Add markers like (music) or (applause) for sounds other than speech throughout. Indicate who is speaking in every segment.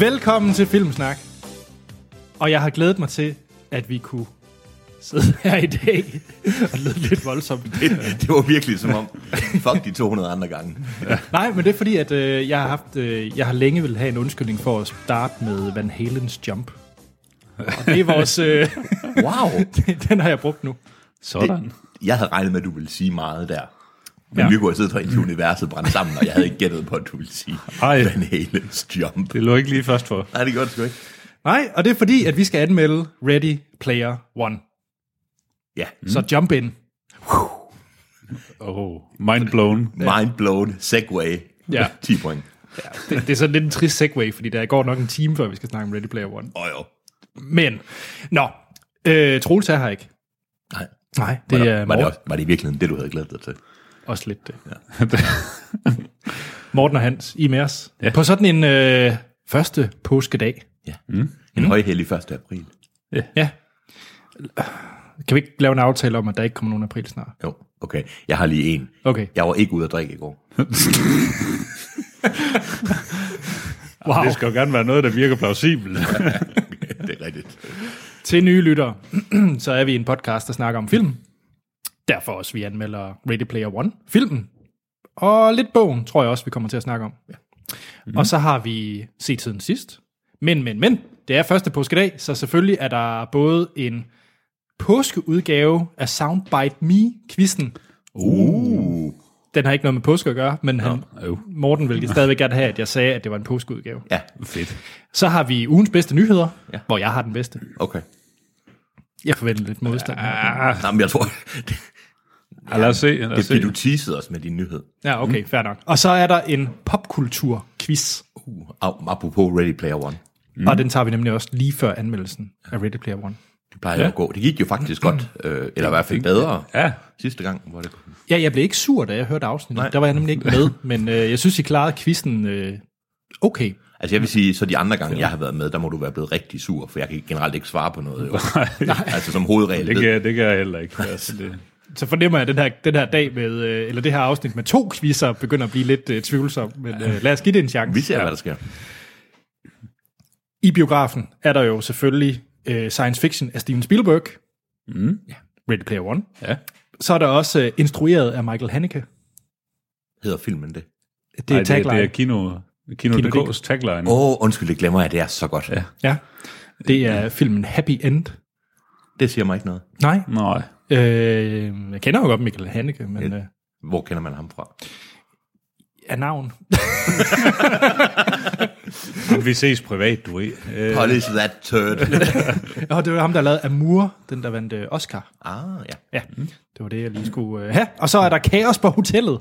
Speaker 1: Velkommen til Filmsnak. Og jeg har glædet mig til, at vi kunne sidde (laughs) her i dag og lyde lidt voldsomt.
Speaker 2: (laughs) det var virkelig som om, fuck de 200 andre gange.
Speaker 1: Nej, men det er fordi, at øh, jeg, har haft, øh, jeg har længe vil have en undskyldning for at starte med Van Halens Jump. Og det er vores... Øh, (laughs)
Speaker 2: Wow!
Speaker 1: den har jeg brugt nu.
Speaker 3: Sådan.
Speaker 2: Det, jeg havde regnet med, at du ville sige meget der. Men
Speaker 1: Ja.
Speaker 2: ja. vi kunne have siddet herinde til universet brændt sammen, og jeg havde ikke gættet på, at du ville sige
Speaker 3: Ej.
Speaker 2: Van Halens jump.
Speaker 3: Det lå ikke lige først for.
Speaker 2: Nej, det gjorde det sgu ikke.
Speaker 1: Nej, og det er fordi, at vi skal anmelde Ready Player One.
Speaker 2: Ja,
Speaker 1: Mm. Så jump in.
Speaker 3: Oh, mind blown.
Speaker 2: mind blown, segway,
Speaker 1: Ja.
Speaker 2: (laughs) ja. 10 point.
Speaker 1: Det, det er sådan lidt en trist segue, fordi der går nok en time, før vi skal snakke om Ready Player One.
Speaker 2: Åh jo.
Speaker 1: Men, nå, øh, Troels er her ikke.
Speaker 2: Nej.
Speaker 1: Nej, det
Speaker 2: var,
Speaker 1: er
Speaker 2: var, det
Speaker 1: Morten.
Speaker 2: også, var det i virkeligheden det, du havde glædet dig til?
Speaker 1: Også lidt øh. det. Morten og Hans, I er med os. Ja.
Speaker 3: Ja.
Speaker 1: På sådan en øh, første påskedag.
Speaker 2: Ja. Mm. En højhellig 1. april.
Speaker 1: Ja. Kan vi ikke lave en aftale om, at der ikke kommer nogen april snart?
Speaker 2: Jo, okay. Jeg har lige en.
Speaker 1: Okay.
Speaker 2: Jeg var ikke ude at drikke i går.
Speaker 1: Wow.
Speaker 3: Det skal jo gerne være noget, der virker plausibelt.
Speaker 2: det er rigtigt.
Speaker 1: Til nye lyttere, (clears throat) så er vi en podcast, der snakker om film. Derfor også, vi anmelder Ready Player One, filmen. Og lidt bogen, tror jeg også, vi kommer til at snakke om. Ja.
Speaker 2: Mhm.
Speaker 1: Mm. Og så har vi set siden sidst. Men, men, men, det er første påskedag, så selvfølgelig er der både en påskeudgave af Soundbite Me-quizzen.
Speaker 2: Uh.
Speaker 1: Den har ikke noget med påske at gøre, men han,
Speaker 3: øv.
Speaker 1: Morten ville stadigvæk gerne have, at jeg sagde, at det var en påskeudgave.
Speaker 2: Ja,
Speaker 3: Fedt.
Speaker 1: Så har vi ugens bedste nyheder, ja.
Speaker 2: Ja.
Speaker 1: hvor jeg har den bedste.
Speaker 2: okay.
Speaker 1: Jeg forventer lidt modstand. Ja,
Speaker 2: Nå, men jeg tror, det,
Speaker 3: Ja, (laughs) lad os se. Lad os
Speaker 2: det,
Speaker 3: se.
Speaker 2: det, du teasede os med din nyhed.
Speaker 1: Ja, okay, fair nok. Og så er der en popkultur-quiz,
Speaker 2: Uh, au, apropos Ready Player One.
Speaker 1: mm. og den tager vi nemlig også lige før anmeldelsen af Ready Player One.
Speaker 2: Det plejer ja. at gå. Det gik jo faktisk godt, øh, eller i hvert fald bedre
Speaker 3: Ja,
Speaker 2: sidste gang. Hvor det
Speaker 1: Ja, jeg blev ikke sur, da jeg hørte afsnittet. Nej. Der var jeg nemlig ikke med, men øh, jeg synes, I klarede quizzen øh, okay.
Speaker 2: Altså jeg vil sige, så de andre gange, jeg har været med, der må du være blevet rigtig sur, for jeg kan generelt ikke svare på noget. Jo. (laughs) altså som hovedregel.
Speaker 3: det kan, jeg- det kan jeg heller ikke. Altså, det,
Speaker 1: Så fornemmer jeg, at den her, den her dag med, øh, eller det her afsnit med to quizzer begynder at blive lidt øh, tvivlsom, men øh, lad os give det en chance.
Speaker 2: Vi ser, hvad der sker.
Speaker 1: I biografen er der jo selvfølgelig øh, science fiction af Steven Spielberg, mm. Ready Player One.
Speaker 3: ja.
Speaker 1: Så er der også øh, instrueret af Michael Haneke.
Speaker 2: Hedder filmen det?
Speaker 1: Det er
Speaker 3: Ej, det,
Speaker 1: tagline.
Speaker 3: det er Kino, Kino,
Speaker 1: Kino
Speaker 3: Kino DK's tagline.
Speaker 2: Åh, oh, undskyld, det glemmer jeg, det er så godt. Ja.
Speaker 1: Ja, det er filmen Happy End.
Speaker 2: Det siger mig ikke noget.
Speaker 1: Nej,
Speaker 3: Nej.
Speaker 1: øh, jeg kender jo godt Michael Haneke, men
Speaker 2: Ja.
Speaker 1: øh,
Speaker 2: Hvor kender man ham fra?
Speaker 1: af navn.
Speaker 3: Men vi ses privat, du ved. Øh,
Speaker 2: Polish that turd.
Speaker 1: Og det var ham, der lavede Amour, den der vandt øh, Oscar.
Speaker 2: ah, ja.
Speaker 1: Ja, det var det, jeg lige skulle øh, have. Og så er der kaos på hotellet,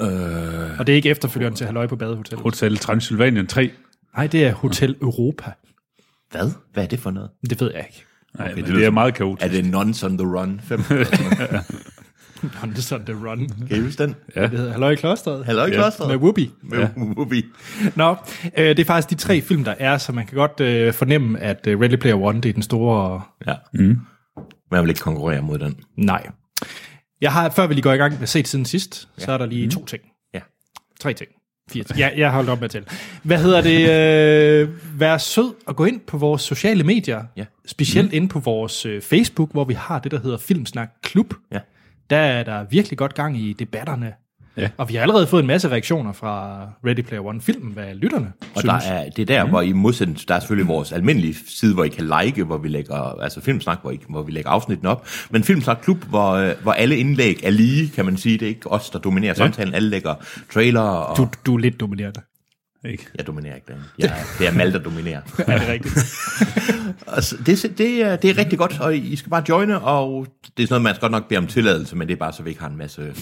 Speaker 2: Øh,
Speaker 1: og det er ikke efterfølgeren til Halløj på badehotellet.
Speaker 3: Hotel Transylvanien 3.
Speaker 1: Nej, det er Hotel Europa.
Speaker 2: hvad? Hvad er det for noget?
Speaker 1: Det ved jeg ikke.
Speaker 3: Nej, okay,
Speaker 2: det
Speaker 3: men det,
Speaker 2: lyder
Speaker 3: er
Speaker 2: som-
Speaker 3: meget
Speaker 2: Er
Speaker 3: kaotisk.
Speaker 2: det Nuns on the Run 5?
Speaker 1: Hunters on the Run.
Speaker 2: kan I huske den?
Speaker 3: Ja.
Speaker 1: Det hedder Halløj i klosteret.
Speaker 2: Halløj,
Speaker 3: Ja.
Speaker 2: Kloster.
Speaker 1: Med Whoopi.
Speaker 2: Med
Speaker 1: Nå, øh, det er faktisk de tre film, der er, så man kan godt øh, fornemme, at øh, Ready Player One, det er den store
Speaker 2: Ja. Mm. Man vil ikke konkurrere mod den.
Speaker 1: Nej. Jeg har, før vi lige går i gang med set siden sidst, ja. så er der lige mm.
Speaker 2: Mhm.
Speaker 1: to ting.
Speaker 2: Ja.
Speaker 1: Tre ting. Fire ting. Ja, jeg har holdt op med at tælle. Hvad hedder
Speaker 2: (laughs)
Speaker 1: det? Øh, vær sød og gå ind på vores sociale medier.
Speaker 2: Ja. Mhm.
Speaker 1: Specielt mm. ind på vores øh, Facebook, hvor vi har det, der hedder Filmsnak Klub.
Speaker 2: Ja.
Speaker 1: Der er der virkelig godt gang i debatterne.
Speaker 3: Ja.
Speaker 1: Og vi har allerede fået en masse reaktioner fra Ready Player One-filmen, hvad lytterne
Speaker 2: Og der
Speaker 1: synes.
Speaker 2: er, det er der, hvor I modsætning, der er selvfølgelig vores almindelige side, hvor I kan like, hvor vi lægger, altså Filmsnak, hvor, I, hvor vi lægger afsnitten op, men Filmsnak Klub, hvor, øh, hvor alle indlæg er lige, kan man sige, det er ikke os, der dominerer samtalen, alle lægger trailer, og
Speaker 1: Du, du er lidt dominerende.
Speaker 3: Ikke?
Speaker 2: jeg dominerer ikke den, jeg, er- det er Mal, der dominerer.
Speaker 1: Er det
Speaker 3: (laughs)
Speaker 1: rigtigt?
Speaker 2: (laughs) Altså, det, det, er, det er rigtig godt, og I skal bare joine, og det er sådan noget, man skal godt nok bede om tilladelse, men det er bare, så vi ikke har en masse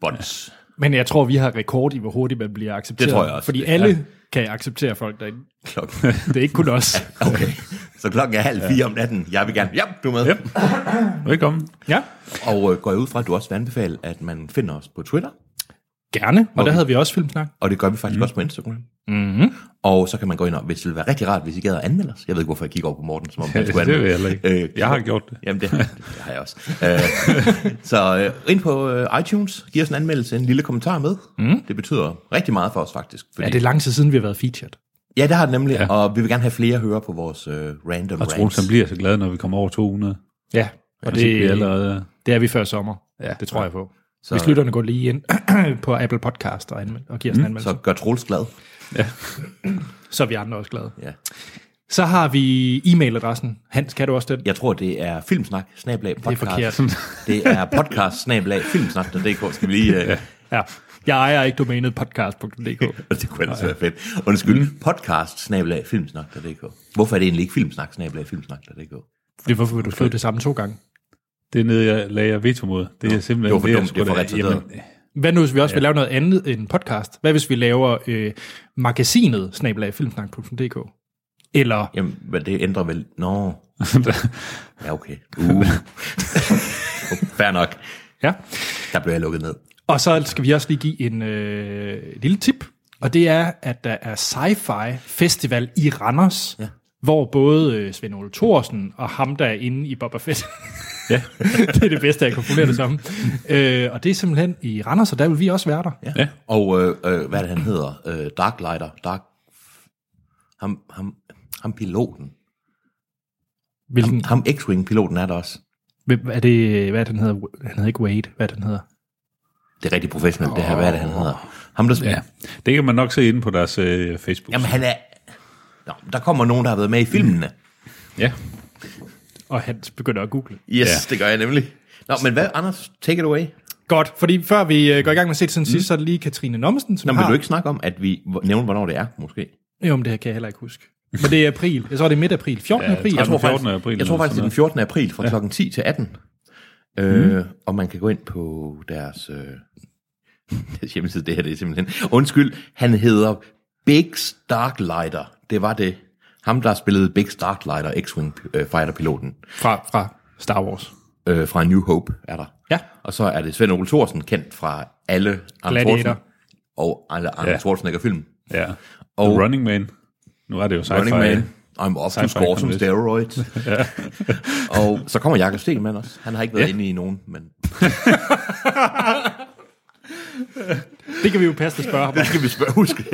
Speaker 2: bonds.
Speaker 1: Men jeg tror, vi har rekord i, hvor hurtigt man bliver accepteret.
Speaker 2: Det tror jeg også.
Speaker 1: Fordi
Speaker 2: Ja.
Speaker 1: alle ja. kan acceptere folk derinde.
Speaker 2: (laughs) Klokken.
Speaker 1: Det er ikke kun os.
Speaker 2: Okay, så klokken er halv fire om natten, jeg vil gerne, ja, du er med.
Speaker 3: Yep. Velkommen.
Speaker 1: Ja,
Speaker 2: Og øh, går jeg ud fra, at du også vil anbefale, at man finder os på Twitter,
Speaker 1: gerne. Og der havde vi også filmsnak.
Speaker 2: Og det gør vi faktisk mm. også på Instagram. Mm-hmm. Og så kan man gå ind og, hvis det ville være rigtig rart, hvis I gad at anmelde os. Jeg ved ikke, hvorfor jeg kigger over på Morten, som om han
Speaker 3: Det
Speaker 2: skulle
Speaker 3: vil jeg
Speaker 2: anmelde.
Speaker 3: heller ikke. Jeg har gjort det.
Speaker 2: Jamen, det, det har jeg også. Øh, så øh, ind på øh, iTunes, giv os en anmeldelse, en lille kommentar med. Mm. Det betyder rigtig meget for os, faktisk. Fordi,
Speaker 1: Ja, det er lang tid siden, vi har været featured.
Speaker 2: Ja, det har det nemlig, ja.
Speaker 3: Ja.
Speaker 2: og vi vil gerne have flere høre på vores øh, random
Speaker 3: Og Troels, han bliver så glad, når vi kommer over 200.
Speaker 1: Ja, Altså, og
Speaker 3: Og det
Speaker 1: det,
Speaker 3: bliver allerede...
Speaker 1: det er vi før sommer.
Speaker 3: Ja.
Speaker 1: Det tror jeg på.
Speaker 2: Så-
Speaker 1: Så, Hvis lytterne går lige ind (clears throat) på Apple Podcast og, anmeld, og giver os en anmeldelse,
Speaker 2: Så gør Troels glad.
Speaker 1: Mm. så, så er vi andre også glade.
Speaker 2: Ja.
Speaker 1: Så har vi e-mailadressen. Hans, kan du også den?
Speaker 2: Jeg tror, det er filmsnak, snablag, podcast.
Speaker 1: forkert.
Speaker 2: det er podcast, snablag, filmsnak.dk, skal vi lige... Øh,
Speaker 1: Ja. Jeg ejer ikke domænet (laughs) podcast.dk.
Speaker 2: Og (laughs) det kunne ellers være fedt. Undskyld, mm. podcast, snablag, filmsnak.dk. Hvorfor er det egentlig ikke filmsnak, snablag, filmsnak.dk?
Speaker 1: Det er hvorfor vil du skrive det samme to gange.
Speaker 3: Det er nede, jeg lagde jeg veto mod. Det er simpelthen...
Speaker 2: det var for
Speaker 3: jeg
Speaker 2: dumt,
Speaker 3: sgu
Speaker 2: det var
Speaker 3: da-
Speaker 2: retarderet.
Speaker 3: Jamen,
Speaker 1: Hvad nu, hvis vi også vil lave noget andet end podcast? Hvad hvis vi laver øh, magasinet, snablag, filmsnak.dk? Eller
Speaker 2: Jamen, men det ændrer vel...
Speaker 3: (laughs)
Speaker 2: Nå, ja okay. Uh. (laughs) Fair nok.
Speaker 1: Ja.
Speaker 2: Der blev jeg lukket ned.
Speaker 1: Og så skal vi også lige give en øh, lille tip, og det er, at der er Sci-Fi Festival i Randers,
Speaker 2: Ja.
Speaker 1: ja. hvor både øh, Svend Ole Thorsen og ham, der er inde i Boba Fett,
Speaker 3: Ja.
Speaker 1: (laughs) det er det bedste, jeg kan formulere det som, øh, og det er simpelthen i Randers, og der vil vi også være der.
Speaker 2: Ja.
Speaker 3: Ja.
Speaker 2: Og øh, øh, hvad er det, han hedder? Øh, Darklighter. Dark... Ham, ham, ham piloten.
Speaker 1: Hvilken,
Speaker 2: Ham X-Wing-piloten er der også.
Speaker 1: hvem- er det, hvad er det, han hedder? Han hedder ikke Wade, hvad er det, han hedder?
Speaker 2: Det er rigtig professionelt, det her. Hvad er det, han hedder? Ham, der...
Speaker 3: Ja. Det kan man nok se inde på deres øh, Facebook.
Speaker 2: Jamen, han er... Nå, der kommer nogen, der har været med i filmene.
Speaker 3: Ja.
Speaker 1: Og han begynder at google.
Speaker 2: Yes,
Speaker 3: Ja.
Speaker 2: det gør jeg nemlig. Nå, men hvad, Anders? Take it away.
Speaker 1: Godt, fordi før vi øh, går i gang med at se det siden sidst, så er det lige Katrine Nomsen, som
Speaker 2: Nå, men
Speaker 1: har...
Speaker 2: vil du ikke snakke om, at vi hvor- nævner, hvornår det er, måske?
Speaker 1: Jo, men det her kan jeg heller ikke huske. Men det er april. Jeg tror, det er midt april. 14.
Speaker 3: Ja,
Speaker 1: april.
Speaker 3: jeg tror
Speaker 1: faktisk-
Speaker 3: 14. april
Speaker 2: jeg tror
Speaker 3: eller
Speaker 2: faktisk, det er den 14. april fra ja. klokken 10 til 18. Øh, og man kan gå ind på deres, øh, (laughs) deres hjemmeside. Det her det er simpelthen... Undskyld, han hedder Big Starklighter. Det var det. Ham, der spillede Big Starklighter, X-Wing øh, Fighter-piloten
Speaker 1: fra, fra Star Wars.
Speaker 2: øh, fra New Hope, er der.
Speaker 1: Ja.
Speaker 2: Og så er det Svend Ole Thorsen, kendt fra alle Arne
Speaker 1: Gladiator.
Speaker 2: Thorsen og alle Arne ja.
Speaker 3: Ja.
Speaker 2: Schwarzenegger-film.
Speaker 3: ja.
Speaker 2: Og-
Speaker 3: Og The Running Man. Nu er det jo sci-fi.
Speaker 2: Running Man. I'm off to
Speaker 3: Sci-fi
Speaker 2: score som
Speaker 3: contest.
Speaker 2: steroids. og så kommer Jakob Stegelmann også. Han har ikke været ja. inde i nogen, men
Speaker 1: Det kan vi jo passe at spørge ham. om.
Speaker 2: det skal vi spørge, huske.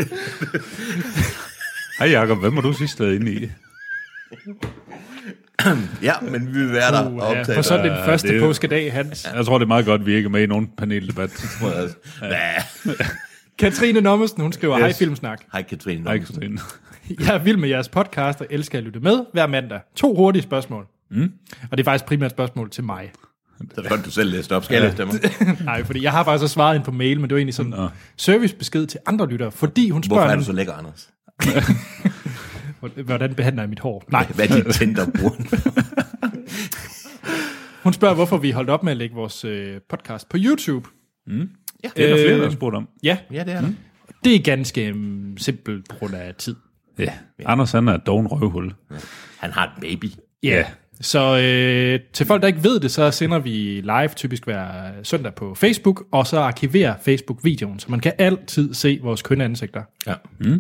Speaker 3: Hej Jacob, hvem var du sidst været inde i?
Speaker 2: ja, men vi vil være der og
Speaker 1: Uh, ja,
Speaker 2: optage
Speaker 1: for sådan
Speaker 2: det.
Speaker 1: den første
Speaker 3: det er jo-
Speaker 1: påskedag, Hans.
Speaker 3: Jeg tror, det er meget godt, vi ikke er med i nogen paneldebat.
Speaker 2: Ja.
Speaker 1: Katrine Nommesen, hun skriver, hej
Speaker 3: Yes.
Speaker 1: Filmsnak.
Speaker 2: Hej Katrine.
Speaker 3: Nej,
Speaker 2: Nomsen.
Speaker 3: Katrine.
Speaker 1: Jeg er vild med jeres podcast og elsker at lytte med hver mandag. To hurtige spørgsmål. Mm. Og det er faktisk primært spørgsmål til mig.
Speaker 2: Det var godt, du selv læste op. Skal jeg læse dem?
Speaker 1: Nej, fordi jeg har faktisk også svaret ind på mail, men det var egentlig sådan en servicebesked til andre lyttere, fordi hun
Speaker 2: Hvorfor er
Speaker 1: spørger,
Speaker 2: du så lækker, Anders?
Speaker 1: nemlig, hvordan behandler jeg mit hår? Nej,
Speaker 2: Hvad er dit Tinder bruger?
Speaker 1: hun spørger, hvorfor vi holdt op med at lægge vores øh, podcast på YouTube.
Speaker 3: Det er der flere, der har spurgt om.
Speaker 1: Ja, Mm.
Speaker 2: Ja, det er der.
Speaker 1: det er ganske um, simpelt på grund af tid.
Speaker 3: Ja. Anders, han er et doven røvhul.
Speaker 2: Han har et baby.
Speaker 1: Ja. Yeah. Så øh, til folk, der ikke ved det, så sender vi live typisk hver søndag på Facebook, og så arkiverer Facebook-videoen, så man kan altid se vores kønne ansigter.
Speaker 2: Ja.
Speaker 1: Øh, ja,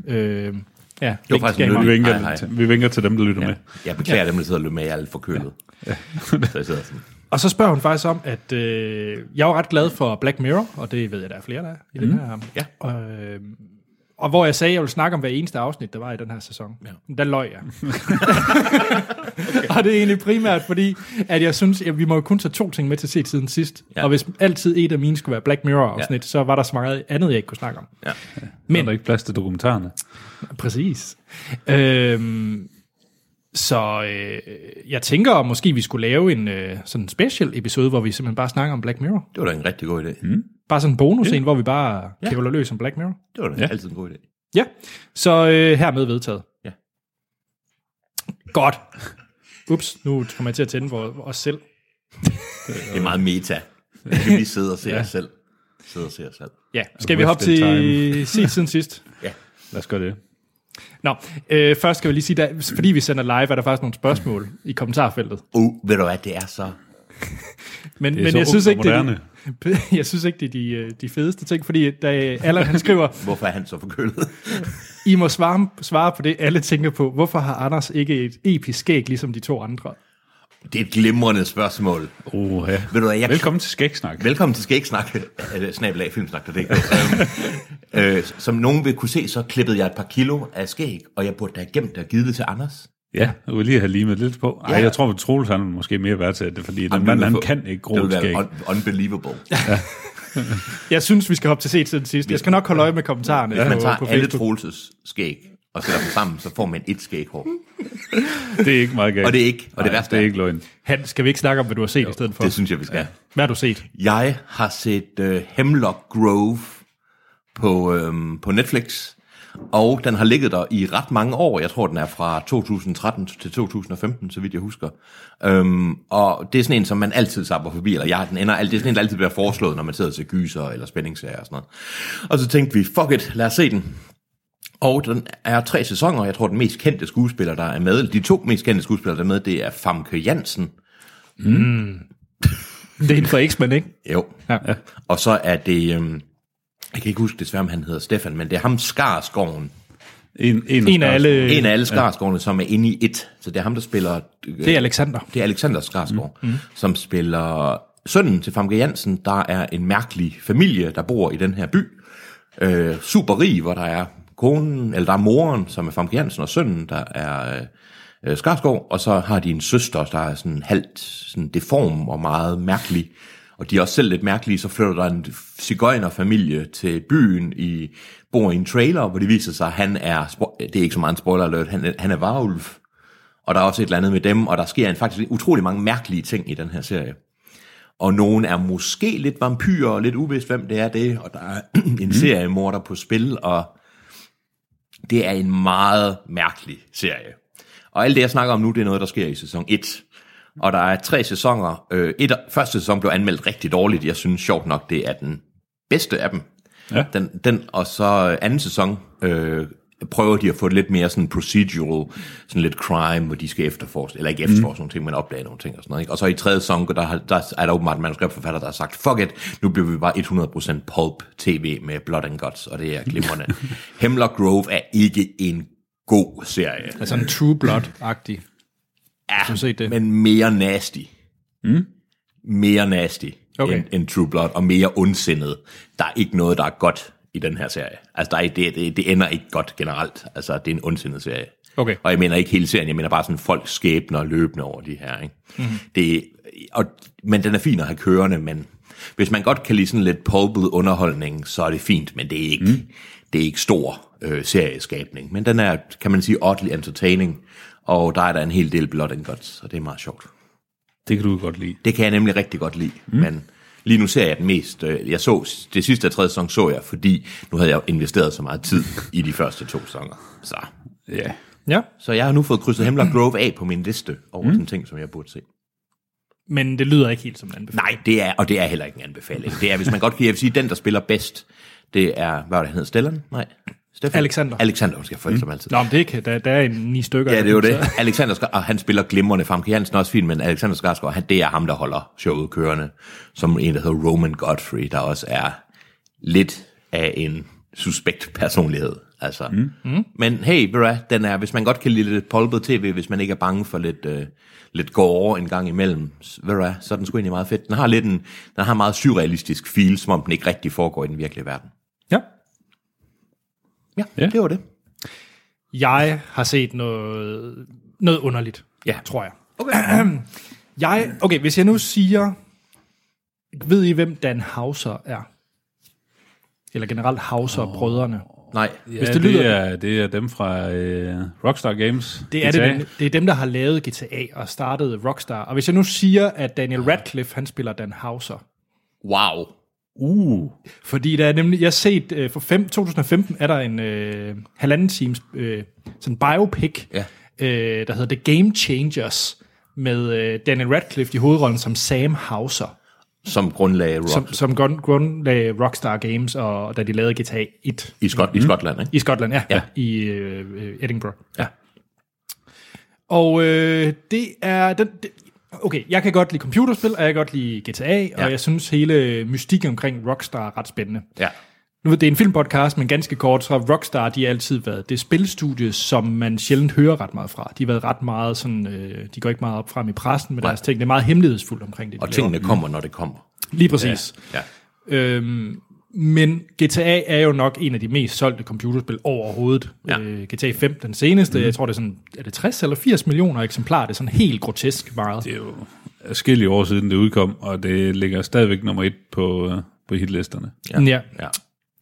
Speaker 2: Mm. Det var faktisk en
Speaker 3: Vi
Speaker 2: nyttig-
Speaker 3: vinker,
Speaker 2: Hej, hej.
Speaker 3: vi vinker til dem, der lytter ja. med.
Speaker 2: Jeg beklager dem, der sidder og løber med, jeg er lidt forkølet. så jeg sidder sådan.
Speaker 1: Og så spørger hun faktisk om, at øh, jeg var ret glad for Black Mirror, og det ved jeg, der er flere, der er i mm. den her.
Speaker 2: Ja.
Speaker 1: Og, øh, og hvor jeg sagde, at jeg ville snakke om hver eneste afsnit, der var i den her sæson.
Speaker 2: Ja.
Speaker 1: Men Der
Speaker 2: (laughs)
Speaker 1: løg jeg. okay. Og det er egentlig primært, fordi at jeg synes, at vi må jo kun tage to ting med til set siden sidst.
Speaker 2: Ja.
Speaker 1: Ja. Og hvis altid et af mine skulle være Black Mirror-afsnit,
Speaker 2: Ja.
Speaker 1: ja. så var der så meget andet, jeg ikke kunne snakke om.
Speaker 2: Ja.
Speaker 3: Men. Er
Speaker 1: Men
Speaker 3: der ikke plads til dokumentarerne?
Speaker 1: Præcis. Øhm, så øh, jeg tænker, at måske vi skulle lave en øh, sådan special episode, hvor vi simpelthen bare snakker om Black Mirror.
Speaker 2: Det var da en rigtig god idé. Mm.
Speaker 1: Bare sådan en bonus en, hvor vi bare kævler løs om Black Mirror.
Speaker 2: Det var da
Speaker 3: Ja.
Speaker 2: altid en god idé.
Speaker 1: Ja, så øh, hermed vedtaget.
Speaker 2: Ja.
Speaker 1: Godt. Ups, nu kommer jeg til at tænde for os selv.
Speaker 2: Det er meget meta. Vi kan lige sidde og se ja. os selv. Sidde og se os selv.
Speaker 1: Ja, skal vi hoppe (laughs)
Speaker 3: Wasted
Speaker 1: til set siden sidst?
Speaker 2: Ja.
Speaker 3: Lad os gøre det.
Speaker 1: Nå, øh, først skal vi lige sige, at fordi vi sender live, er der faktisk nogle spørgsmål i kommentarfeltet.
Speaker 2: Uh, ved du hvad, det er så...
Speaker 1: Men,
Speaker 3: Det er
Speaker 1: men
Speaker 3: så
Speaker 1: jeg,
Speaker 3: ungt
Speaker 1: synes
Speaker 3: og
Speaker 1: ikke, det er de,
Speaker 3: moderne.
Speaker 1: (laughs) jeg synes ikke, det er de, øh, de fedeste ting, fordi da Allan han skriver,
Speaker 2: Hvorfor er han så forkølet?
Speaker 1: I må svare, svare på det, alle tænker på. Hvorfor har Anders ikke et episk skæg, ligesom de to andre?
Speaker 2: Det er et glimrende spørgsmål.
Speaker 3: Oh, ja.
Speaker 2: Ved du hvad, jeg
Speaker 3: Velkommen til Skægsnak.
Speaker 2: Velkommen til Skægsnak, eller snabelag filmsnak.dk. Øhm, øh, som nogen vil kunne se, så klippede jeg et par kilo af skæg, og jeg burde da have gemt det og givet det til Anders.
Speaker 3: Ja, jeg vil lige have limet lidt på. Ej,
Speaker 2: Ja.
Speaker 3: jeg tror, at Troels han er måske mere værd til det, fordi den
Speaker 2: Jamen,
Speaker 3: mand,
Speaker 2: det
Speaker 3: han
Speaker 2: ville få-
Speaker 3: kan ikke gro
Speaker 2: det
Speaker 3: et
Speaker 2: ville
Speaker 3: skæg.
Speaker 2: være un- unbelievable.
Speaker 1: Jeg synes, vi skal hoppe til set siden sidst. Jeg skal nok holde øje med kommentarerne
Speaker 2: Hvis man
Speaker 1: ja,
Speaker 2: tager
Speaker 1: på, på
Speaker 2: alle
Speaker 1: Facebook.
Speaker 2: Troelses skæg og sætter dem sammen, så får man et skæghår.
Speaker 3: Det er ikke meget galt.
Speaker 2: Og det er ikke, og det
Speaker 3: Nej,
Speaker 2: værste
Speaker 3: det er
Speaker 2: er-
Speaker 3: ikke løgn.
Speaker 1: Han, skal vi ikke snakke om, hvad du har set jo, i stedet for?
Speaker 2: Det synes jeg, vi skal.
Speaker 1: Hvad har du set?
Speaker 2: Jeg har set uh, Hemlock Grove på, øhm, på Netflix, og den har ligget der i ret mange år. Jeg tror, den er fra 2013 til 2015, så vidt jeg husker. Øhm, og det er sådan en, som man altid sapper forbi, eller jeg, den ender, alt- det er sådan en, der altid bliver foreslået, når man sidder til gyser eller spændingsserier og sådan noget. Og så tænkte vi, fuck it, lad os se den. Og den er tre sæsoner, og jeg tror, den mest kendte skuespiller, der er med, de to mest kendte skuespillere, der er med, det er Famke Jansen,
Speaker 1: Det er inden for X-Men, ikke?
Speaker 2: Jo.
Speaker 1: Ja.
Speaker 2: Ja. Og så er det, øhm, jeg kan ikke huske desværre, om han hedder Stefan, men det er ham Skarsgården.
Speaker 3: En, en,
Speaker 1: En af alle...
Speaker 2: En af alle Skarsgårdene, som er inde i et. Så det er ham, der spiller... Øh,
Speaker 1: Det er Alexander.
Speaker 2: det er Alexander Skarsgård, mm. som spiller sønnen til Famke Jansen, der er en mærkelig familie, der bor i den her by. Øh, super rig, hvor der er konen, eller der er moren, som er Famke Jansen, og sønnen, der er øh, øh, Skarsgård, og så har de en søster, der er sådan halvt sådan deform og meget mærkelig. Og de er også selv lidt mærkelige, så flytter der en cigøjnerfamilie til byen, i, bor i en trailer, hvor det viser sig, at han er, spo- det er ikke så meget en spoiler alert, han, er- han er varulv og der er også et eller andet med dem, og der sker en, faktisk utrolig mange mærkelige ting i den her serie. Og nogen er måske lidt vampyrer, og lidt uvist, hvem det er det, og der er (clears throat) en seriemorder på spil, og det er en meget mærkelig serie. Og alt det, jeg snakker om nu, det er noget, der sker i sæson 1. Og der er tre sæsoner. Øh, et, første sæson blev anmeldt rigtig dårligt. Jeg synes sjovt nok, det er den bedste af dem.
Speaker 3: Ja.
Speaker 2: Den, den, og så øh, anden sæson øh, prøver de at få det lidt mere sådan procedural, sådan lidt crime, hvor de skal efterforske, eller ikke efterforske mm. nogle ting, men opdage nogle ting og sådan noget. Ikke? Og så i tredje sæson, der, har- der er der åbenbart en manuskriptforfatter, der har sagt, fuck it, nu bliver vi bare 100% pulp tv med Blood and Guts, og det er (laughs) glimrende. Hemlock Grove er ikke en god serie.
Speaker 1: Altså en True Blood-agtig.
Speaker 2: Ja,
Speaker 1: du set det?
Speaker 2: men mere nasty. Mm? Mere nasty
Speaker 1: Okay.
Speaker 2: okay. end, end True Blood, og mere ondsindet. Der er ikke noget, der er godt i den her serie. Altså, der er, ikke- det, det, det ender ikke godt generelt. Altså, det er en ondsindet serie.
Speaker 1: Okay.
Speaker 2: Og jeg mener ikke hele serien, jeg mener bare sådan folks skæbner løbende over de her. Ikke? Mm-hmm. Det, og, men den er fin at have kørende, men hvis man godt kan lide sådan lidt pulpet underholdning, så er det fint, men det er ikke, mm. det er ikke stor øh, serieskabning. Men den er, kan man sige, oddly entertaining, og der er der en hel del blood and guts, så det er meget sjovt.
Speaker 3: Det kan du godt lide.
Speaker 2: Det kan jeg nemlig rigtig godt lide, mm. men lige nu ser jeg den mest. Øh, jeg så, det sidste af tredje sæson så jeg, fordi nu havde jeg investeret så meget tid i de første to sæsoner. Så
Speaker 3: Ja.
Speaker 1: Ja,
Speaker 2: så jeg har nu fået krydset Hemlock Grove af på min liste over mm. sådan ting, som jeg burde se.
Speaker 1: men det lyder ikke helt som en anbefaling.
Speaker 2: Nej, det er, og det er heller ikke en anbefaling. Det er, hvis man godt kan, jeg vil sige, den, der spiller bedst, det er, hvad var det, han hedder, Stellan? Nej, Stefan?
Speaker 1: Alexander.
Speaker 2: Alexander, hun skal for som altid.
Speaker 1: Nå, men det ikke. Der, der er en ni stykker.
Speaker 2: Ja,
Speaker 1: af
Speaker 2: det er jo
Speaker 1: dem, (laughs)
Speaker 2: det.
Speaker 1: så-
Speaker 2: Alexander Skar, og han spiller glimrende frem. Jansen er også fint, men Alexander Skarsgård, han, det er ham, der holder showet kørende. Som en, der hedder Roman Godfrey, der også er lidt af en suspekt personlighed. Altså. Mm. Mm. Men hey, ved du hvad, den er, hvis man godt kan lide lidt polpet tv, hvis man ikke er bange for lidt, øh, lidt gore en gang imellem, s- ved du hvad, så er den sgu egentlig meget fedt. Den har, lidt en, den har en meget surrealistisk feel, som om den ikke rigtig foregår i den virkelige verden.
Speaker 1: Ja.
Speaker 2: Ja,
Speaker 3: Ja.
Speaker 2: ja. det var det.
Speaker 1: Jeg har set noget, noget underligt,
Speaker 2: Ja.
Speaker 1: tror jeg. Okay. (clears throat) jeg. Okay, hvis jeg nu siger... Ved I, hvem Dan Hauser er? Eller generelt Hauser-brødrene.
Speaker 2: Nej.
Speaker 3: Ja,
Speaker 1: Hvis det
Speaker 3: det,
Speaker 1: lyder-
Speaker 3: er, det er dem fra øh, Rockstar Games.
Speaker 1: Det er, det,
Speaker 3: GTA.
Speaker 1: nemlig. det er dem, der har lavet GTA og startede Rockstar. Og hvis jeg nu siger, at Daniel Radcliffe, han spiller Dan Hauser.
Speaker 2: Wow.
Speaker 3: Uh,
Speaker 1: Fordi der er nemlig, jeg har set, øh, for fem, 2015 er der en øh, halvanden times øh, sådan biopic,
Speaker 2: Ja.
Speaker 1: øh, der hedder The Game Changers, med øh, Daniel Radcliffe i hovedrollen som Sam Hauser,
Speaker 2: Som grundlag rock
Speaker 1: som, som grund, grundlagde Rockstar Games, og da de lavede GTA 1.
Speaker 2: i, Skot, mm. i Skotland, ikke?
Speaker 1: I Skotland, ja. ja. I øh, øh, Edinburgh. Ja. Og øh, det er... Den, det, okay, jeg kan godt lide computerspil, og jeg kan godt lide GTA, ja. og jeg synes hele mystikken omkring Rockstar er ret spændende.
Speaker 2: Ja.
Speaker 1: Nu er det en filmpodcast, men ganske kort, så har Rockstar, de har altid været det spilstudie, som man sjældent hører ret meget fra. De har været ret meget sådan, øh, de går ikke meget op frem i pressen med
Speaker 2: Nej.
Speaker 1: deres ting. Det er meget hemmelighedsfuldt omkring det, de
Speaker 2: Og
Speaker 1: laver.
Speaker 2: tingene kommer, når det kommer.
Speaker 1: Lige præcis.
Speaker 2: Ja.
Speaker 1: Øhm, men GTA er jo nok en af de mest solgte computerspil overhovedet.
Speaker 2: Ja.
Speaker 1: Øh, GTA 5, den seneste, mm. jeg tror det er sådan, er det 60 eller 80 millioner eksemplarer, det er sådan helt grotesk meget.
Speaker 3: Det er jo forskellige år siden, det udkom, og det ligger stadigvæk nummer et på, øh, på hitlisterne.
Speaker 1: Ja. ja.
Speaker 2: ja.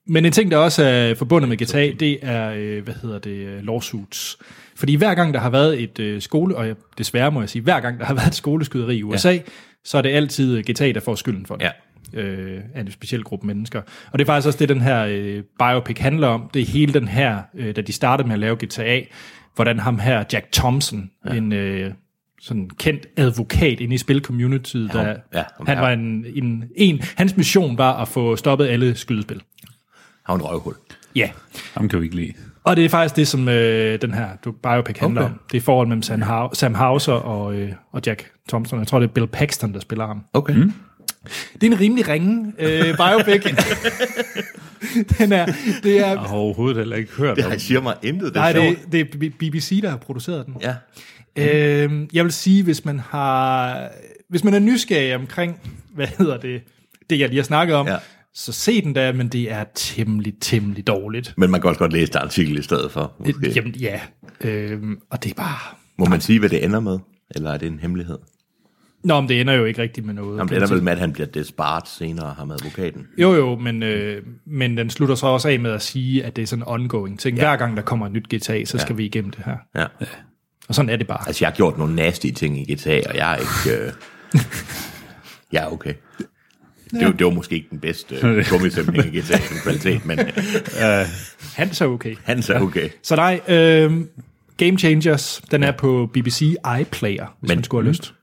Speaker 1: Men en ting, der også er forbundet med GTA, det er, øh, hvad hedder det, øh, lawsuits. Fordi hver gang der har været et øh, skole, og jeg- desværre må jeg sige, hver gang der har (laughs) været et skoleskyderi i USA, ja. så er det altid øh, GTA, der får skylden for det.
Speaker 2: Ja.
Speaker 1: Øh, af en speciel gruppe mennesker. Og det er faktisk også det, den her øh, biopic handler om. Det er hele den her, øh, da de startede med at lave GTA, hvordan ham her, Jack Thompson, ja. en øh, sådan kendt advokat inde i spilcommunityet, ja, der,
Speaker 2: ja, ham
Speaker 1: han
Speaker 2: her.
Speaker 1: var en, en, en, hans mission var at få stoppet alle skydespil.
Speaker 2: Har en røvhul.
Speaker 1: Ja,
Speaker 3: Ham kan vi ikke lide.
Speaker 1: og det er faktisk det, som øh, den her du- biopic handler okay. om. Det er forholdet mellem Sam, Hau- Sam Hauser og, øh, og Jack Thompson. Jeg tror, det er Bill Paxton, der spiller ham.
Speaker 2: Okay. Mm.
Speaker 1: Det er en rimelig ringe øh, biopic. den er, det er,
Speaker 3: Jeg har overhovedet heller ikke hørt om.
Speaker 2: Jeg siger mig intet, det er
Speaker 1: nej,
Speaker 2: sjovt.
Speaker 1: det, det er B- BBC, der har produceret den.
Speaker 2: Ja.
Speaker 1: Øhm, jeg vil sige, hvis man har, hvis man er nysgerrig omkring, hvad hedder det, det jeg lige har snakket om,
Speaker 2: Ja.
Speaker 1: ja. så se den der, men det er temmelig, temmelig dårligt.
Speaker 2: Men man kan også godt læse der artikel i stedet for. Måske.
Speaker 1: Okay. Jamen ja, øhm, og det er bare...
Speaker 2: Må man sige, hvad det ender med? Eller er det en hemmelighed?
Speaker 1: Nå, men det ender jo ikke rigtigt med noget. kan
Speaker 2: Jamen, det ender
Speaker 1: man
Speaker 2: vel med, at han bliver desperat senere, ham advokaten.
Speaker 1: sige. Jo, jo, men, øh, men den slutter så også af med at sige, at det er sådan en ongoing ting. Ja. Hver gang der kommer et nyt GTA, så skal vi igennem det her.
Speaker 2: Ja.
Speaker 1: Og sådan er det bare.
Speaker 2: Altså, jeg har gjort nogle nasty ting i GTA, og jeg er (laughs) ikke... Øh... jeg er okay. Det, var- det var måske ikke den bedste (laughs) øh, gummisæmning i GTA som kvalitet, men øh,
Speaker 1: Han er så okay.
Speaker 2: han så okay.
Speaker 1: Så nej, øh, Game Changers, den er på BBC iPlayer, hvis
Speaker 2: Men-
Speaker 1: men, man skulle have lyst.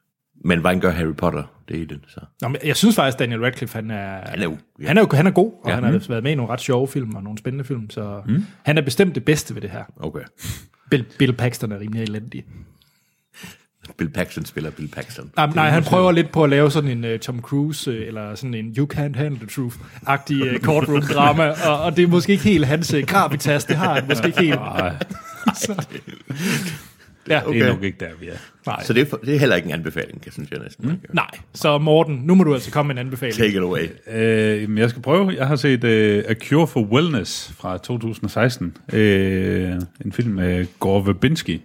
Speaker 2: Men hvordan gør Harry Potter det i den så?
Speaker 1: Nå, men jeg synes faktisk, Daniel Radcliffe, han er,
Speaker 2: Han er jo- ja.
Speaker 1: han er, jo, han er god, og ja. han har været med i nogle ret sjove film og nogle spændende film, så mm. han er bestemt det bedste ved det her.
Speaker 2: Okay.
Speaker 1: Bill, Bill Paxton er rimelig elendig.
Speaker 2: Bill Paxton spiller Bill Paxton.
Speaker 1: Nej, nej han prøver lidt på at lave sådan en uh, Tom Cruise, uh, eller sådan en You Can't Handle the Truth-agtig (laughs) uh, courtroom-drama, og, og det er måske ikke helt hans uh, gravitas, det har han måske ikke (laughs) helt.
Speaker 3: Nej,
Speaker 1: Ja,
Speaker 3: det er
Speaker 2: Okay.
Speaker 3: nok ikke der, vi er.
Speaker 1: nej.
Speaker 2: Så det er, for, det er heller ikke en anbefaling, kan synes jeg næsten. Mm.
Speaker 1: nej, så Morten, nu må du altså komme med en anbefaling.
Speaker 2: Take it away.
Speaker 3: Øh, jamen, jeg skal prøve. Jeg har set øh, A Cure for Wellness fra 2016. Øh, en film af Gore Verbinski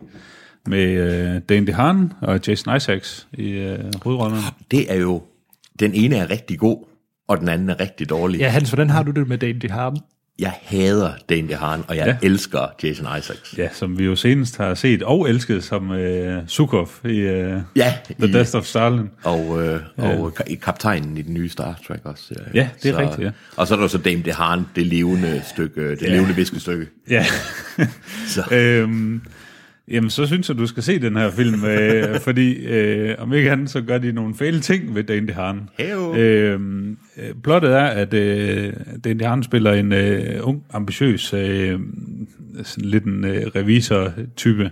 Speaker 3: med øh, Dan DeHaan og Jason Isaacs i øh, hovedrollen.
Speaker 2: Det er jo... Den ene er rigtig god, og den anden er rigtig dårlig.
Speaker 1: Ja, Hans, hvordan har du det med Dane DeHarm?
Speaker 2: Jeg hader Dan DeHaan, og jeg ja.
Speaker 3: Ja.
Speaker 2: elsker Jason Isaacs.
Speaker 3: Ja, som vi jo senest har set og elsket som øh, Sukov i øh,
Speaker 2: Ja,
Speaker 3: The
Speaker 2: i-
Speaker 3: Death of Stalin.
Speaker 2: Og, øh, og ka- i kaptajnen i den nye Star Trek også. ser jeg.
Speaker 3: Ja, det er rigtigt, ja.
Speaker 2: Og så er der jo så Dame DeHaan, det levende stykke, øh, det ja. levende viskestykke.
Speaker 3: Ja.
Speaker 2: (laughs) Så.
Speaker 3: øhm, jamen, så synes jeg, du skal se den her film, øh, fordi øh, om ikke andet, så gør de nogle fæle ting ved Dan DeHaan.
Speaker 2: Heyo.
Speaker 3: Øhm, øh, plottet er, at øh, Dan DeHaan spiller en øh, ung, ambitiøs, øh, sådan lidt en øh, revisor-type,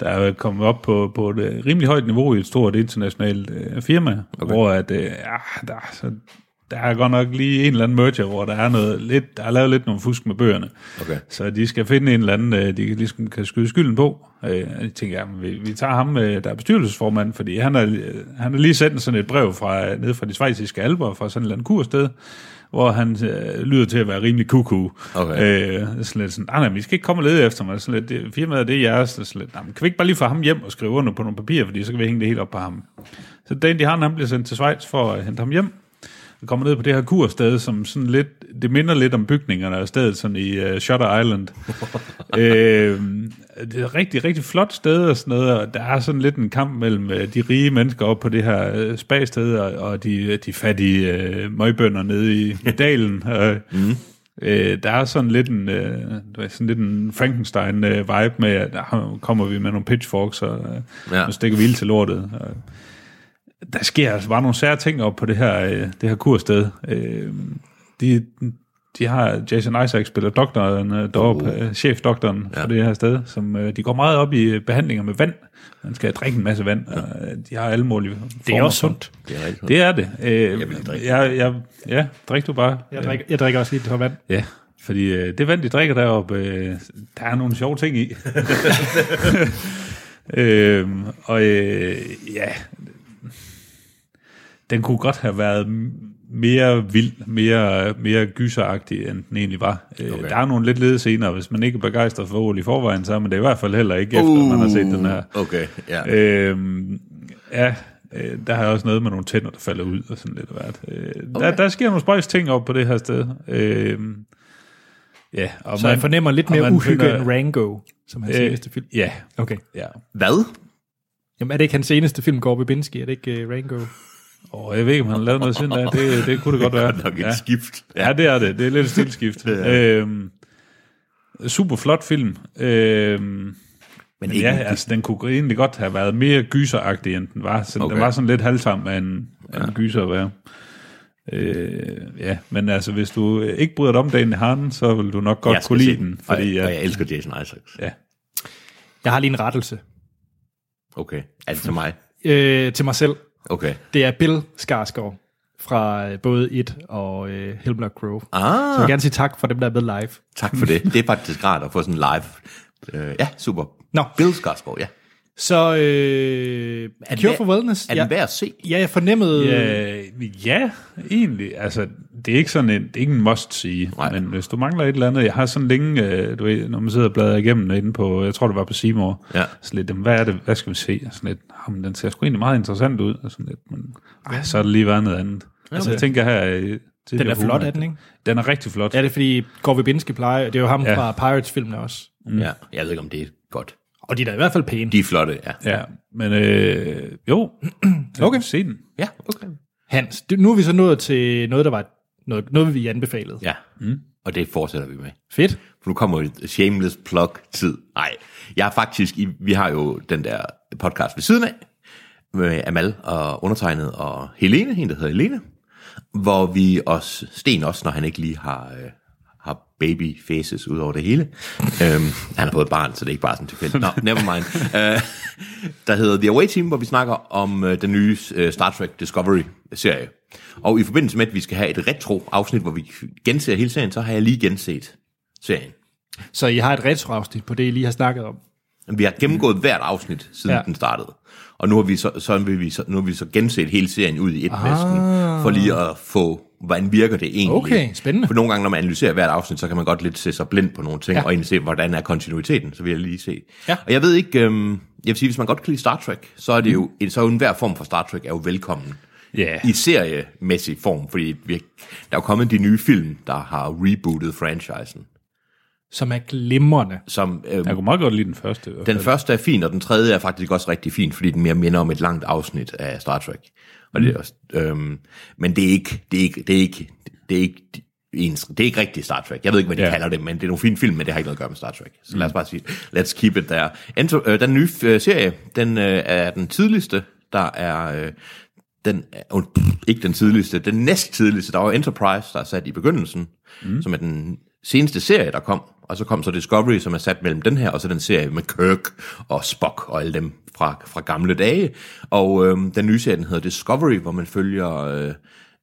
Speaker 3: der er kommet op på, på et øh, rimelig højt niveau i et stort internationalt øh, firma, okay. hvor at, øh, ja, der, er så, der er godt nok lige en eller anden merger, hvor der er noget lidt, der er lavet lidt nogle fusk med bøgerne.
Speaker 2: Okay.
Speaker 3: Så de skal finde en eller anden, øh, de kan- ligesom kan skyde skylden på. Øh, og de tænker, jamen, vi, vi tager ham, øh, der er bestyrelsesformand, fordi han har, øh, han har lige sendt sådan et brev fra, ned fra de svejsiske alber, fra sådan et eller andet kursted, hvor han øh, lyder til at være rimelig kuku.
Speaker 2: Okay.
Speaker 3: Øh, sådan lidt sådan, "Ah, nej, vi skal ikke komme og lede efter mig. Sådan lidt, det, firmaet det er jeres. Så Sådan lidt, "Nå, men kan vi ikke bare lige få ham hjem og skrive under på nogle papirer, fordi så kan vi hænge det helt op på ham. Så Dan de han, han bliver sendt til Schweiz for at hente ham hjem. Vi kommer ned på det her kursted, som sådan lidt, det minder lidt om bygningerne af stedet, sådan i uh, Shutter Island. øh, det er et rigtig, rigtig flot sted og sådan noget, og der er sådan lidt en kamp mellem øh, de rige mennesker op på det her øh, spagsted, og, og de, de fattige øh, møgbønder nede i dalen. Og, mm. Øh, der er sådan lidt en, øh, du ved, sådan lidt en Frankenstein-vibe med, at der kommer vi med nogle pitchforks, og øh,
Speaker 2: Ja.
Speaker 3: ja. nu stikker vi ild til lortet. Og, der sker altså bare nogle sære ting op på det her, øh, det her kurssted. Øh, de, de har Jason Isaac spiller doktoren øh, deroppe, uh. chefdoktoren ja. for det her sted, som øh, de går meget op i øh, behandlinger med vand. Man skal drikke en masse vand, og øh, de har alle mulige
Speaker 1: Det er også sundt.
Speaker 2: Det er rigtigt.
Speaker 3: Det er det. Øh,
Speaker 2: vil drikke.
Speaker 3: jeg, jeg, ja, drik du bare. Øh,
Speaker 1: Jeg drikker, jeg drikker også lige et tår vand.
Speaker 3: Ja. Fordi øh, det vand, de drikker deroppe, øh, der er nogle sjove ting (laughs) i. øhm, og øh, ja, den kunne godt have været m- mere vild, mere, mere gyseragtig, end den egentlig var. Okay. Der er nogle lidt lede scener, hvis man ikke er begejstret for ål i forvejen, så er man det i hvert fald heller ikke, efter uh. man har set den her.
Speaker 2: Okay, ja.
Speaker 3: Øhm, ja, øh, der har jeg også noget med nogle tænder, der falder ud og sådan lidt af hvert. Øh, okay. der, der sker nogle spøjs ting op på det her sted. Øh, ja, og
Speaker 1: Så jeg fornemmer lidt
Speaker 3: og
Speaker 1: mere
Speaker 3: man
Speaker 1: uhygge
Speaker 3: finder-
Speaker 1: end Rango, som hans øh, seneste film.
Speaker 3: Ja,
Speaker 1: Okay.
Speaker 3: ja.
Speaker 2: Hvad?
Speaker 1: Jamen er det ikke hans seneste film, Gore Verbinski? Er det ikke uh, Rango?
Speaker 3: Og jeg ved ikke, om han har lavet noget siden da. Det, det kunne det godt være.
Speaker 2: (laughs) Godt nok et
Speaker 3: ja.
Speaker 2: skift. Ja.
Speaker 3: ja, det er det. Det er lidt et
Speaker 2: (laughs)
Speaker 3: stilskift. øhm, super flot film. Øhm,
Speaker 2: Men
Speaker 3: Men
Speaker 2: ikke,
Speaker 3: ja, altså, den kunne egentlig godt have været mere gyseragtig, end den var. Så okay.
Speaker 2: Okay.
Speaker 3: den var sådan lidt halvtam af en, ja. en gyser at være. Øh, ja, men altså, hvis du øh, ikke bryder dig om dagen i Harden, så vil du nok godt
Speaker 2: skal
Speaker 3: kunne lide
Speaker 2: se
Speaker 3: den.
Speaker 2: og,
Speaker 3: Fordi,
Speaker 2: jeg, og
Speaker 3: ja,
Speaker 2: jeg elsker Jason Isaacs.
Speaker 3: ja,
Speaker 1: Jeg har lige en rettelse
Speaker 2: Okay. Er det til mig?
Speaker 1: øh, til mig selv.
Speaker 2: Okay.
Speaker 1: Det er Bill Skarsgård fra øh, både It og øh, Hellblock Grove. Så
Speaker 2: Ah,
Speaker 1: jeg vil gerne sige tak for dem, der er med live.
Speaker 2: tak for det. Det er faktisk rart at få sådan live. Øh, ja, super.
Speaker 1: Nå,
Speaker 2: Bill Skarsgård, ja.
Speaker 1: så øh,
Speaker 2: den
Speaker 1: Cure
Speaker 2: værd-
Speaker 1: for Wellness.
Speaker 2: Er
Speaker 1: ja,
Speaker 2: den værd at se?
Speaker 1: ja, jeg fornemmede...
Speaker 3: Øh, ja, egentlig. Altså, det er ikke sådan en, det er ikke en must-sige,
Speaker 2: Nej.
Speaker 3: men hvis du mangler et eller andet, jeg har sådan længe, øh, du ved, når man sidder og bladrer igennem inde på, jeg tror det var på Seymour,
Speaker 2: Ja.
Speaker 3: så lidt, jamen, hvad er det, hvad skal vi se? Og sådan lidt, jamen, den ser sgu egentlig meget interessant ud, og sådan lidt, men ej, så er det lige været noget andet. Okay. Altså, jeg tænker her... øh,
Speaker 1: Den er
Speaker 3: tidligere
Speaker 1: flot,
Speaker 3: Homer,
Speaker 1: er den, ikke?
Speaker 3: Den er rigtig flot.
Speaker 1: Ja, det er fordi Gore Verbinski plejer, det er jo ham ja.
Speaker 3: Ja.
Speaker 1: fra Pirates-filmene også.
Speaker 2: Mm. Ja, jeg ved ikke, om det er godt.
Speaker 1: Og de er da i hvert fald pæne.
Speaker 2: De er flotte, ja.
Speaker 3: ja men øh, jo,
Speaker 1: (clears throat)
Speaker 3: okay. se den.
Speaker 2: Ja, okay.
Speaker 1: Hans, det, nu er vi så nået til noget, der var noget, noget vi anbefalede. Ja.
Speaker 2: Ja, mm. og det fortsætter vi med.
Speaker 1: Fedt.
Speaker 2: For nu kommer et shameless plug-tid. Nej, jeg er faktisk, i, vi har jo den der podcast ved siden af, med Amal og undertegnet og Helene, en der hedder Helene, hvor vi også, Sten også, når han ikke lige har, øh, har baby faces ud over det hele. øhm, han har fået et barn, så det er ikke bare sådan tilfældigt. Nå, never mind. Øh, der hedder The Away Team, hvor vi snakker om øh, den nye øh, Star Trek Discovery-serie. Og i forbindelse med, at vi skal have et retro-afsnit, hvor vi genser hele serien, så har jeg lige genset serien.
Speaker 1: Så I har et retroafsnit på det, I lige har snakket om.
Speaker 2: Vi har gennemgået hvert afsnit, siden
Speaker 1: Ja.
Speaker 2: ja. den startede. Og nu har vi så, så, vil vi så, nu har vi så genset hele serien ud i et ah. næsten, for lige at få, hvordan virker det egentlig.
Speaker 1: Okay, spændende.
Speaker 2: For nogle gange, når man analyserer hvert afsnit, så kan man godt lidt se sig blind på nogle ting,
Speaker 1: Ja.
Speaker 2: ja. og egentlig se, hvordan er kontinuiteten, så vil jeg lige se.
Speaker 1: Ja.
Speaker 2: Og jeg ved ikke, øhm, jeg vil sige, hvis man godt kan lide Star Trek, så er det jo,
Speaker 1: Mm.
Speaker 2: så er jo enhver form for Star Trek er jo velkommen.
Speaker 3: Ja.
Speaker 2: I seriemæssig form, fordi vi, der er jo kommet de nye film, der har rebootet franchisen.
Speaker 1: Som er glimrende.
Speaker 2: Som, øhm,
Speaker 3: Jeg kunne meget godt lide den første. i hvert
Speaker 2: Den første er fin, og den tredje er faktisk også rigtig fin, fordi den mere minder om et langt afsnit af Star Trek. Og det er også, øhm, men det er ikke, det er ikke, det er ikke, det er ikke, ens, det er ikke rigtig Star Trek. Jeg ved ikke, hvad de
Speaker 3: Ja.
Speaker 2: ja. Mm. kalder det, men det er nogle fine film, men det har ikke noget at gøre med Star Trek. Så lad os bare sige, let's keep it there. Ento, øh, den nye øh, serie, den øh, er den tidligste, der er... Øh, den, er- uh, pff, ikke den tidligste, den næst tidligste, der var Enterprise, der er sat i begyndelsen, mm. som er den seneste serie, der kom, og så kom så Discovery, som er sat mellem den her, og så den serie med Kirk og Spock og alle dem fra, fra gamle dage, og øhm, den nye serie, den hedder Discovery, hvor man følger øh,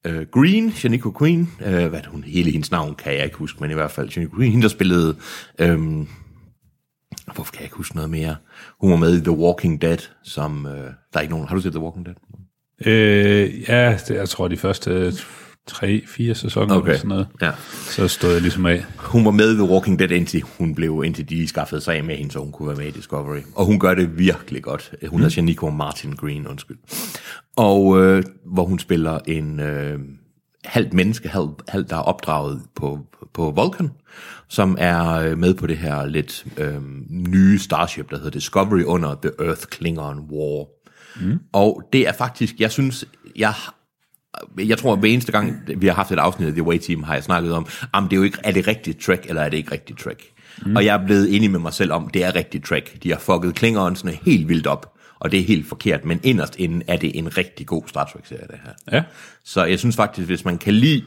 Speaker 2: øh, Green, Janiko Queen, øh, hvad er det, hun, hele hendes navn kan jeg ikke huske, men i hvert fald Janiko Queen, hende der spillede, øhm, hvorfor kan jeg ikke huske noget mere, hun var med i The Walking Dead, som, øh, der er ikke nogen, har du set The Walking Dead?
Speaker 3: fald. Øh, ja, det, jeg tror de første tre, fire sæsoner okay. eller sådan noget.
Speaker 2: ja.
Speaker 3: Så stod jeg ligesom af.
Speaker 2: Hun var med i The Walking Dead, indtil hun blev, indtil de skaffede sig af med hende, så hun kunne være med i Discovery. Og hun gør det virkelig godt. Hun hedder Janico Martin Green, undskyld. Og øh, hvor hun spiller en øh, halvt menneske, halvt, halvt der er opdraget på, på Vulcan, som er øh, med på det her lidt øh, nye Starship, der hedder Discovery under The Earth Klingon War. Mm. Og det er faktisk, jeg synes, jeg jeg tror, at hver eneste gang, vi har haft et afsnit af The Away Team, har jeg snakket om, om det er, jo ikke, er det rigtigt track, eller er det ikke rigtigt track? Mm. Og jeg er blevet enig med mig selv om, det er rigtigt track. De har fucket klingeren helt vildt op, og det er helt forkert, men inderst inden er det en rigtig god Star Trek-serie, det her.
Speaker 3: Ja.
Speaker 2: Så jeg synes faktisk, hvis man kan lide,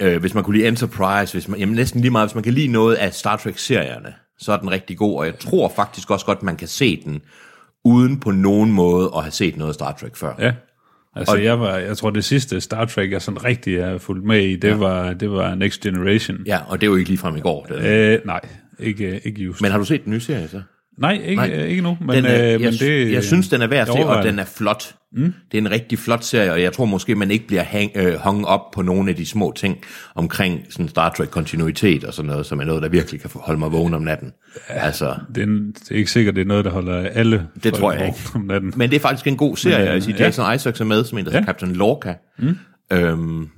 Speaker 2: øh, hvis man kunne lide Enterprise, hvis man, jamen næsten lige meget, hvis man kan lide noget af Star Trek-serierne, så er den rigtig god, og jeg tror faktisk også godt, man kan se den, uden på nogen måde at have set noget Star Trek før.
Speaker 3: Ja. Altså, og, jeg, var, jeg tror, det sidste Star Trek, jeg sådan rigtig har fulgt med i, det, ja. var, det var Next Generation.
Speaker 2: Ja, og det er jo ikke ligefrem i går. Det. Øh.
Speaker 3: Øh, nej, ikke, ikke just.
Speaker 2: Men har du set den nye serie så?
Speaker 3: nej, ikke,
Speaker 2: nej.
Speaker 3: nej, ikke nu. Men,
Speaker 2: Den er,
Speaker 3: øh,
Speaker 2: jeg,
Speaker 3: men det,
Speaker 2: jeg synes, den er værd at
Speaker 3: jeg
Speaker 2: se, og
Speaker 3: overvejer
Speaker 2: den er flot. Mm. Det er en rigtig flot serie, og jeg tror måske, man ikke bliver hang, øh, hung op på nogle af de små ting omkring sådan Star Trek-kontinuitet og sådan noget, som er noget, der virkelig kan holde mig vågen om natten. Altså,
Speaker 3: det, er, en- det er ikke sikkert, det er noget, der holder alle
Speaker 2: Det tror jeg
Speaker 3: folk
Speaker 2: ikke.
Speaker 3: vågne Om natten.
Speaker 2: men det er faktisk en god serie.
Speaker 3: Mm. øh,
Speaker 2: jeg siger,
Speaker 3: ja.
Speaker 2: Jason Isaacs er med, som en, der ja.
Speaker 3: Ja.
Speaker 2: Captain Lorca. Mm. Øhm,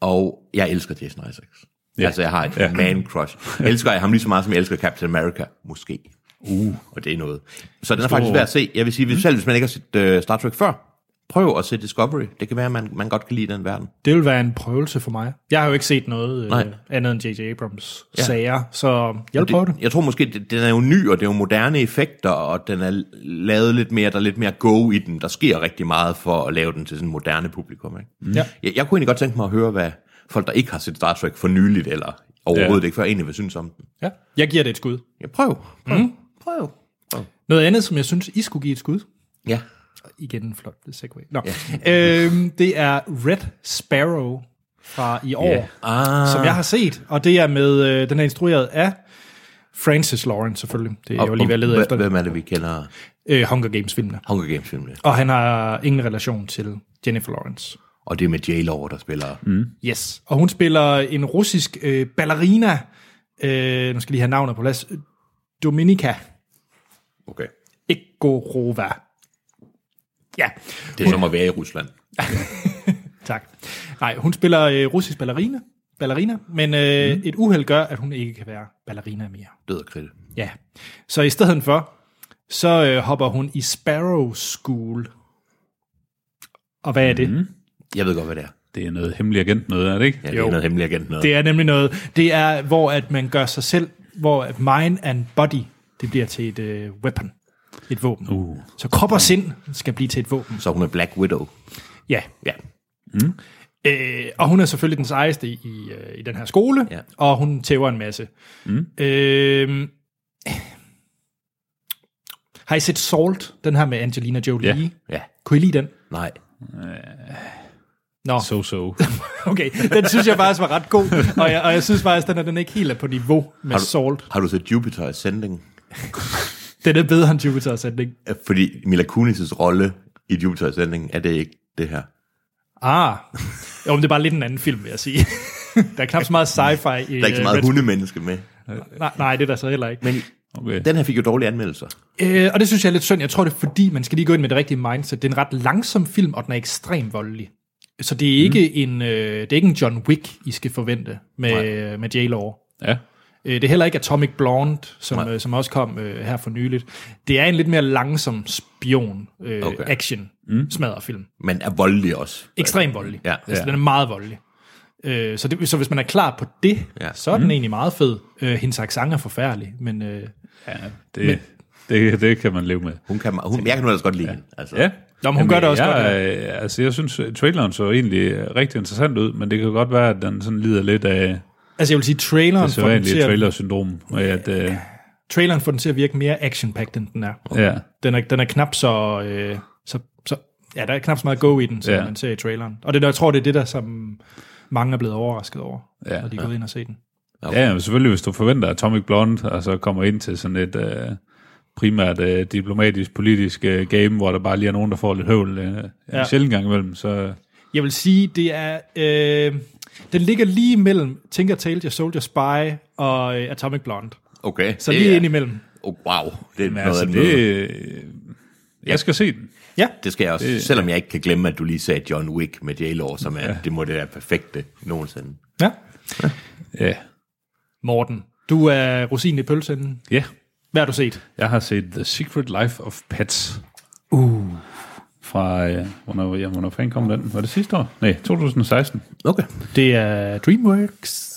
Speaker 2: og jeg elsker Jason Isaacs. Ja.
Speaker 3: Ja.
Speaker 2: Altså, jeg har et ja.
Speaker 3: Ja.
Speaker 2: man-crush. Elsker jeg ham lige så meget, som jeg elsker Captain America? Måske. Uh. Og det er noget. Så den er faktisk værd at se. Jeg vil sige, hvis, selv hvis man ikke har set øh, Star Trek før, prøv at se Discovery. Det kan være, at man, man godt kan lide den verden.
Speaker 1: Det vil være en prøvelse for mig. Jeg har jo ikke set noget
Speaker 2: Nej.
Speaker 1: øh, andet end J.J. Abrams
Speaker 2: Ja.
Speaker 1: ja. sager, så jeg vil prøve det.
Speaker 2: det, jeg tror måske, det, den er jo ny, og det er jo moderne effekter, og den er lavet lidt mere, der er lidt mere go i den. Der sker rigtig meget for at lave den til sådan en moderne publikum. Ikke? Mm.
Speaker 1: Ja.
Speaker 2: Jeg, jeg kunne egentlig godt tænke mig at høre, hvad folk, der ikke har set Star Trek for nyligt, eller overhovedet ja.
Speaker 3: Ja.
Speaker 2: ikke før, egentlig vil synes om den.
Speaker 1: Ja. Jeg giver det et skud.
Speaker 2: Ja, prøv. Prøv. Mm. prøv. prøv.
Speaker 1: Noget andet, som jeg synes, I skulle give et skud.
Speaker 2: Ja.
Speaker 1: Igen en flot segway. Nå. Ja. Øhm, det er Red Sparrow fra i år, yeah.
Speaker 2: Ah,
Speaker 1: som jeg har set, og det er med, øh, den er instrueret af Francis Lawrence selvfølgelig. Det er jeg jo lige ved at lede
Speaker 2: hvem-
Speaker 1: efter.
Speaker 2: Hvem er det, vi kender?
Speaker 1: Øh, Hunger Games-filmene.
Speaker 2: Hunger Games filmene.
Speaker 1: Og han har ingen relation til Jennifer Lawrence.
Speaker 2: Og det er med J-Law, der spiller. Mm.
Speaker 1: Yes. Og hun spiller en russisk øh, ballerina. Øh, nu skal jeg lige have navnet på plads. Dominika
Speaker 2: Okay.
Speaker 1: Egorova. Ja,
Speaker 2: Det er som at være i Rusland.
Speaker 1: tak. Nej, hun spiller øh, russisk ballerina, ballerina men øh, mm. et uheld gør, at hun ikke kan være ballerina mere.
Speaker 2: Død og kridt.
Speaker 1: Ja. Så i stedet for, så øh, hopper hun i Sparrow School. Og hvad er det? Mm.
Speaker 2: Jeg ved godt, hvad det er.
Speaker 3: Det er noget hemmelig agent noget, er det ikke?
Speaker 2: Ja,
Speaker 3: Ja.
Speaker 2: det er
Speaker 1: Jo.
Speaker 2: noget hemmeligt agent noget.
Speaker 1: Det er nemlig noget, det er, hvor at man gør sig selv, hvor at mind and body, det bliver til et øh, weapon. Et våben. Uh. Så krop og sind skal blive til et våben.
Speaker 2: Så hun er Black Widow.
Speaker 1: Ja.
Speaker 2: Ja.
Speaker 1: Øh, og hun er selvfølgelig den sejeste i, i, øh, i den her skole,
Speaker 2: Ja.
Speaker 1: ja. og hun tæver en masse. Mm. Øh, har I set Salt, den her med Angelina Jolie?
Speaker 3: Ja.
Speaker 2: Ja.
Speaker 1: Kunne I lide den?
Speaker 2: Nej.
Speaker 1: Nå,
Speaker 3: So, so.
Speaker 1: (laughs) okay. Den synes jeg faktisk var ret god, og jeg, og jeg synes faktisk, den er, den er ikke helt er på niveau med
Speaker 2: du-
Speaker 1: Salt.
Speaker 2: Har du set Jupiter Ascending?
Speaker 1: Den er bedre end Jupiter Ascending.
Speaker 2: Øh, Fordi Mila Kunis' rolle i Jupiter Ascending, er det ikke det her?
Speaker 1: Ah, jo, men det er bare lidt en anden film, vil jeg sige. (laughs) der er knap så meget sci-fi i
Speaker 2: Der er ikke så
Speaker 1: øh,
Speaker 2: meget
Speaker 1: Red-
Speaker 2: hundemenneske med.
Speaker 1: nej, nej, det er der så heller ikke.
Speaker 2: Men
Speaker 3: Okay.
Speaker 2: den her fik jo dårlige anmeldelser.
Speaker 1: Øh, og det synes jeg er lidt synd. Jeg tror, det er fordi, man skal lige gå ind med det rigtige mindset. Det er en ret langsom film, og den er ekstremt voldelig. Så det er ikke, mm. en, øh, det er ikke en John Wick, I skal forvente med, øh, med J-Law.
Speaker 3: Ja.
Speaker 1: Øh, Det er heller ikke Atomic Blonde, som, øh, som også kom øh, her for nyligt. Det er en lidt mere langsom spion øh,
Speaker 2: Okay.
Speaker 1: okay. action mm. smadrefilm.
Speaker 2: Men er voldelig også.
Speaker 1: Ekstremt voldelig.
Speaker 2: Ja.
Speaker 1: altså,
Speaker 3: Ja.
Speaker 1: den er meget voldelig. Øh, så, det, så hvis man er klar på det,
Speaker 2: Ja.
Speaker 1: ja. så er den mm. egentlig meget fed. Øh, hendes accent er forfærdelig, men øh,
Speaker 3: ja det, det, det kan man leve med.
Speaker 2: Hun kan, hun, jeg kan nu ellers godt lide hende. Altså.
Speaker 3: Ja.
Speaker 1: Nå, men hun gør det også
Speaker 3: jeg,
Speaker 1: godt,
Speaker 3: ja. Altså, jeg synes, traileren så egentlig øh, rigtig interessant ud, men det kan godt være, at den sådan lider lidt af
Speaker 1: altså jeg vil sige, traileren
Speaker 3: (laughs) det
Speaker 1: får, den til
Speaker 3: sædvanlige
Speaker 1: at,
Speaker 3: trailer-syndrom. Og at, øh,
Speaker 1: traileren får den til at virke mere action end den er.
Speaker 3: ja,
Speaker 1: Den er, den er knap så, øh, så, så... Ja, der er knap så meget go i den, som
Speaker 3: Ja.
Speaker 1: ja. man ser i traileren. Og det, der- jeg tror, det er det der, som mange er blevet overrasket over,
Speaker 3: Ja.
Speaker 1: når de er gået ind og se den.
Speaker 3: ja, men selvfølgelig, hvis du forventer Atomic Blonde, og så kommer ind til sådan et øh, primært øh, diplomatisk, politisk øh, game, hvor der bare lige er nogen, der får lidt høvl øh, ja.
Speaker 1: Ja.
Speaker 3: en sjældent gang imellem, så
Speaker 1: Jeg vil sige, det er... Øh, den ligger lige mellem Tinker Tailor, Soldier Spy og øh, Atomic Blonde.
Speaker 2: Okay.
Speaker 1: Så lige
Speaker 2: er-
Speaker 1: yeah. ind imellem.
Speaker 2: Oh, wow. Det er
Speaker 3: men
Speaker 2: noget
Speaker 3: altså,
Speaker 2: af det,
Speaker 3: det, øh, jeg skal se den.
Speaker 1: Ja,
Speaker 2: det skal jeg også. Det, selvom jeg ikke kan glemme, at du lige sagde John Wick med J-Law, som er, ja. det må det være perfekte nogensinde.
Speaker 1: ja.
Speaker 3: Ja,
Speaker 1: Morten, du er rosinen i pølsen.
Speaker 3: ja.
Speaker 1: Hvad har du set?
Speaker 3: Jeg har set The Secret Life of Pets. Uh. Fra, øh, hvornår, ja, hvornår fanden kom den? Var det sidste år? Nej, 2016.
Speaker 2: Okay.
Speaker 1: Det er DreamWorks.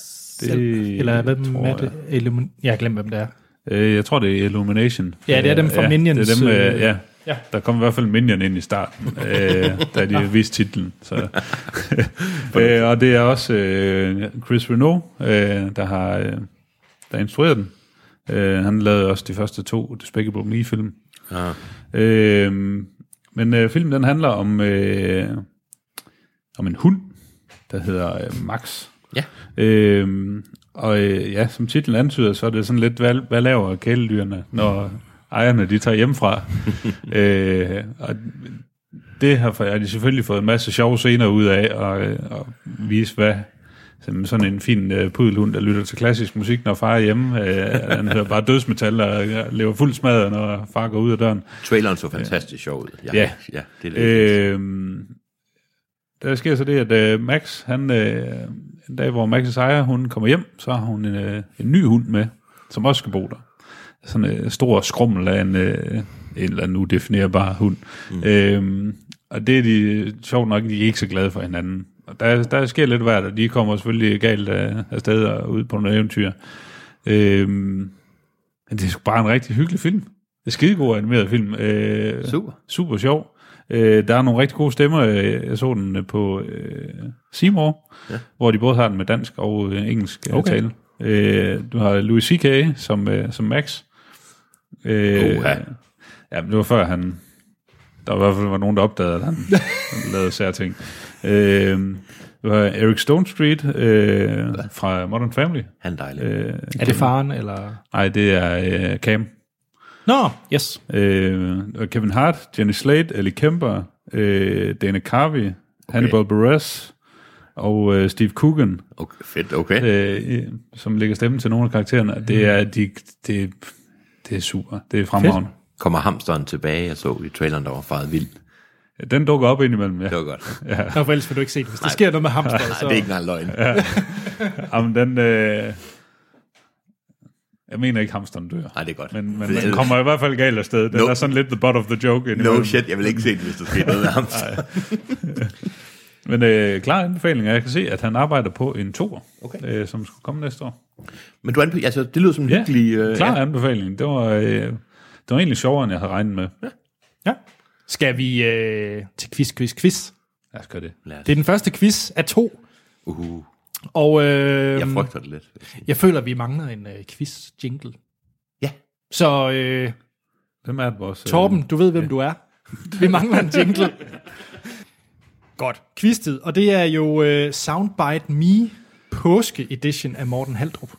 Speaker 3: Det
Speaker 1: Eller hvem
Speaker 3: tror
Speaker 1: er det? Illumin- jeg har glemt, hvem det er.
Speaker 3: Øh, jeg tror, det er Illumination.
Speaker 1: Ja, det er dem fra
Speaker 3: ja,
Speaker 1: Minions,
Speaker 3: Det er dem, øh,
Speaker 1: øh,
Speaker 3: ja.
Speaker 1: ja.
Speaker 3: ja. Der kom i hvert fald Minion ind i starten,
Speaker 1: (laughs)
Speaker 3: øh, da de viste titlen. Så. (laughs) øh, og det er også øh, Chris Renault, øh, der har øh, der instrueret den. Øh, han lavede også de første to Despicable Me-film.
Speaker 2: Ah.
Speaker 3: Øhm, Øh, men øh, filmen den handler om øh, om en hund, der hedder øh, Max.
Speaker 2: Ja.
Speaker 3: Øhm, og øh, ja, som titlen antyder, så er det sådan lidt, hvad, hvad laver kæledyrene, når ejerne de tager hjemmefra? øh, og det har for- har de selvfølgelig fået en masse sjove scener ud af, og, øh, og vise, hvad som sådan en fin øh, pudelhund, der lytter til klassisk musik, når far er hjemme. Øh, han hører bare dødsmetal og øh, lever fuld smadret, når far går ud af døren.
Speaker 2: Traileren så fantastisk sjov ud. Ja,
Speaker 3: Ja.
Speaker 2: ja det er øh,
Speaker 3: Øhm, der sker så det, at øh, Max, han, øh, en dag, hvor Max' ejer, hun kommer hjem, så har hun en, øh, en ny hund med, som også skal bo der. Sådan en øh, stor skrummel af en, øh, en eller anden udefinerbar hund. Mm. Øhm, og det er de, sjovt nok, de er ikke så glade for hinanden. Og der, der sker lidt hvert, og de kommer selvfølgelig galt øh, afsted og ud på nogle eventyr. Øhm, men det er sgu bare en rigtig hyggelig film. Det er skidegod animeret film. Øh,
Speaker 2: Super.
Speaker 3: Super sjov. Øh, der er nogle rigtig gode stemmer. Øh, Jeg så den øh, på øh, Seymour, ja. hvor de både har den med dansk og øh, engelsk okay.
Speaker 1: Okay.
Speaker 3: tale. Øh, du har Louis C.K. som, øh, som Max. Øh,
Speaker 2: Oha.
Speaker 3: ja, men det var før han... Der var i hvert fald var nogen, der opdagede, at han lavede særlige ting. Øh, det var Eric Stone Street øh, fra Modern Family.
Speaker 2: Han er dejlig.
Speaker 3: Øh,
Speaker 1: Er det faren, eller...
Speaker 3: nej, det er øh, Cam.
Speaker 1: Nå, yes.
Speaker 3: Øh, og Kevin Hart, Jenny Slate, Ellie Kemper, øh, Dana Carvey, okay. Hannibal Buress og øh, Steve Coogan,
Speaker 2: Okay, fedt, okay.
Speaker 3: øh, øh, som lægger stemmen til nogle af karaktererne.
Speaker 2: Mhm.
Speaker 3: Mm. Det, er, de, det, det er super. Det er fremragende.
Speaker 2: Kommer hamsteren tilbage, jeg så i traileren, der var faret vildt.
Speaker 3: Den dukker op indimellem, ja.
Speaker 2: Det var godt. Ja.
Speaker 1: Nå, for ellers vil du ikke se det. Hvis der sker noget med hamster, så...
Speaker 2: Det er ikke engang løgn.
Speaker 3: Jamen, den... Øh, jeg mener ikke, hamsteren dør.
Speaker 2: Nej, det er godt.
Speaker 3: Men, men
Speaker 2: Det
Speaker 3: den
Speaker 2: er-
Speaker 3: kommer i hvert fald galt afsted. Den
Speaker 2: No.
Speaker 3: er sådan lidt the butt of the joke.
Speaker 2: No
Speaker 3: indimellem.
Speaker 2: shit, jeg vil ikke se det, hvis der sker noget med hamsteren.
Speaker 3: Men øh, klar anbefaling, og jeg kan se, at han arbejder på en toer,
Speaker 2: Okay.
Speaker 3: øh, som skal komme næste år.
Speaker 2: Men du anbefaler, altså, det lyder som en
Speaker 3: Ja,
Speaker 2: hyggelig... øh,
Speaker 3: klar anbefaling. Det var, øh, det var egentlig sjovere, end jeg havde regnet med.
Speaker 1: Ja. Skal vi øh, til quiz, quiz, quiz?
Speaker 3: Lad os Øhm, gøre det.
Speaker 2: Lad os-
Speaker 1: Det er den første quiz af to,
Speaker 2: Uh,
Speaker 1: og øh,
Speaker 2: jeg
Speaker 1: jeg,
Speaker 2: frygter det lidt.
Speaker 1: jeg føler, at vi mangler en øh, quiz-jingle.
Speaker 2: Ja.
Speaker 1: Så øh,
Speaker 3: Hvem er det, vores... øh,
Speaker 1: Torben, du ved, hvem du er. Vi mangler en jingle. Godt. Quiztid, og det er jo øh, Soundbite Me påske-edition af Morten Haldrup. Er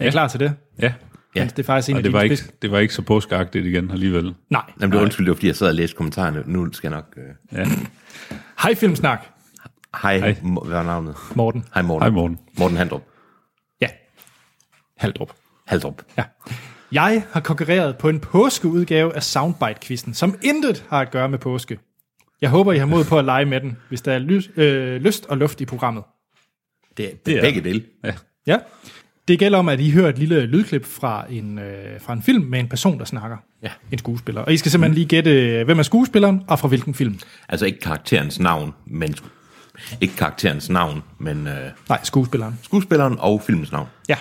Speaker 1: I
Speaker 3: Ja.
Speaker 1: klar til det?
Speaker 3: Ja,
Speaker 2: Ja.
Speaker 1: Det er faktisk en
Speaker 3: og
Speaker 1: af
Speaker 3: det
Speaker 1: dine
Speaker 3: var, ikke,
Speaker 1: spids-
Speaker 3: det var ikke så påskeagtigt igen alligevel.
Speaker 1: Nej.
Speaker 2: Jamen, det var undskyld, det var fordi, jeg sad og læste kommentarerne. Nu skal jeg nok... øh,
Speaker 3: Ja.
Speaker 1: Hej Filmsnak,
Speaker 2: Hej,
Speaker 3: Hej.
Speaker 2: Mo- hvad er navnet?
Speaker 1: Morten.
Speaker 2: Hej Morten.
Speaker 3: Hej Morten.
Speaker 2: Morten Handrup.
Speaker 1: Ja. Haldrup.
Speaker 2: Haldrup.
Speaker 1: Ja. Jeg har konkurreret på en påskeudgave af Soundbite-quizzen, som intet har at gøre med påske. Jeg håber, I har mod på at lege med den, hvis der er ly- øh, lyst og luft i programmet.
Speaker 2: Det er, det er begge dele.
Speaker 3: Ja.
Speaker 1: Ja. Det gælder om, at I hører et lille lydklip fra en, øh, fra en film med en person, der snakker.
Speaker 2: Ja.
Speaker 1: En skuespiller. Og I skal simpelthen lige gætte, øh, hvem er skuespilleren, og fra hvilken film.
Speaker 2: Altså ikke karakterens navn, men... sku- Ikke karakterens navn, men øh,
Speaker 1: Nej, skuespilleren.
Speaker 2: skuespilleren og filmens navn.
Speaker 1: Ja.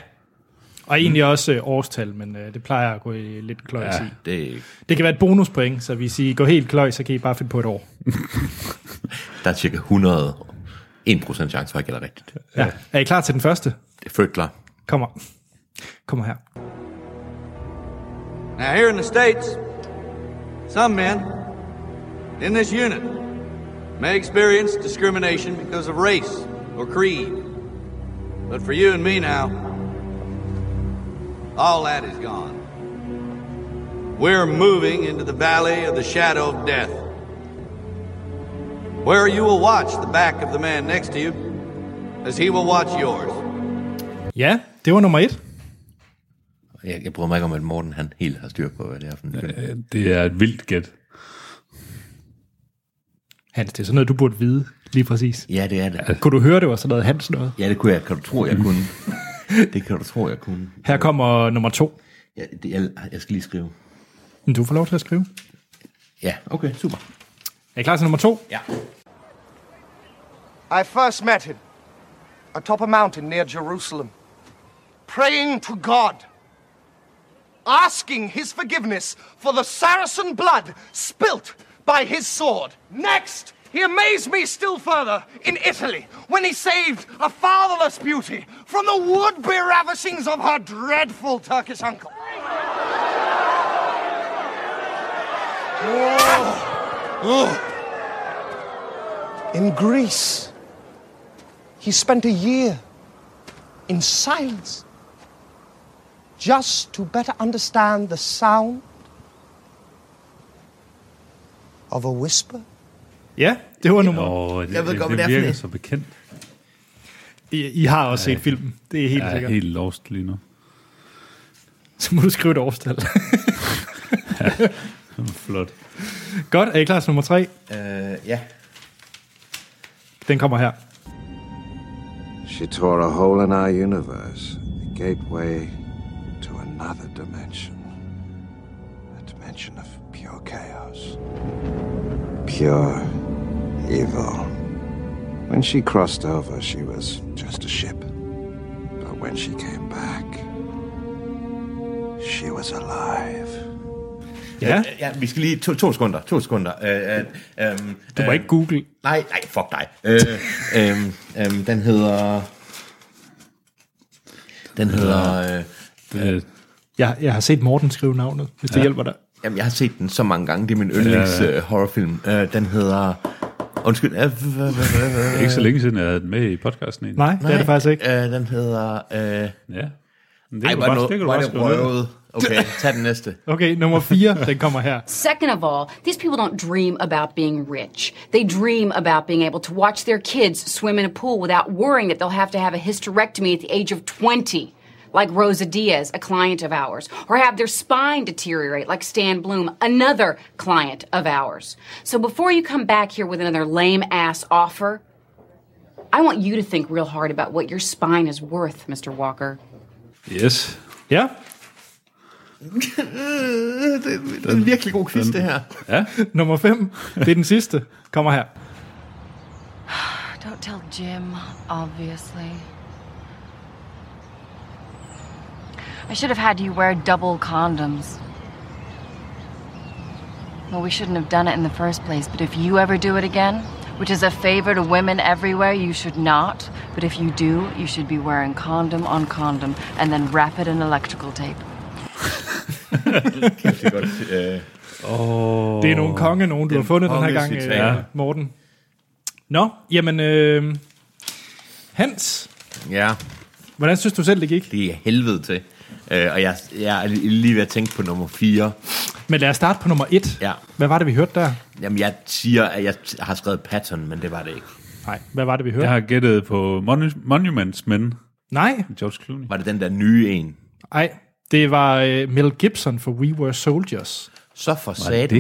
Speaker 1: Og egentlig også øh, årstal, men øh, det plejer at gå i lidt kløjs ja. i.
Speaker 2: Det,
Speaker 1: Det kan være et bonuspoint, så hvis I går helt kløj, så kan I bare finde på et år.
Speaker 2: der er cirka 100... 1% chance for, at jeg gælder rigtigt.
Speaker 1: Ja. ja. Er I klar til den første?
Speaker 2: Det er født klar.
Speaker 1: Kommer. Kommer her.
Speaker 4: Now, here in the States, some men in this unit may experience discrimination because of race or creed. But for you and me now, all that is gone. We're moving into the valley of the shadow of death, where you will watch the back of the man next to you as he will watch yours.
Speaker 1: Ja, det var nummer et.
Speaker 2: Jeg, jeg bryder mig ikke om, at Morten han helt har styr på, hvad det er for en film.
Speaker 3: Øh, Det er et vildt gæt.
Speaker 1: Hans, det er sådan noget, du burde vide lige præcis.
Speaker 2: Ja, det er det.
Speaker 1: Kunne du høre, det var sådan noget Hans noget?
Speaker 2: Ja, det kunne jeg. Kan du tro, jeg kunne? (laughs) Det kan du tro, jeg kunne.
Speaker 1: Her kommer nummer to.
Speaker 2: Ja, det, jeg, jeg skal lige skrive.
Speaker 1: Men Du får lov til at skrive.
Speaker 2: Ja, okay, super.
Speaker 1: Er I klar til nummer to?
Speaker 2: Ja.
Speaker 5: I first met him atop a mountain near Jerusalem, praying to God, asking his forgiveness for the Saracen blood spilt by his sword. Next, he amazed me still further in Italy when he saved a fatherless beauty from the would be ravishings of her dreadful Turkish uncle. In Greece, He spent a year in silence just to better understand the sound of a whisper.
Speaker 1: Ja, det var nummer.
Speaker 3: Åh, det,
Speaker 2: Jeg ved
Speaker 3: det,
Speaker 2: godt,
Speaker 3: det,
Speaker 2: hvad det er
Speaker 3: det
Speaker 2: for
Speaker 3: virker
Speaker 2: en.
Speaker 3: så bekendt.
Speaker 1: I, I har også set filmen. Det er helt
Speaker 3: Jeg er
Speaker 1: sikkert.
Speaker 3: helt lost lige nu.
Speaker 1: Så må du skrive et årstal. (laughs)
Speaker 3: Flot.
Speaker 1: Godt, er I klar til nummer tre?
Speaker 2: Øh, ja.
Speaker 1: Den kommer her.
Speaker 6: She tore a hole in our universe, a gateway to another dimension. A dimension of pure chaos. Pure evil. When she crossed over, she was just a ship. But when she came back, she was alive.
Speaker 1: Ja,
Speaker 2: Ja, vi skal lige to, to sekunder, to sekunder. Øh, øh, øh,
Speaker 1: du må ikke google.
Speaker 2: Nej, nej, fuck dig. Øh, øh, øh, den hedder... Den hedder... Øh,
Speaker 3: Det,
Speaker 1: Jeg, jeg har set Morten skrive navnet, hvis det ja. hjælper dig.
Speaker 2: jamen, jeg har set den så mange gange. Det er min yndlings øh, horrorfilm. Øh, den hedder... Undskyld. Øh, øh, øh, øh,
Speaker 3: det er ikke så længe siden, jeg havde den med i podcasten. egentlig.
Speaker 1: Nej, Nej, det er det faktisk ikke.
Speaker 2: Øh, den hedder... Øh,
Speaker 3: Ja. Men Det
Speaker 2: ej,
Speaker 3: kan du
Speaker 2: var det,
Speaker 3: bare, det
Speaker 2: noget,
Speaker 3: kan du
Speaker 2: var
Speaker 3: bare
Speaker 2: det
Speaker 3: skrive ned.
Speaker 2: røvet? Okay, tag den næste.
Speaker 1: Okay, nummer 4, den kommer (laughs) her.
Speaker 7: Second of all, these people don't dream about being rich. They dream about being able to watch their kids swim in a pool without worrying that they'll have to have a hysterectomy at the age of 20, like Rosa Diaz, a client of ours, or have their spine deteriorate, like Stan Bloom, another client of ours. So before you come back here with another lame ass offer, I want you to think real hard about what your spine is worth, Mr. Walker.
Speaker 3: Yes.
Speaker 1: Ja,
Speaker 2: Øh, (laughs) det, det er en virkelig god quiz, det her.
Speaker 3: Ja.
Speaker 1: (laughs) nummer 5, det er den sidste. Kommer her.
Speaker 8: Don't tell Jim, obviously. I should have had you wear double condoms. Well, we shouldn't have done it in the first place, but if you ever do it again, which is a favor to women everywhere, you should not. But if you do, you should be wearing condom on condom and then wrap it in electrical tape.
Speaker 2: (laughs) Det er godt. Øh,
Speaker 1: Det er nogle konge, nogen du har fundet den her gang,
Speaker 2: kongecitater.
Speaker 1: øh, Morten. Nå, jamen, øh, Hans,
Speaker 2: ja,
Speaker 1: hvordan synes du selv, det gik?
Speaker 2: det er helvede til. Øh, og jeg, jeg er lige ved at tænke på nummer 4.
Speaker 1: Men lad os starte på nummer 1.
Speaker 2: Ja.
Speaker 1: Hvad var det, vi hørte der?
Speaker 2: Jamen, jeg siger, at jeg har skrevet Patton, men det var det ikke.
Speaker 1: Nej, hvad var det, vi hørte?
Speaker 3: Jeg
Speaker 1: Ja.
Speaker 3: har gættet på Monu- Monuments Men,
Speaker 1: Nej,
Speaker 3: George Clooney.
Speaker 2: Var det den der nye en?
Speaker 1: nej. Det var øh, Mel Gibson for We Were Soldiers.
Speaker 2: Så for satan.
Speaker 3: det?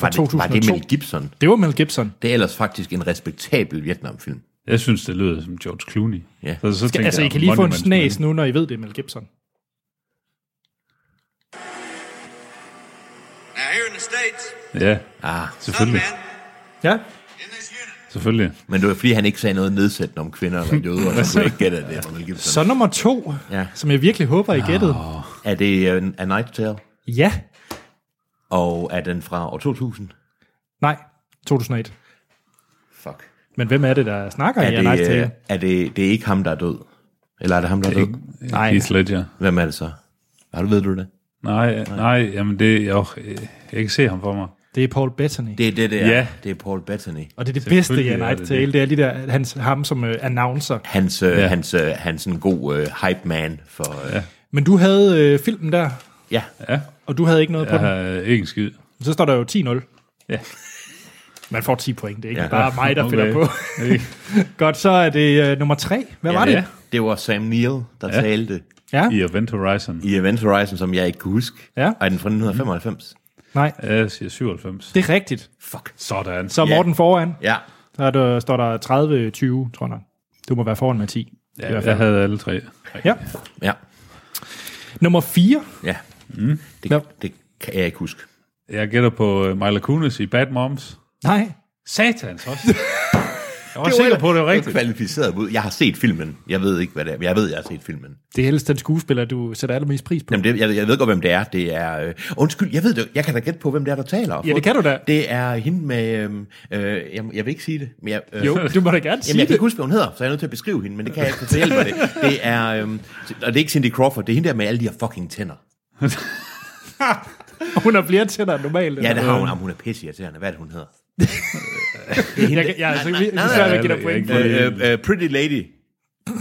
Speaker 2: Var det, var det
Speaker 1: 2002?
Speaker 2: Mel Gibson?
Speaker 1: Det var Mel Gibson.
Speaker 2: Det er ellers faktisk en respektabel Vietnamfilm.
Speaker 3: Jeg synes, det lyder som George Clooney.
Speaker 2: Ja.
Speaker 3: Så, så
Speaker 1: Skal, altså, I kan lige få en snas nu, når I ved, det er Mel Gibson.
Speaker 4: Now, here in the States,
Speaker 3: Ja,
Speaker 2: Ah,
Speaker 4: some
Speaker 3: selvfølgelig.
Speaker 4: men
Speaker 1: Ja.
Speaker 4: in this unit
Speaker 3: selvfølgelig.
Speaker 2: men det var fordi, han ikke sagde noget nedsættende om kvinder eller døde, og så kunne jeg ikke gætte, at det var Mel
Speaker 3: (laughs)
Speaker 2: Gibson.
Speaker 1: Så nummer to,
Speaker 2: Ja.
Speaker 1: ja. som jeg virkelig håber, I gættede.
Speaker 2: Er det uh, A Night Tale?
Speaker 1: Ja.
Speaker 2: Og er den fra år 2000?
Speaker 1: Nej, 2001.
Speaker 2: Fuck.
Speaker 1: Men hvem er det, der snakker
Speaker 2: Er
Speaker 1: i A Night
Speaker 2: det,
Speaker 1: Tale?
Speaker 2: øh, er det, det er ikke ham, der er død? Eller er det ham, der er død?
Speaker 1: Nej.
Speaker 3: Heath Ledger.
Speaker 2: Hvem er det så? Har du ved du det?
Speaker 3: Nej, nej, jamen det, jo, øh, jeg kan se ham for mig.
Speaker 1: Det er Paul Bettany. Det,
Speaker 2: Det er det der.
Speaker 3: Ja.
Speaker 2: Det er Paul Bettany.
Speaker 1: og det er det bedste i A
Speaker 3: Selvfølgelig er
Speaker 1: Night
Speaker 3: det
Speaker 1: Tale,
Speaker 3: det.
Speaker 1: det er lige der, hans, ham som øh, announcer.
Speaker 2: Hans, øh,
Speaker 3: Ja.
Speaker 2: hans, øh, hans en god øh, hype man for... Øh, ja.
Speaker 1: Men du havde øh, filmen der,
Speaker 2: ja.
Speaker 3: Ja,
Speaker 1: og du havde ikke noget på
Speaker 3: jeg
Speaker 1: den.
Speaker 3: har øh, ikke en skid.
Speaker 1: Så står der jo 10-0.
Speaker 3: Ja.
Speaker 1: Man får 10 point, det er ikke
Speaker 2: Ja.
Speaker 1: ja. bare mig, der finder på.
Speaker 3: Ikke?
Speaker 1: Godt, så er det øh, nummer 3. Hvad
Speaker 2: Ja,
Speaker 1: var
Speaker 2: ja.
Speaker 1: det?
Speaker 2: Det var Sam Neill, der ja. talte
Speaker 1: Ja,
Speaker 3: I Event Horizon.
Speaker 2: i Event Horizon, som jeg ikke kunne huske.
Speaker 1: Ja.
Speaker 2: Og er den fra 1995?
Speaker 1: nej,
Speaker 3: Ja, jeg siger 97.
Speaker 1: det er rigtigt.
Speaker 2: Fuck.
Speaker 3: Sådan.
Speaker 1: Så er
Speaker 2: Ja.
Speaker 1: Morten foran.
Speaker 2: Ja.
Speaker 1: Så er der, står der 30-20, tror jeg. Du må være foran med 10. i
Speaker 3: Ja,
Speaker 1: hvert
Speaker 3: jeg
Speaker 1: fald.
Speaker 3: havde alle tre.
Speaker 1: Ja.
Speaker 2: Ja.
Speaker 1: Nummer 4.
Speaker 2: Ja. Mm. Det,
Speaker 1: Ja.
Speaker 2: det kan jeg ikke huske.
Speaker 3: Jeg gætter på øh, Mila Kunis i Bad Moms.
Speaker 1: Nej,
Speaker 3: Satans også. Jeg var sikker på, at det var rigtigt.
Speaker 2: kvalificeret ud. Jeg har set filmen. Jeg ved ikke, hvad det er. Jeg ved, jeg har set filmen.
Speaker 1: det er helst den skuespiller, du sætter allermest pris på.
Speaker 2: Jamen, det, jeg, jeg ved godt, hvem det er. Det er... Øh, undskyld, jeg ved det. Jeg kan da gætte på, hvem det er, der taler.
Speaker 1: Ja, det kan du da.
Speaker 2: Det er hende med... Øh, øh, jeg, jeg vil ikke sige det. Men jeg, (laughs) øh,
Speaker 1: Jo, du må da gerne
Speaker 2: Jamen,
Speaker 1: sige
Speaker 2: jeg kan
Speaker 1: det.
Speaker 2: ikke huske, hvad hun hedder, så jeg er nødt til at beskrive hende, men det kan jeg ikke fortælle mig det. Det er, øhm, og det er ikke Cindy Crawford, det er hende der med alle de her fucking tænder.
Speaker 1: Hun har flere tænder end normalt. Øh,
Speaker 2: Ja, det har hun. Jamen, hun er pisseirriterende. Hvad er det, hun hedder?
Speaker 1: Jeg, jeg, jeg, jeg, jeg, jeg, jeg, jeg, jeg, jeg, jeg, jeg,
Speaker 3: nej,
Speaker 1: jeg,
Speaker 3: nej,
Speaker 1: jeg,
Speaker 3: nej,
Speaker 1: point.
Speaker 3: nej,
Speaker 2: Øh, øh, Pretty Lady.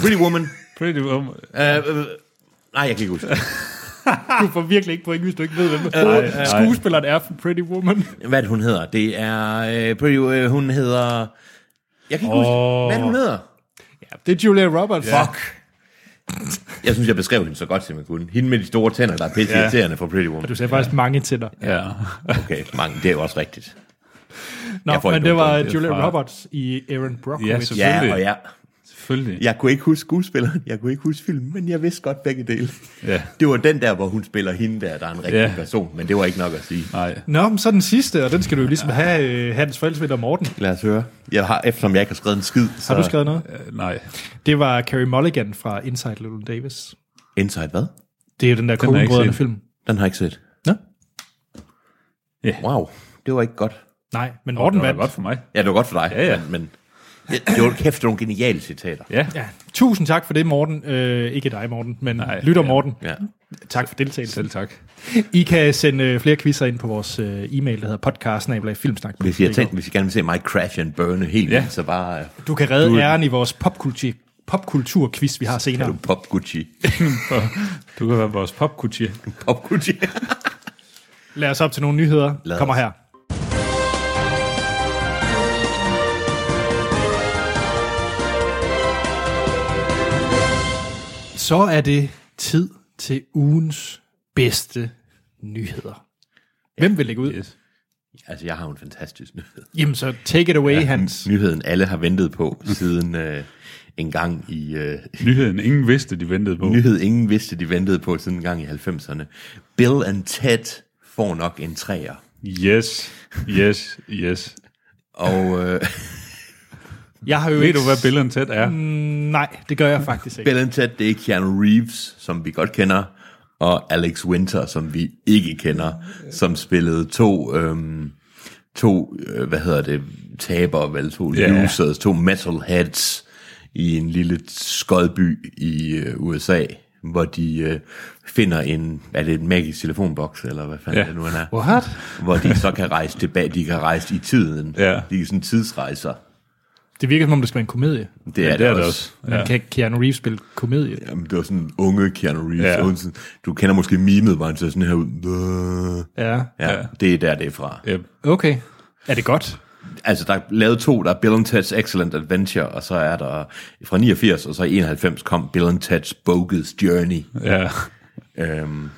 Speaker 2: Pretty Woman.
Speaker 3: Pretty Woman.
Speaker 2: Uh, uh, nej, jeg kan ikke huske.
Speaker 1: Du får virkelig ikke point, hvis du ikke ved, hvem uh, skuespilleren er for Pretty Woman.
Speaker 2: Hvad er det, hun hedder? Det er... Uh, pretty, uh, hun hedder... Jeg kan ikke oh. huske, hvad er det, hun hedder.
Speaker 1: Ja, det er Julia Roberts.
Speaker 2: Fuck. Jeg synes, jeg beskrev hende så godt, som jeg kunne. Hende med de store tænder, der er pisse irriterende for Pretty Woman.
Speaker 1: Du sagde faktisk mange til dig.
Speaker 3: Ja. (laughs)
Speaker 2: Okay, mange, det er jo også rigtigt.
Speaker 1: Nå,
Speaker 2: Jeg får
Speaker 1: men
Speaker 2: ikke
Speaker 1: det
Speaker 2: nogen
Speaker 1: var
Speaker 2: point.
Speaker 1: Julia
Speaker 3: Det er fra-
Speaker 1: Roberts i Aaron
Speaker 3: Ja,
Speaker 1: Brockovich.
Speaker 3: selvfølgelig.
Speaker 2: Ja, og ja.
Speaker 3: Selvfølgelig.
Speaker 2: Jeg kunne ikke huske skuespilleren, jeg kunne ikke huske filmen, men jeg vidste godt begge dele.
Speaker 3: Ja.
Speaker 2: Det var den der, hvor hun spiller hende der, der er en rigtig
Speaker 3: Ja.
Speaker 2: person, men det var ikke nok at sige.
Speaker 3: Nej.
Speaker 1: Nå, men så den sidste, og den skal du jo ligesom have øh, Hans Fældsvind og Morten.
Speaker 2: Lad os høre. Jeg har, eftersom jeg ikke har skrevet en skid, så...
Speaker 1: Har du skrevet noget?
Speaker 3: Øh, Nej.
Speaker 1: Det var Carrie Mulligan fra Inside Llewyn Davis.
Speaker 2: Inside hvad?
Speaker 1: Det er jo den der
Speaker 3: har jeg ikke
Speaker 1: kogenbrødrende
Speaker 3: set.
Speaker 1: film.
Speaker 2: Den har jeg ikke set.
Speaker 1: Nå?
Speaker 2: Wow, det var ikke godt.
Speaker 1: Nej, men
Speaker 3: Det
Speaker 1: Morten
Speaker 3: var da
Speaker 1: vandt.
Speaker 3: godt for mig.
Speaker 2: Ja, det var godt for dig.
Speaker 3: Ja, ja.
Speaker 2: Men, men det, det var kæft, det var nogle geniale citater.
Speaker 3: Ja.
Speaker 1: Ja, tusind tak for det, Morten. Øh, ikke dig, Morten, men
Speaker 3: Nej,
Speaker 1: lytter
Speaker 3: ja.
Speaker 1: Morten.
Speaker 2: Ja.
Speaker 1: Tak for deltagelsen.
Speaker 3: Selv tak.
Speaker 1: I kan sende øh, flere quizzer ind på vores øh, e-mail, der hedder podcast
Speaker 2: Hvis I, har tænkt, hvis I gerne vil se mig crash and burne helt,
Speaker 3: Ja.
Speaker 2: ja. så bare øh,
Speaker 1: Du kan redde æren i vores popkultur popkulturquiz, vi har
Speaker 2: er
Speaker 1: senere.
Speaker 2: du pop Gucci.
Speaker 3: Du kan være vores popkutier.
Speaker 2: pop Gucci.
Speaker 1: Lad os op til nogle nyheder.
Speaker 2: Lad os.
Speaker 1: Kommer her. Så er det tid til ugens bedste nyheder. Hvem vil lægge ud?
Speaker 3: Yes.
Speaker 2: altså, jeg har jo en fantastisk nyhed.
Speaker 1: Jamen så take it away, ja, Hans.
Speaker 2: Nyheden, alle har ventet på siden øh, en gang i... Øh,
Speaker 3: Nyheden, ingen vidste, de ventede på.
Speaker 2: nyhed, ingen vidste, de ventede på siden en gang i 90'erne. Bill and Ted får nok en træer.
Speaker 3: Yes, yes, yes.
Speaker 2: Og øh,
Speaker 1: Jeg har jo
Speaker 3: Ved
Speaker 1: ikke...
Speaker 3: du, hvad Bill and Ted er?
Speaker 1: Mm. Nej, det gør jeg faktisk ikke.
Speaker 2: Bill and Ted, det er Keanu Reeves, som vi godt kender, og Alex Winter, som vi ikke kender, som spillede to, øhm, to øh, hvad hedder det, tabere, vel, to
Speaker 3: Ja.
Speaker 2: losers, to metalheads i en lille skodby i øh, USA, hvor de øh, finder en, er det en magisk telefonboks, eller hvad fanden
Speaker 3: Ja.
Speaker 2: ja. det nu han er?
Speaker 1: (laughs) What?
Speaker 2: Hvor de så kan rejse tilbage, de kan rejse i tiden.
Speaker 3: Ja.
Speaker 2: De er sådan tidsrejser.
Speaker 1: Det virker som om, det skal være en komedie.
Speaker 2: Det er, ja,
Speaker 3: det er det også.
Speaker 1: Men
Speaker 3: Ja.
Speaker 1: kan Keanu Reeves spille komedie?
Speaker 2: Jamen, det var sådan en unge Keanu Reeves.
Speaker 3: Ja.
Speaker 2: Ja. Sådan, du kender måske mimet, hvor han ser sådan her ud. Bæh.
Speaker 1: Ja.
Speaker 2: Ja,
Speaker 3: Ja.
Speaker 2: ja, det er der, det er fra.
Speaker 3: Ja.
Speaker 1: Okay. Er det godt?
Speaker 2: Altså, der er lavet to. Der er Bill and Ted's Excellent Adventure, og så er der fra 89, og så i 91 kom Bill and Ted's Bogus Journey.
Speaker 3: ja.
Speaker 2: Øhm,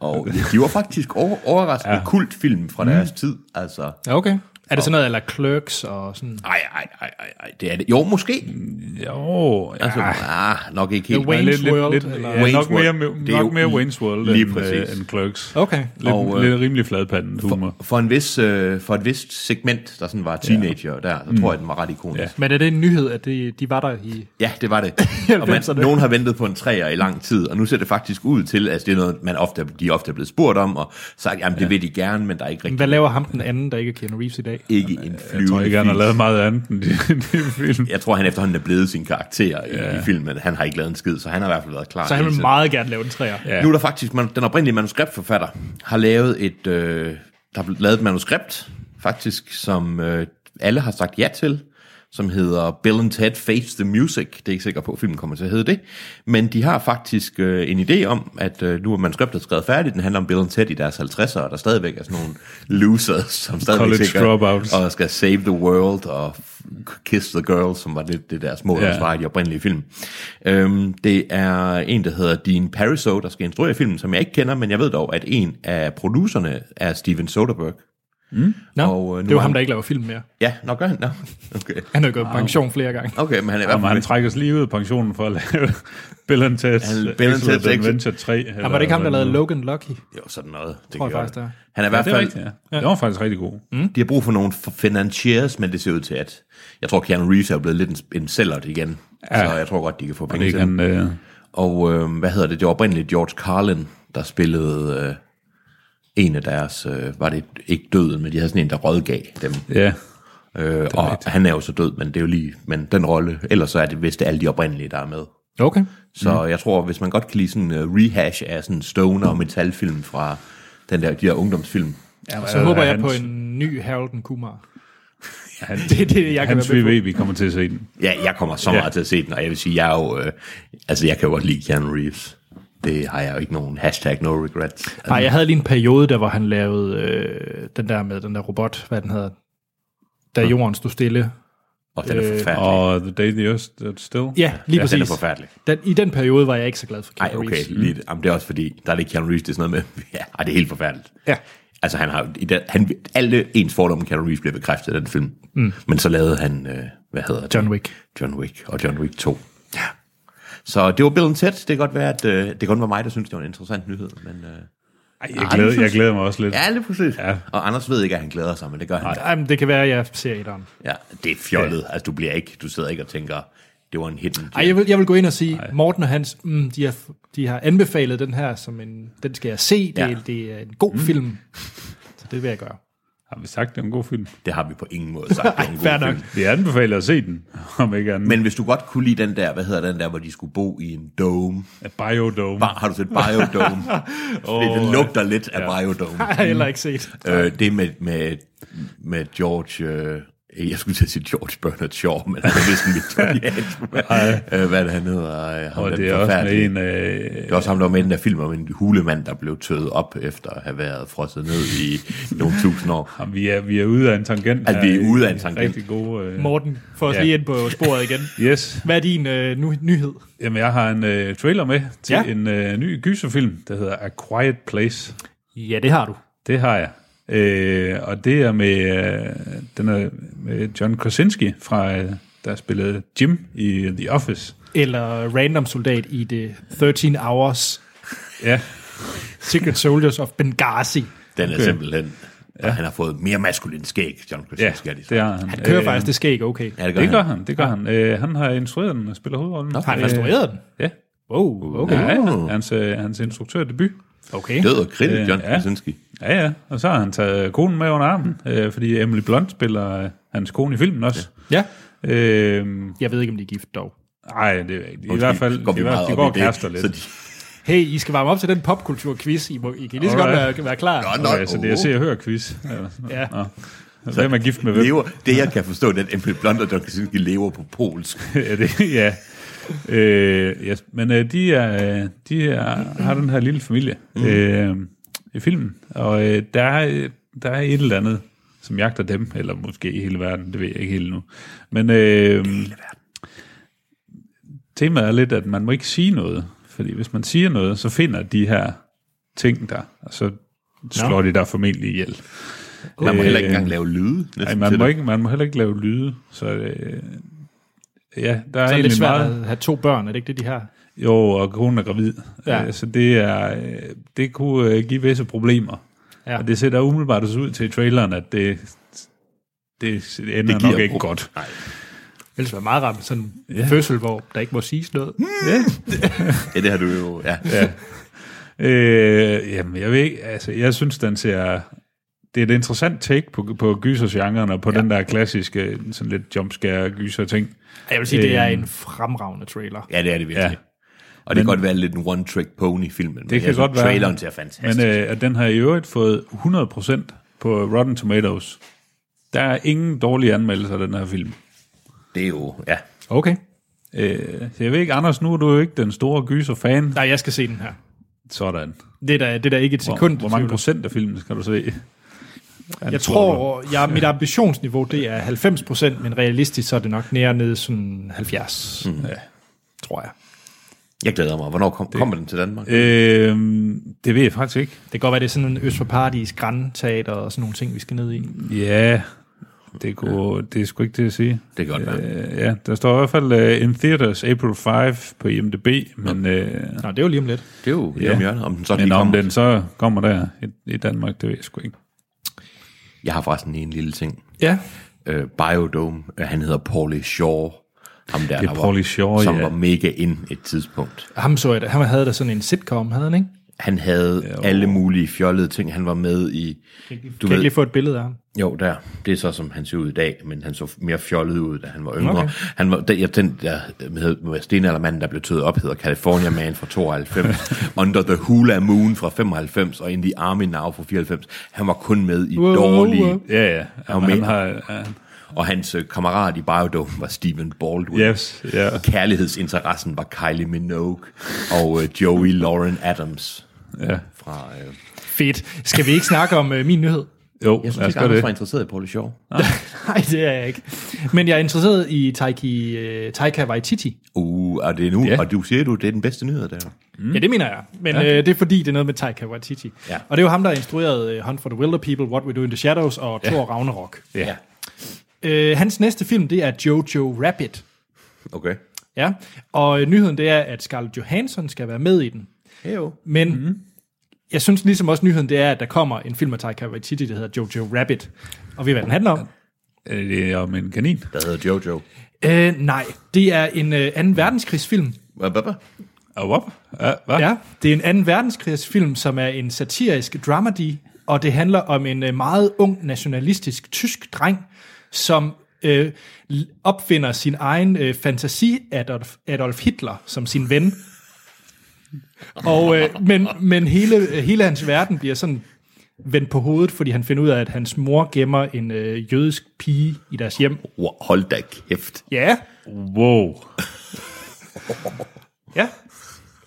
Speaker 2: og de var faktisk over, overraskende ja. kultfilm
Speaker 3: Mm.
Speaker 2: fra deres tid. Altså,
Speaker 1: Ja, okay. Er det sådan noget, eller Clerks og sådan...
Speaker 2: ej, ej, ej, ej, ej, det er det. Jo, måske.
Speaker 3: Jo, ja.
Speaker 2: Altså, ah, nok ikke
Speaker 1: The
Speaker 2: helt.
Speaker 1: Wayne's
Speaker 3: lidt,
Speaker 1: World,
Speaker 3: lidt, lidt,
Speaker 1: eller-
Speaker 3: ja, nok
Speaker 2: Wayne's World.
Speaker 3: mere,
Speaker 2: Det er
Speaker 3: nok
Speaker 2: jo
Speaker 3: mere
Speaker 2: lige-
Speaker 3: Wayne's World
Speaker 2: lige
Speaker 3: end,
Speaker 2: præcis.
Speaker 3: øh, end Clerks.
Speaker 1: Okay.
Speaker 3: Lidt,
Speaker 2: Og,
Speaker 3: og,
Speaker 2: øh,
Speaker 3: lidt rimelig fladpanden humor.
Speaker 2: For, en vis, øh, for et vist segment, der sådan var teenager der, så tror jeg, den var ret ikonisk.
Speaker 3: Mm. Ja.
Speaker 1: Men er det en nyhed, at det, de var der i...
Speaker 2: Ja, det
Speaker 3: (laughs)
Speaker 2: var det. og man,
Speaker 1: 90'erne.
Speaker 2: nogen har ventet på en træer i lang tid, og nu ser det faktisk ud til, at altså, det er noget, man ofte, de ofte er blevet spurgt om, og sagt, jamen det vil de gerne, men der er ikke rigtig
Speaker 1: Hvad laver ham den anden, der ikke er Keanu Reeves i dag?
Speaker 2: ikke en flyvende
Speaker 3: Jeg tror ikke, han har
Speaker 2: fis.
Speaker 3: lavet meget andet end de, de film.
Speaker 2: Jeg tror, han efterhånden er blevet sin karakter i, i filmen. Han har ikke lavet en skid, så han har i hvert fald været klar.
Speaker 1: Så han
Speaker 2: hele
Speaker 1: vil
Speaker 2: tiden.
Speaker 1: meget gerne lave en træer.
Speaker 3: Ja.
Speaker 2: Nu er der faktisk, man, den oprindelige manuskriptforfatter har lavet et, øh, der er blevet lavet et manuskript, faktisk, som øh, alle har sagt ja til, som hedder Bill and Ted Face the Music. Det er ikke sikker på, at filmen kommer til at hedde det. Men de har faktisk øh, en idé om, at øh, nu er manuskriptet skrevet færdigt. Den handler om Bill and Ted i deres 50'er, og der stadigvæk er sådan nogle losers, som stadigvæk
Speaker 3: College
Speaker 2: sikkert-
Speaker 3: dropouts.
Speaker 2: og skal save the world og f- kiss the girl, som var lidt det deres mål,
Speaker 3: Ja.
Speaker 2: yeah. også var i de oprindelige film. Øhm, det er en, der hedder Dean Pariseau, der skal instruere filmen, som jeg ikke kender, men jeg ved dog, at en af producerne er Steven Soderbergh.
Speaker 1: Nå,
Speaker 2: Og, øh,
Speaker 1: det
Speaker 2: nu
Speaker 1: var
Speaker 2: er
Speaker 1: ham,
Speaker 2: han-
Speaker 1: der ikke laver film mere.
Speaker 2: Ja, nok gør han. Nå. (laughs) Okay.
Speaker 1: Han har jo gået på pension flere gange.
Speaker 2: okay, men han er i hvert
Speaker 3: Jamen,
Speaker 2: fald...
Speaker 3: han trækker sig lige ud af pensionen for at lave Bill and Ted's
Speaker 2: Bill and
Speaker 3: Excellent
Speaker 2: Ted's Excellent-
Speaker 3: Adventure 3. Eller,
Speaker 1: Han var det ikke ham, der
Speaker 3: hvad
Speaker 2: øh,
Speaker 1: lavede
Speaker 3: nu?
Speaker 1: Logan Lucky?
Speaker 2: Jo, sådan noget. Det
Speaker 1: Tror jeg
Speaker 2: gør
Speaker 1: faktisk, det er.
Speaker 2: Han er i
Speaker 3: Ja,
Speaker 2: hvert
Speaker 3: det er
Speaker 2: fald...
Speaker 3: rigtigt, ja. Det var faktisk rigtig god.
Speaker 2: De har brug for nogle f- financiers, men det ser ud til, at... Jeg tror, Keanu Reeves er blevet lidt en, en sælger igen.
Speaker 3: Ja.
Speaker 2: Ja. Så jeg tror godt, de kan få
Speaker 3: Det
Speaker 2: penge
Speaker 3: ikke
Speaker 2: til den.
Speaker 3: han, øh,
Speaker 2: Og øh, hvad hedder det? Det var oprindeligt George Carlin, der spillede øh, en af deres... Øh, var det ikke døden, men de havde sådan en, der rådgav dem.
Speaker 3: ja.
Speaker 2: Øh, og han er jo så død, men det er jo lige... Men den rolle... Ellers så er det vist alle de oprindelige, der er med.
Speaker 1: Okay.
Speaker 2: Så mm. jeg tror, hvis man godt kan lide sådan en uh, rehash af sådan stoner og metalfilm fra den der, de der ungdomsfilm.
Speaker 1: Så håber jeg
Speaker 3: hans-
Speaker 1: på en ny Harold and Kumar.
Speaker 3: Han,
Speaker 1: (laughs) Det er det, jeg kan
Speaker 3: Hans
Speaker 1: være med
Speaker 3: VV, vi kommer til at se den.
Speaker 2: Ja, jeg kommer så meget ja. til at se den, og jeg vil sige, jeg er jo, øh, altså jeg kan jo godt lide Keanu Reeves. Det har jeg jo ikke nogen hashtag no regrets. Altså,
Speaker 1: Nej, jeg havde lige en periode, der hvor han lavede øh, den der med den der robot, hvad den hedder, da jorden stod stille.
Speaker 2: og den er forfærdelig. Og,
Speaker 3: Og The Day the Earth Stood Still.
Speaker 1: Ja, lige
Speaker 2: ja,
Speaker 1: præcis.
Speaker 2: den er forfærdelig.
Speaker 1: Den, I den periode var jeg ikke så glad for
Speaker 2: Ej,
Speaker 1: Keanu
Speaker 2: okay,
Speaker 1: Reeves. Mm.
Speaker 2: lidt. Jamen, det er også fordi, der er det Keanu Reeves, det er sådan noget med, (laughs) ja, ej, det er helt forfærdeligt.
Speaker 1: Ja.
Speaker 2: Altså, han har, i den, han, alle ens fordomme om Keanu Reeves blev bekræftet i den film. Mm. Men så lavede han, øh, hvad hedder det?
Speaker 1: John Wick.
Speaker 2: John Wick og John Wick 2. Ja. Så det var Bill Ted. Det kan godt være, at øh, det kan godt være mig, der synes, det var en interessant nyhed. Men, øh,
Speaker 3: Ej, jeg, glæder, jeg glæder mig også lidt.
Speaker 2: ja, lige præcis.
Speaker 3: Ja.
Speaker 2: Ja. Og Anders ved ikke, at han glæder sig, men det gør han. Nej.
Speaker 1: Jamen, det kan være, at jeg ser et om.
Speaker 2: Ja, det er fjollet. Ja. Altså, du, bliver ikke, du sidder ikke og tænker, det var en hidden gem.
Speaker 1: Ej, jeg vil, jeg vil gå ind og sige, Ej. Morten og Hans, mm, de, har, de har anbefalet den her, som en, den skal jeg se, det, ja.
Speaker 2: Ja.
Speaker 1: er, det er en god mm. film, så det vil jeg gøre.
Speaker 3: Har vi sagt, det er en god film?
Speaker 2: Det har vi på ingen måde sagt. Ej,
Speaker 1: (laughs) fair nok.
Speaker 3: Vi anbefaler at se den, om ikke andet.
Speaker 2: Men hvis du godt kunne lide den der, hvad hedder den der, hvor de skulle bo i en dome.
Speaker 3: Biodome.
Speaker 2: Bar, har du set
Speaker 3: (laughs)
Speaker 2: Biodome? oh, det lugter lidt af Biodome.
Speaker 1: Jeg har heller ikke set.
Speaker 2: Øh, det med, med, med George... Øh, jeg skulle til at sige George Bernard Shaw, men han er vist en
Speaker 3: (laughs)
Speaker 2: viktoriansk. øh, hvad er det, han hedder? Øh, ham,
Speaker 3: og
Speaker 2: den
Speaker 3: det er også med
Speaker 2: forfærdelige-
Speaker 3: en... Øh,
Speaker 2: Det er også ham, der var med i den der film om en hulemand, der blev tøet op efter at have været frosset ned i nogle tusind år.
Speaker 3: ham- vi, er, vi er ude af en tangent.
Speaker 2: Altså,
Speaker 3: her.
Speaker 2: vi er ude af en tangent.
Speaker 3: Rigtig gode... Øh,
Speaker 1: Morten, få os
Speaker 3: Ja.
Speaker 1: lige ind på sporet igen.
Speaker 3: yes.
Speaker 1: Hvad er din øh, nu, nyhed?
Speaker 3: Jamen, jeg har en øh, trailer med til
Speaker 1: Ja.
Speaker 3: ja. en øh, ny gyserfilm, der hedder A Quiet Place.
Speaker 1: Ja, det har du.
Speaker 3: Det har jeg. Øh, og det er med, øh, den er med John Krasinski, fra, øh, der spillede Jim i The Office.
Speaker 1: Eller Random Soldat i det 13 Hours
Speaker 3: Ja,
Speaker 1: Secret Soldiers of Benghazi.
Speaker 2: Den er okay. simpelthen... Ja. Han har fået mere maskulin skæg, John
Speaker 3: ja
Speaker 2: Krasinski.
Speaker 3: det har han.
Speaker 1: Han kører øh, faktisk det skæg okay.
Speaker 2: Ja, det gør
Speaker 3: Det gør
Speaker 2: han.
Speaker 3: han, det gør han. Øh, han har instrueret den og spiller hovedrollen. Øh,
Speaker 1: Har han restaureret den?
Speaker 3: Ja.
Speaker 1: Wow, okay.
Speaker 3: Ja, ja.
Speaker 2: Uh.
Speaker 3: Hans, øh, hans instruktørdebut.
Speaker 1: okay.
Speaker 2: Død og kridt, John
Speaker 3: Øh, ja.
Speaker 2: Krasinski.
Speaker 3: Ja, ja. Og så har han taget konen med under armen, øh, fordi Emily Blunt spiller øh, hans kone i filmen også.
Speaker 1: Ja.
Speaker 3: Nej, øh,
Speaker 1: Jeg ved ikke, om de er gift dog.
Speaker 3: ej, det er ikke. I hvert fald,
Speaker 2: går
Speaker 3: i
Speaker 2: vi
Speaker 3: hvert
Speaker 2: meget
Speaker 3: fald de
Speaker 2: op
Speaker 3: går
Speaker 2: i
Speaker 3: og
Speaker 2: det,
Speaker 3: kærester
Speaker 2: Så
Speaker 3: lidt.
Speaker 2: de,
Speaker 1: Hey, I skal varme op til den popkultur-quiz. I, må, I kan lige så godt
Speaker 3: Alright.
Speaker 1: være, være klar.
Speaker 2: Nå, uh. nå,
Speaker 3: Okay, Øh, så det er
Speaker 2: åh.
Speaker 3: se og høre quiz. Eller sådan noget.
Speaker 1: Ja.
Speaker 3: Nå. Hvem er gift med hvem?
Speaker 2: lever, det jeg kan forstå, det er, at Emily Blunt og John Krasinski lever på polsk.
Speaker 3: (laughs) ja, det, ja. Øh, yes. Men øh, de, er, øh, de er, har den her lille familie
Speaker 1: Mm.
Speaker 3: øh, i filmen, og øh, der, er, øh, der er et eller andet, som jagter dem, eller måske i hele verden, det ved jeg ikke helt nu. Men øh, temaet er lidt, at man må ikke sige noget, fordi hvis man siger noget, så finder de her ting der, og så slår no. de der formentlig ihjel.
Speaker 2: Man må
Speaker 3: Øh,
Speaker 2: heller ikke engang lave lyde. næsten
Speaker 3: Ej,
Speaker 2: til
Speaker 3: man, må
Speaker 2: det.
Speaker 3: ikke, man må heller ikke lave lyde, så øh, ja, der er,
Speaker 1: Så er det lidt
Speaker 3: egentlig
Speaker 1: svært
Speaker 3: meget...
Speaker 1: at have to børn, er det ikke det, de har?
Speaker 3: Jo, og konen er gravid.
Speaker 1: Ja.
Speaker 3: Ja. Så det, er, øh, det kunne øh, give visse problemer.
Speaker 1: Ja.
Speaker 3: Ja. Og det ser da umiddelbart også ud til i traileren, at det, det ender
Speaker 2: Det
Speaker 3: det
Speaker 2: giver
Speaker 3: nok ikke
Speaker 2: pro-
Speaker 3: godt.
Speaker 1: Ellers var meget ramt sådan en fødsel, hvor der ikke må siges noget.
Speaker 3: Hmm.
Speaker 2: Ja, det har du jo. Ja.
Speaker 3: Ja. øh, jamen, jeg ved ikke, altså, jeg synes, den ser... Det er et interessant take på, på gysersgenren og på ja. den der klassiske sådan lidt jumpscare-gyser-ting.
Speaker 1: Jeg vil sige, det
Speaker 3: Øh.
Speaker 1: er en fremragende trailer.
Speaker 2: ja, det er det virkelig.
Speaker 3: Ja.
Speaker 2: Ja. Og det kan godt være lidt en one-trick pony-filmen. men
Speaker 3: Det kan
Speaker 2: jeg synes,
Speaker 3: godt være.
Speaker 2: altså, Traileren ser fantastisk.
Speaker 3: Men øh, at den har i øvrigt fået 100% på Rotten Tomatoes. Der er ingen dårlige anmeldelser af den her film.
Speaker 2: det er jo, ja.
Speaker 1: Okay.
Speaker 3: Øh, så jeg ved ikke, Anders, nu er du jo ikke den store gyser-fan.
Speaker 1: Nej, jeg skal se den her.
Speaker 3: Sådan.
Speaker 1: Det er da, det er da ikke et
Speaker 3: Hvor,
Speaker 1: sekund.
Speaker 3: hvor mange
Speaker 1: i tvivl om.
Speaker 3: procent af filmen skal du se?
Speaker 1: Jeg tror, jeg, mit ambitionsniveau det er 90 procent, men realistisk så er det nok nære nede sådan 70,
Speaker 3: Hmm.
Speaker 1: mm. ja, tror jeg.
Speaker 2: Jeg glæder mig. Hvornår kom, kommer den til Danmark?
Speaker 3: Øh, det ved jeg faktisk ikke.
Speaker 1: Det kan godt være, det er sådan en Øst for Paradis, Grandteater og sådan nogle ting, vi skal ned i.
Speaker 3: Ja, det, kunne, det er sgu ikke det at sige.
Speaker 2: Det kan godt være.
Speaker 3: Øh, ja, der står i hvert fald uh, In Theaters April 5 på IMDb, men, øh,
Speaker 1: Nå, det er jo lige om lidt.
Speaker 2: Det er jo lige
Speaker 3: ja.
Speaker 2: om hjørnet, om den så lige
Speaker 3: men om
Speaker 2: kommer.
Speaker 3: den så kommer der i, i Danmark, det ved jeg sgu ikke.
Speaker 2: Jeg har forresten lige en lille ting.
Speaker 1: Ja.
Speaker 2: Øh, Biodome, øh, han hedder Paulie Shaw. Ham der,
Speaker 3: er
Speaker 2: der
Speaker 3: Pauly
Speaker 2: var,
Speaker 3: Shore,
Speaker 2: som
Speaker 3: ja.
Speaker 2: var mega ind et tidspunkt.
Speaker 1: Ham så jeg da. Han havde da sådan en sitcom, havde han ikke?
Speaker 2: Han havde alle mulige fjollede ting. Han var med i...
Speaker 1: Du kan ikke lige få et billede af ham.
Speaker 2: Jo, der. Det er så, som han ser ud i dag, men han så mere fjollet ud, da han var yngre. Okay. Han var, den, ja, den der med, med stenaldermanden, der blev tøet op, hedder California Man fra 92, Under the Hula Moon fra 95, og In the Army Now fra 94. Han var kun med i
Speaker 1: Wow,
Speaker 2: dårlige...
Speaker 1: wow.
Speaker 3: Ja, ja.
Speaker 2: med.
Speaker 3: Han har, han,
Speaker 2: og hans øh, kammerat i Biodome var Stephen Baldwin.
Speaker 3: Yes, ja.
Speaker 2: Kærlighedsinteressen var Kylie Minogue og øh, Joey Lauren Adams.
Speaker 3: Ja.
Speaker 2: Fra, øh,
Speaker 1: Fedt. Skal vi ikke snakke om øh, min nyhed?
Speaker 3: Jo,
Speaker 2: jeg synes
Speaker 3: lad os
Speaker 2: ikke,
Speaker 3: gøre
Speaker 2: Anders var
Speaker 3: det.
Speaker 2: interesseret i Paul Shaw.
Speaker 1: Nej, det er jeg ikke. Men jeg er interesseret i Taiki, øh, Taika Waititi.
Speaker 2: Uh, er det nu?
Speaker 3: Ja.
Speaker 2: Yeah. Og du siger du, det er den bedste nyhed der.
Speaker 1: Mm. Ja, det mener jeg. Men okay. øh, det er fordi, det er noget med Taika Waititi.
Speaker 2: Ja.
Speaker 1: Og det er jo ham, der har instrueret øh, Hunt for the Wilder People, What We Do in the Shadows og Thor Ragnarok.
Speaker 3: Ja.
Speaker 1: Øh, hans næste film, det er Jojo Rabbit.
Speaker 2: Okay.
Speaker 1: Ja. Og øh, nyheden, det er, at Scarlett Johansson skal være med i den.
Speaker 2: Heyo.
Speaker 1: Men mm-hmm. jeg synes ligesom også nyheden, det er, at der kommer en film af Taika Waititi, der hedder Jojo Rabbit. Og ved I, hvad den handler om?
Speaker 3: Er Øh, det om en kanin?
Speaker 2: Der hedder Jojo.
Speaker 1: Øh, nej, det er en øh, anden verdenskrigsfilm.
Speaker 2: Hvad, hvad, hvad?
Speaker 3: Og op? Ja, hvad?
Speaker 1: Ja, det er en anden verdenskrigsfilm, som er en satirisk dramedy, og det handler om en øh, meget ung nationalistisk tysk dreng, som øh, l- opfinder sin egen øh, fantasi Adolf, Adolf Hitler som sin ven. Og, øh, men men hele, øh, hele hans verden bliver sådan vendt på hovedet, fordi han finder ud af, at hans mor gemmer en øh, jødisk pige i deres hjem.
Speaker 2: Wow, hold da kæft.
Speaker 1: Ja,
Speaker 3: Wow.
Speaker 1: ja.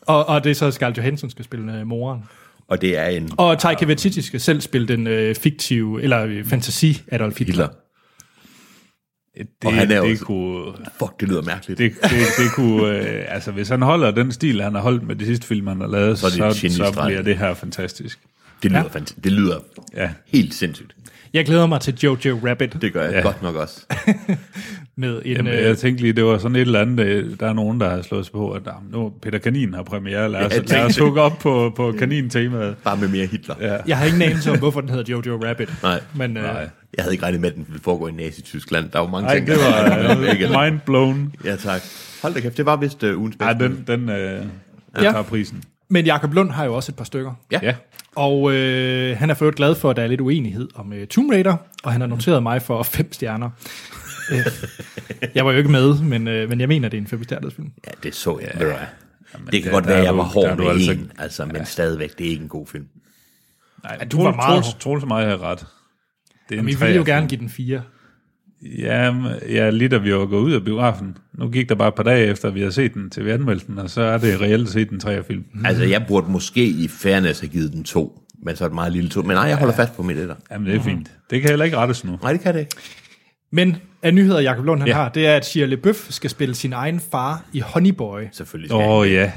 Speaker 1: Og, og det er så Scarlett Johansson skal spille øh, moren.
Speaker 2: Og det er en
Speaker 1: Og Taika Waititi skal selv spille den øh, fiktive, eller øh, fantasi Adolf Hitler.
Speaker 2: Hitler.
Speaker 3: Det,
Speaker 2: Og han er
Speaker 3: det,
Speaker 2: også-
Speaker 3: kunne,
Speaker 2: Fuck, det lyder mærkeligt.
Speaker 3: det, det, det
Speaker 2: (laughs)
Speaker 3: kunne, øh, altså hvis han holder den stil, han har holdt med de sidste film, han har lavet, så,
Speaker 2: er det et
Speaker 3: så, så
Speaker 2: geniestreg.
Speaker 3: bliver det her fantastisk.
Speaker 2: Det lyder, ja. det lyder
Speaker 3: Ja.
Speaker 2: helt sindssygt.
Speaker 1: Jeg glæder mig til Jojo Rabbit
Speaker 2: Det gør jeg
Speaker 3: Ja.
Speaker 2: ja. godt nok også.
Speaker 1: med en...
Speaker 3: Jamen,
Speaker 1: øh,
Speaker 3: jeg tænkte lige, det var sådan et eller andet, øh, der er nogen, der har slået sig på, at "Jamen, nu Peter Kanin har premiere, lad os,
Speaker 2: jeg
Speaker 3: lad os
Speaker 2: tænkte-
Speaker 3: hugge op på, på kanintemaet.
Speaker 2: Bare med mere Hitler. Ja.
Speaker 1: jeg har ingen anelse om, hvorfor den hedder Jojo Rabbit.
Speaker 2: Nej.
Speaker 1: Men øh,
Speaker 3: Nej.
Speaker 2: Jeg havde ikke regnet med, at den ville foregå i Nazi-Tyskland. Der var mange
Speaker 3: Nej,
Speaker 2: ting,
Speaker 3: det
Speaker 2: (laughs) der-
Speaker 3: var øh,
Speaker 2: Ikke?
Speaker 3: mind blown.
Speaker 2: Ja, tak. Hold da kæft, det var vist uh, ugens
Speaker 3: Ja,
Speaker 2: bedste.
Speaker 3: den, den øh,
Speaker 1: Ja.
Speaker 3: ja. tager prisen.
Speaker 1: men Jakob Lund har jo også et par stykker.
Speaker 2: Ja.
Speaker 3: Ja.
Speaker 1: Og øh, han er for øvrigt glad for, at der er lidt uenighed om øh, Tomb Raider, og han har noteret mig for fem stjerner. Øh, jeg var jo ikke med, men, øh, men jeg mener, det er en femstjernet film.
Speaker 2: ja, det så jeg. Ja. Jamen, det kan
Speaker 3: der-
Speaker 2: godt
Speaker 3: der
Speaker 2: være,
Speaker 3: er
Speaker 2: jeg var
Speaker 3: du- der er
Speaker 2: hård
Speaker 3: du
Speaker 2: med
Speaker 3: altså-
Speaker 2: en, altså, men stadigvæk, det er ikke en god film.
Speaker 3: Nej,
Speaker 1: du var meget-
Speaker 3: Troels, Troels og mig har ret. Det er
Speaker 1: Men vi
Speaker 3: treer.
Speaker 1: ville jo gerne give den fire.
Speaker 3: Jamen, ja, lige da vi var gået ud af biografen. Nu gik der bare et par dage efter, at vi havde set den til vi anmeldte den, og så er det reelt set en træer film.
Speaker 2: Altså, jeg burde måske i fairness have givet den to, men så et meget lille to. Men nej, jeg holder fast på mit etter.
Speaker 3: Jamen, det er fint. Det kan heller ikke rettes nu.
Speaker 2: Nej, det kan det ikke.
Speaker 1: Men af nyheder, Jakob Lund han ja.
Speaker 3: Ja.
Speaker 1: har, det er, at Shia LaBeouf skal spille sin egen far i Honey Boy.
Speaker 2: Selvfølgelig skal
Speaker 3: Åh
Speaker 2: oh.
Speaker 3: oh, ja.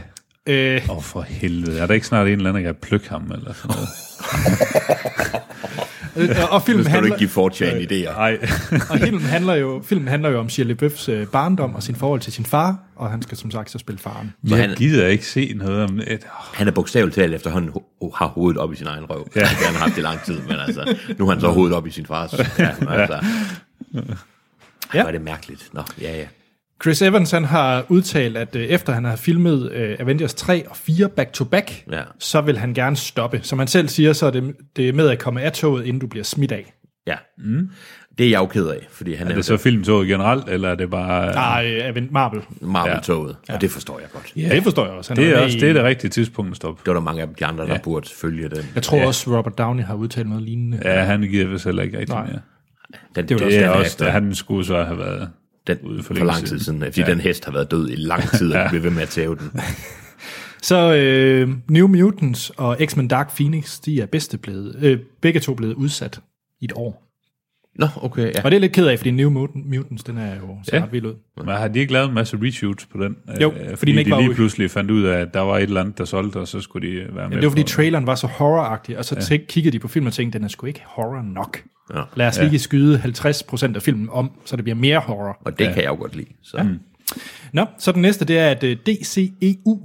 Speaker 1: Øh,
Speaker 3: Åh oh, for helvede. Er der ikke snart en eller anden, der kan plukke ham? Eller sådan noget?
Speaker 1: Øh, og filmen
Speaker 2: Skal du
Speaker 1: handler,
Speaker 2: ikke give Fortune idéer?
Speaker 3: Nej.
Speaker 1: og filmen handler jo filmen handler jo om Shirley Bøffs øh, barndom og sin forhold til sin far, og han skal som sagt så spille faren.
Speaker 3: Men
Speaker 2: han-
Speaker 3: jeg gider ikke se noget om et...
Speaker 2: Han er bogstaveligt talt efterhånden ho- ho- har hovedet op i sin egen røv. Ja. Jeg har gerne haft det i lang tid, men altså, nu har han så hovedet op i sin fars. (laughs) Ja, altså. Ja. Ej, var det mærkeligt. Nå, ja, ja.
Speaker 1: Chris Evans han har udtalt, at øh, efter han har filmet øh, Avengers 3 og 4 back-to-back,
Speaker 2: Ja.
Speaker 1: så vil han gerne stoppe. Som han selv siger, så er det, det er med at komme af toget, inden du bliver smidt af.
Speaker 2: ja. Mm. Det er jeg jo ked af, fordi han
Speaker 3: Er
Speaker 2: er,
Speaker 3: det så filmtoget generelt, eller er det bare...
Speaker 1: Nej, øh, Aven- Marvel.
Speaker 2: Marvel-toget, ja. og det forstår jeg godt.
Speaker 1: Ja. Det forstår jeg også. Han
Speaker 3: Det er
Speaker 1: med
Speaker 3: også
Speaker 1: i-
Speaker 3: det, er det rigtige tidspunkt at stoppe.
Speaker 2: Det var der mange af de andre, der ja. burde følge den.
Speaker 1: Jeg tror også, Robert Downey har udtalt noget lignende.
Speaker 3: Ja, han giver vist heller ikke rigtig
Speaker 1: Nej.
Speaker 3: mere.
Speaker 2: den det,
Speaker 3: Det er
Speaker 2: den
Speaker 3: også,
Speaker 2: efter-
Speaker 3: da han skulle så have været...
Speaker 2: den,
Speaker 3: ude
Speaker 2: for,
Speaker 3: for
Speaker 2: for
Speaker 3: længe
Speaker 2: lang tid
Speaker 3: siden.
Speaker 2: siden, fordi ja. den hest har været død i lang tid, og ja. de bliver ved med at tæve den.
Speaker 1: Så øh, New Mutants og X-Men Dark Phoenix, de er bedste blevet, øh, begge to blevet udsat i et år.
Speaker 2: Nå, okay, ja.
Speaker 1: Og det er jeg lidt ked af, fordi New Mut- Mutants, den er jo så
Speaker 3: Ja.
Speaker 1: ret vild ud.
Speaker 3: Men har de ikke lavet en masse reshoots på den?
Speaker 1: Jo,
Speaker 3: Øh,
Speaker 1: fordi den
Speaker 3: fordi
Speaker 1: ikke
Speaker 3: de
Speaker 1: var
Speaker 3: lige
Speaker 1: ude.
Speaker 3: pludselig fandt ud af, at der var et eller andet, der solgte, og så skulle de være med
Speaker 1: Men det var, fordi
Speaker 3: på-
Speaker 1: traileren var så horroragtig, og så tæk, kiggede de på filmen og tænkte, den er sgu ikke horror nok.
Speaker 2: Ja.
Speaker 1: Lad os lige skyde 50% af filmen om, så det bliver mere horror.
Speaker 2: Og det ja. Mm. kan jeg jo godt lide. Så. Ja.
Speaker 1: Nå, så den næste, det er, at øh, DCEU,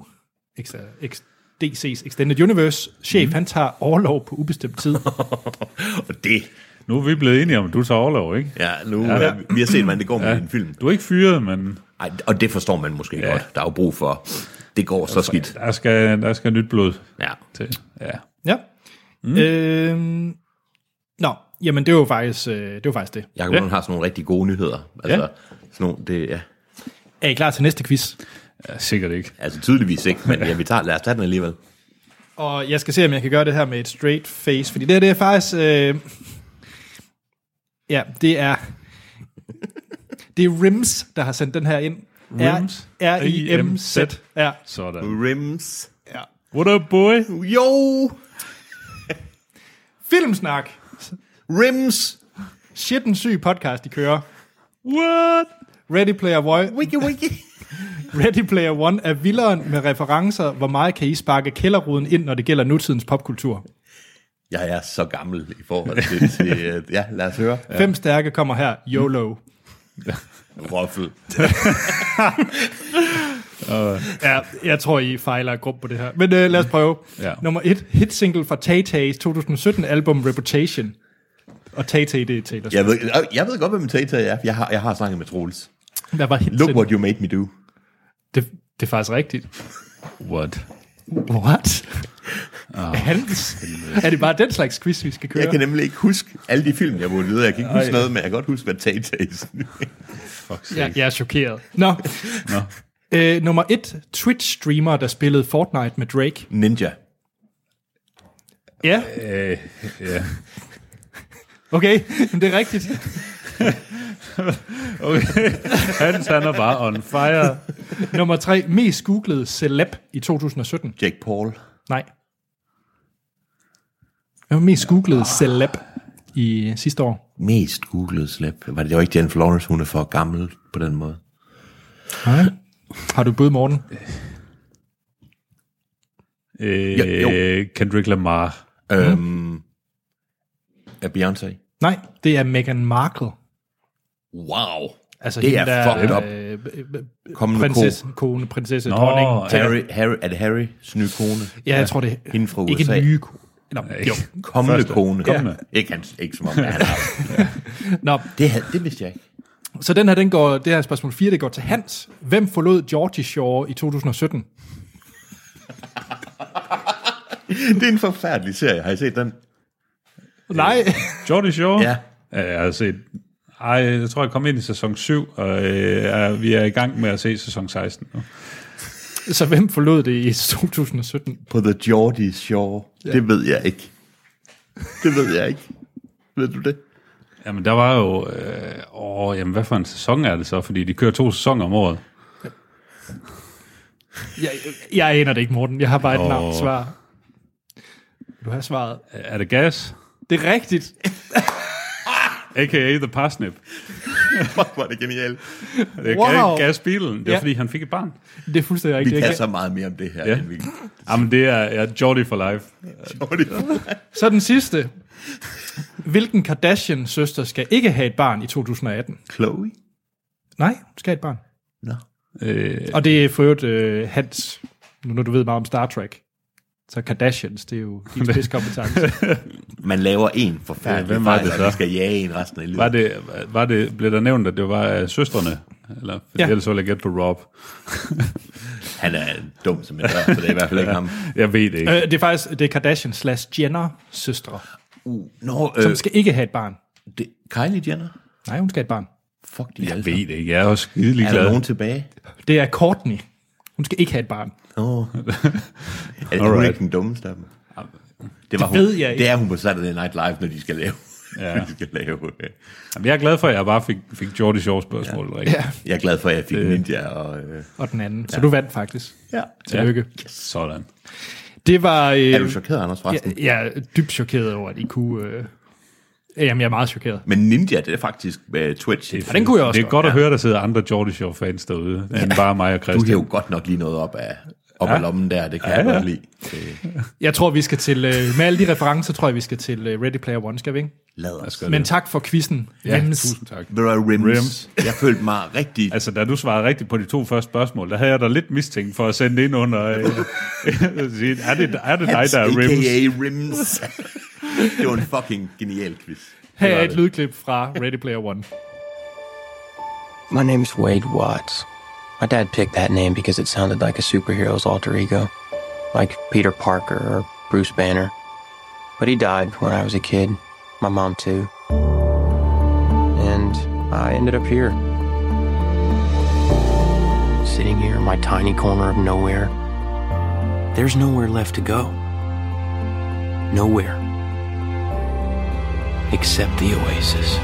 Speaker 1: ex- ex- DC's Extended Universe, chef, mm. han tager overlov på ubestemt tid.
Speaker 2: Og det,
Speaker 3: Nu er vi blevet enige om, at du tager overlov, ikke?
Speaker 2: ja, nu, ja. vi har set, hvordan det går med ja. en film.
Speaker 3: Du er ikke fyret, men
Speaker 2: Ej, og det forstår man måske ja. godt. Der er jo brug for, det går så skidt.
Speaker 3: der skal, der skal nyt blod
Speaker 2: Ja.
Speaker 3: til. Ja.
Speaker 1: Ja. Mm. Øhm, nå, jamen det var faktisk øh, det. Var faktisk det.
Speaker 2: Jakob Lund har sådan nogle rigtig gode nyheder. Altså, sådan nogle, det, ja.
Speaker 1: Er I klar til næste quiz?
Speaker 3: ja sikkert ikke.
Speaker 2: altså tydeligvis ikke, (laughs) men ja, vi tager, lad os tage den alligevel.
Speaker 1: Og jeg skal se, om jeg kan gøre det her med et straight face, fordi det her det er faktisk... Øh, ja, det er... Det er Rims, der har sendt den her ind.
Speaker 3: Rims?
Speaker 1: R- R-I-M-Z. Ja.
Speaker 3: Sådan.
Speaker 2: Rims.
Speaker 3: What up, boy?
Speaker 2: Jo!
Speaker 1: Filmsnak.
Speaker 2: Rims!
Speaker 1: Shit, en syg podcast, de kører.
Speaker 3: What?
Speaker 1: Ready Player One,
Speaker 2: Wiki wiki.
Speaker 1: (laughs) Ready Player One er vilderen med referencer. Hvor meget kan I sparke kælderruden ind, når det gælder nutidens popkultur?
Speaker 2: Jeg er så gammel i forhold (laughs) til, til øh, ja, lad os høre.
Speaker 1: Ja. Fem stærke kommer her. YOLO.
Speaker 2: Ruffel.
Speaker 1: Ja, jeg tror, I fejler gruppe på det her. Men øh, lad os prøve.
Speaker 3: Ja.
Speaker 1: Nummer et, hit single fra Tay Tay's 2017 album Reputation. Og Tay Tay, det er Taylor
Speaker 2: Jeg ved, øh, jeg ved godt, hvad min tater er. Jeg har, jeg har snakket med Troels.
Speaker 1: Swift. Hvad var hit
Speaker 2: Look
Speaker 1: single?
Speaker 2: what you made me do.
Speaker 1: Det, det er faktisk rigtigt.
Speaker 3: What?
Speaker 1: What? Oh. Hans. Er det bare den slags quiz, vi skal køre?
Speaker 2: Ah, Jeg kan nemlig ikke huske alle de film, jeg vurderede. Jeg kan ikke huske noget, men jeg kan godt huske, hvad Tate er.
Speaker 1: Ja, jeg er chokeret. Nå. Nå. Øh, nummer et, Twitch-streamer, der spillede Fortnite med Drake.
Speaker 2: (laughs) Ninja.
Speaker 1: Ja,
Speaker 3: Øh, ja.
Speaker 1: okay, men det er rigtigt.
Speaker 3: Okay. Hans, han er bare on fire.
Speaker 1: Nummer tre, mest googlede celeb i 2017.
Speaker 2: Jake Paul.
Speaker 1: Nej. Jeg var mest googlet celeb i sidste år.
Speaker 2: Mest googlede slip. Var det jo ikke Jennifer Lawrence, hun er for gammel på den måde.
Speaker 1: Nej. Har du bud, Morten?
Speaker 3: Øh,
Speaker 2: Jo, jo.
Speaker 3: Kendrick Lamar.
Speaker 2: Øhm, er Beyoncé.
Speaker 1: Nej, det er Meghan Markle.
Speaker 2: Wow.
Speaker 1: Altså
Speaker 2: Det
Speaker 1: hende,
Speaker 2: er fucked
Speaker 1: der,
Speaker 2: up.
Speaker 1: øh, øh,
Speaker 2: Kommende
Speaker 1: prinsesse,
Speaker 2: ko.
Speaker 1: kone, prinsesse, Nå,
Speaker 3: Nå,
Speaker 1: dronning.
Speaker 2: Harry, Harry, er det Harrys nye kone?
Speaker 1: Ja, jeg tror det er
Speaker 2: Hende fra
Speaker 1: ikke
Speaker 2: USA.
Speaker 1: en nye kone. Nå, jo.
Speaker 2: Kommende
Speaker 3: Første.
Speaker 2: kone.
Speaker 3: Kommende.
Speaker 2: Ja. Ikke, hans, ikke som om, han har.
Speaker 1: Nå,
Speaker 2: (laughs) Det, havde- det vidste jeg ikke.
Speaker 1: så den her, den går, det her spørgsmål 4, det går til Hans. Hvem forlod Georgie Shore i 2017?
Speaker 2: (laughs) Det er en forfærdelig serie. Har I set den?
Speaker 1: Nej, (laughs)
Speaker 3: Jordy Shore?
Speaker 2: Ja.
Speaker 3: Ja, Jeg har set... Ej, jeg tror, jeg kom ind i sæson 7, og øh, er, vi er i gang med at se sæson 16 nu.
Speaker 1: så hvem forlod det i 2017?
Speaker 2: På The Geordie Shore. Ja. Det ved jeg ikke. Det ved jeg ikke. Ved du det?
Speaker 3: Jamen, der var jo... Øh, åh, jamen, hvad for en sæson er det så? Fordi de kører to sæsoner om året.
Speaker 1: Jeg, jeg aner det ikke, Morten. Jeg har bare et
Speaker 3: Nå.
Speaker 1: oh. navn svar. Du har svaret.
Speaker 3: Er det gas?
Speaker 1: Det er rigtigt.
Speaker 3: A.k.a. The Parsnip.
Speaker 2: (laughs) Fuck, hvor er det genialt.
Speaker 3: Det er
Speaker 1: Wow.
Speaker 3: wow. gasbilen. Det
Speaker 1: Ja.
Speaker 3: er, ja. fordi han fik et barn.
Speaker 1: Det er fuldstændig
Speaker 2: Vi
Speaker 1: rigtigt.
Speaker 2: kan
Speaker 1: Jeg
Speaker 2: så meget mere om det her,
Speaker 3: Ja.
Speaker 2: end vi
Speaker 3: Jamen, det er ja, Jordy for life.
Speaker 2: Geordie.
Speaker 1: Så den sidste. Hvilken Kardashian-søster skal ikke have et barn i 2018?
Speaker 2: Chloe?
Speaker 1: Nej, hun skal have et barn.
Speaker 2: Nå.
Speaker 3: Øh,
Speaker 1: Og det er for øvrigt øh, Hans, nu når du ved meget om Star Trek. Så Kardashians, det er jo din
Speaker 2: (laughs)
Speaker 1: spidskompetence.
Speaker 2: Man laver en forfærdelig
Speaker 3: Ja,
Speaker 2: ja,
Speaker 3: hvem var
Speaker 2: fejl,
Speaker 3: det
Speaker 2: og
Speaker 3: så?
Speaker 2: man skal jage en resten af livet.
Speaker 3: var det, var det, blev der nævnt, at det var uh, søstrene? Eller, fordi
Speaker 1: Ja.
Speaker 3: ja. ellers ville jeg gætte på Rob. (laughs)
Speaker 2: Han er dum som en dør, så det er i hvert fald (laughs) ikke ham.
Speaker 3: Jeg ved det ikke.
Speaker 1: øh, det er faktisk det er Kardashian slash Jenner søstre,
Speaker 2: Uh, Nå,
Speaker 1: som
Speaker 2: øh,
Speaker 1: skal ikke have et barn.
Speaker 2: det, Kylie Jenner?
Speaker 1: Nej, hun skal have et barn.
Speaker 2: Fuck de alle
Speaker 3: Jeg
Speaker 2: sammen.
Speaker 3: ved det ikke. Jeg er også skidelig
Speaker 2: Er der
Speaker 3: glad.
Speaker 2: nogen tilbage?
Speaker 1: Det er Courtney. Hun skal ikke have et barn.
Speaker 2: (laughs) Nå. er hun
Speaker 3: Alright.
Speaker 2: ikke den dummeste af dem? Det, var
Speaker 1: Det ved jeg ikke.
Speaker 2: Det er hun på Saturday Night Live, (laughs) når de skal lave.
Speaker 3: Ja.
Speaker 2: Ja. de skal lave. øh.
Speaker 3: Jamen, jeg er glad for, at jeg bare fik, fik Jordi Shaw spørgsmål. Ja. Ja.
Speaker 2: Jeg er glad for, at jeg fik Ninja og... Øh,
Speaker 1: Og den anden. Så du vandt faktisk.
Speaker 2: ja.
Speaker 1: Tillykke.
Speaker 3: Sådan.
Speaker 1: Det var... Øh,
Speaker 2: Er du chokeret, Anders, forresten?
Speaker 1: jeg, jeg er dybt chokeret over, at I kunne... Øh, jamen, jeg er meget chokeret.
Speaker 2: Men Ninja, det er faktisk øh, Twitch.
Speaker 1: Og den kunne jeg også
Speaker 3: Det er godt at høre, der sidder andre Jordi Shaw-fans derude, end bare mig og
Speaker 2: Du
Speaker 3: Christian.
Speaker 2: har Altså, jo godt nok lige noget op af, op ja. af lommen der, det kan ja, jeg
Speaker 3: ja.
Speaker 2: godt lide. Øh,
Speaker 1: Jeg tror, vi skal til... Øh, med alle de referencer, tror jeg, vi skal til øh, Ready Player One, skal vi ikke?
Speaker 2: lad os.
Speaker 1: Men tak for quizzen.
Speaker 3: Ja,
Speaker 1: Rims.
Speaker 3: tusind tak.
Speaker 2: Ved du hvad, Rims?
Speaker 3: Rims.
Speaker 2: Jeg følte mig rigtig...
Speaker 3: Altså, da du svarede rigtigt på de to første spørgsmål, der havde jeg dig lidt mistænkt for at sende ind under... Øh, (laughs) at sige, er, det, er det dig, der er Rims?
Speaker 2: AKA Rims. det var en fucking genial quiz.
Speaker 1: Her er et lydklip fra Ready Player One.
Speaker 9: My name's Wade Watts. My dad picked that name because it sounded like a superhero's alter ego, like Peter Parker or Bruce Banner. But he died when I was a kid, my mom too. And I ended up here. Sitting here in my tiny corner of nowhere. There's nowhere left to go. Nowhere. Except the oasis.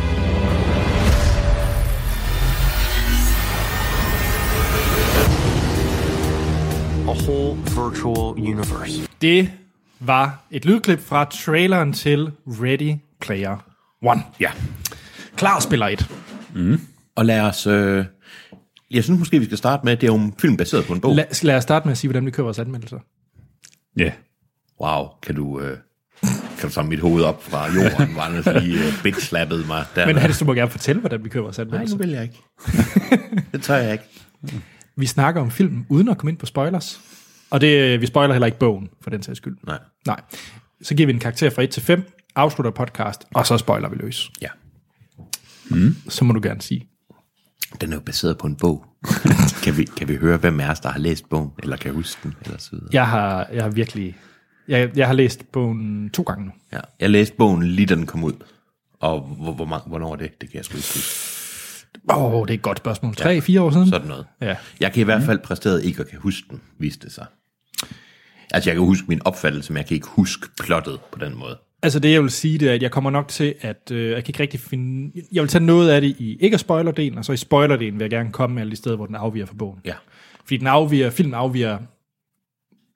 Speaker 9: whole virtual universe.
Speaker 1: Det var et lydklip fra traileren til Ready Player One.
Speaker 2: Ja.
Speaker 1: Klar spiller 1.
Speaker 2: Og lad os... Øh, jeg synes måske, vi skal starte med, at det er jo en film baseret på en bog.
Speaker 1: Lad, lad os starte med at sige, hvordan vi kører vores anmeldelser.
Speaker 3: Ja.
Speaker 2: wow, kan du... Øh, kan du samle mit hoved op fra jorden, hvor Anders lige øh, bitch-slappede mig. Der.
Speaker 1: Men Hans, du må gerne fortælle, hvordan vi kører vores
Speaker 2: Nej,
Speaker 1: anmeldelser.
Speaker 2: nu vil jeg ikke. det tør jeg ikke.
Speaker 1: Vi snakker om filmen uden at komme ind på spoilers. Og det, øh, vi spoiler heller ikke bogen, for den sags skyld.
Speaker 2: Nej.
Speaker 1: Nej. Så giver vi en karakter fra 1 til 5, afslutter podcast, og så spoiler vi løs.
Speaker 2: Ja.
Speaker 1: Så må du gerne sige.
Speaker 2: Den er jo baseret på en bog. kan, vi, kan vi høre, hvem af os, der har læst bogen, eller kan huske den, eller så videre?
Speaker 1: Jeg har, jeg har virkelig... Jeg, jeg har læst bogen to gange nu.
Speaker 2: Ja. Jeg læste bogen lige da den kom ud. Og hvor, hvor mange, hvornår er det? Det kan jeg sgu ikke huske.
Speaker 1: Åh, oh, det er et godt spørgsmål. Tre, fire år siden?
Speaker 2: Sådan noget.
Speaker 1: Ja.
Speaker 2: Jeg kan i hvert fald præsteret ikke at kan huske den, viste det sig. Altså, jeg kan huske min opfattelse, men jeg kan ikke huske plottet på den måde.
Speaker 1: Altså det, jeg vil sige, det er, at jeg kommer nok til, at øh, jeg kan ikke rigtig finde... Jeg vil tage noget af det i ikke at spoiler-delen, og så i spoiler-delen vil jeg gerne komme med alle de steder, hvor den afviger fra bogen.
Speaker 2: Ja.
Speaker 1: Fordi den afviger, filmen afviger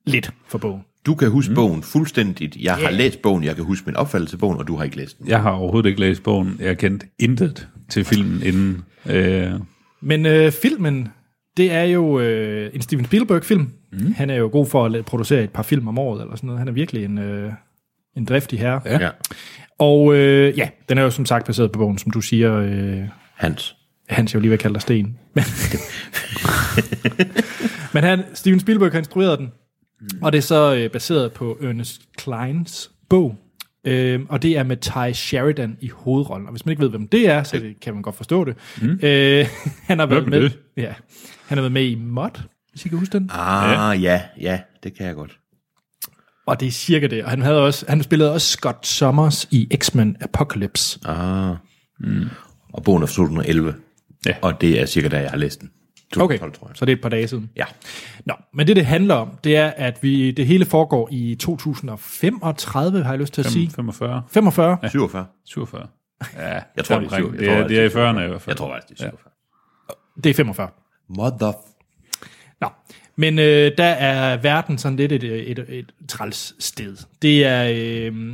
Speaker 1: lidt fra bogen.
Speaker 2: Du kan huske mm. bogen fuldstændigt. Jeg yeah. har læst bogen, jeg kan huske min opfattelse af bogen, og du har ikke læst den.
Speaker 3: Jeg har overhovedet ikke læst bogen. Jeg kendte intet til filmen inden. Øh,
Speaker 1: Men øh, filmen, det er jo øh, en Steven Spielberg-film. Mm. Han er jo god for at la- producere et par film om året, eller sådan noget. Han er virkelig en, øh, en driftig herre. Ja.
Speaker 2: Ja.
Speaker 1: Og øh, ja, den er jo som sagt baseret på bogen, som du siger, øh,
Speaker 2: Hans.
Speaker 1: Hans, jeg vil lige ved kalde dig Sten. Men- (laughs) Men han, Steven Spielberg har instrueret den,
Speaker 2: Mm.
Speaker 1: og det er så øh, baseret på Ernest Kleins bog, øh, og det er med Ty Sheridan i hovedrollen. Og hvis man ikke ved, hvem det er, så det, kan man godt forstå det. Mm. Øh, (laughs) han har været
Speaker 3: Hvem
Speaker 1: med,
Speaker 3: er
Speaker 1: ja, han har været med i Mod, hvis I kan huske den.
Speaker 2: Ah, ja. ja, ja, det kan jeg godt.
Speaker 1: Og det er cirka det. Og han, havde også, han spillede også Scott Summers i X-Men Apocalypse.
Speaker 2: Ah. Mm. Og bogen er fra 2011.
Speaker 3: Ja.
Speaker 2: Og det er cirka da, jeg har læst den. 2012, tror jeg.
Speaker 1: så det er et par dage siden.
Speaker 2: Ja.
Speaker 1: Nå, men det det handler om, det er, at vi, det hele foregår i 2035, har jeg lyst til at sige.
Speaker 3: 45,
Speaker 1: 45? Ja.
Speaker 2: 47.
Speaker 3: 47. Ja,
Speaker 2: Jeg tror, det er
Speaker 3: omkring.
Speaker 2: syv- jeg
Speaker 3: det
Speaker 2: tror,
Speaker 3: er,
Speaker 2: det
Speaker 3: det
Speaker 2: er
Speaker 3: er i 40'erne i hvert fald.
Speaker 2: Jeg tror faktisk, det er 47. Ja.
Speaker 1: Det er 45.
Speaker 2: Mother...
Speaker 1: Nå, men øh, der er verden sådan lidt et, et, et, et træls sted. Det er, øh,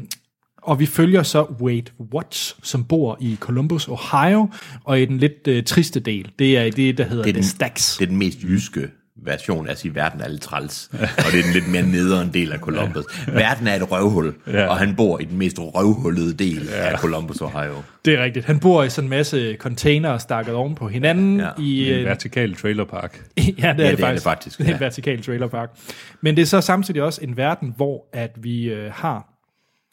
Speaker 1: og vi følger så Wade Watts, som bor i Columbus, Ohio, og i den lidt øh, triste del, det er i det, der hedder
Speaker 2: Det er
Speaker 1: det
Speaker 2: den-
Speaker 1: The Stacks.
Speaker 2: Det er den mest jyske version af at sige, verden er lidt træls. og det er den lidt mere nederen del af Columbus. Verden er et røvhul,
Speaker 3: Ja.
Speaker 2: og han bor i den mest røvhullede del af Columbus, Ohio.
Speaker 1: Det er rigtigt. Han bor i sådan en masse containere stakket oven på hinanden. Ja,
Speaker 2: Ja,
Speaker 1: i,
Speaker 3: En
Speaker 1: øh,
Speaker 3: vertikal trailerpark.
Speaker 1: (laughs) ja, det, er, det,
Speaker 2: det er
Speaker 1: faktisk.
Speaker 2: det faktisk,
Speaker 1: Det er en
Speaker 2: ja.
Speaker 1: vertikal trailerpark. Men det er så samtidig også en verden, hvor at vi øh, har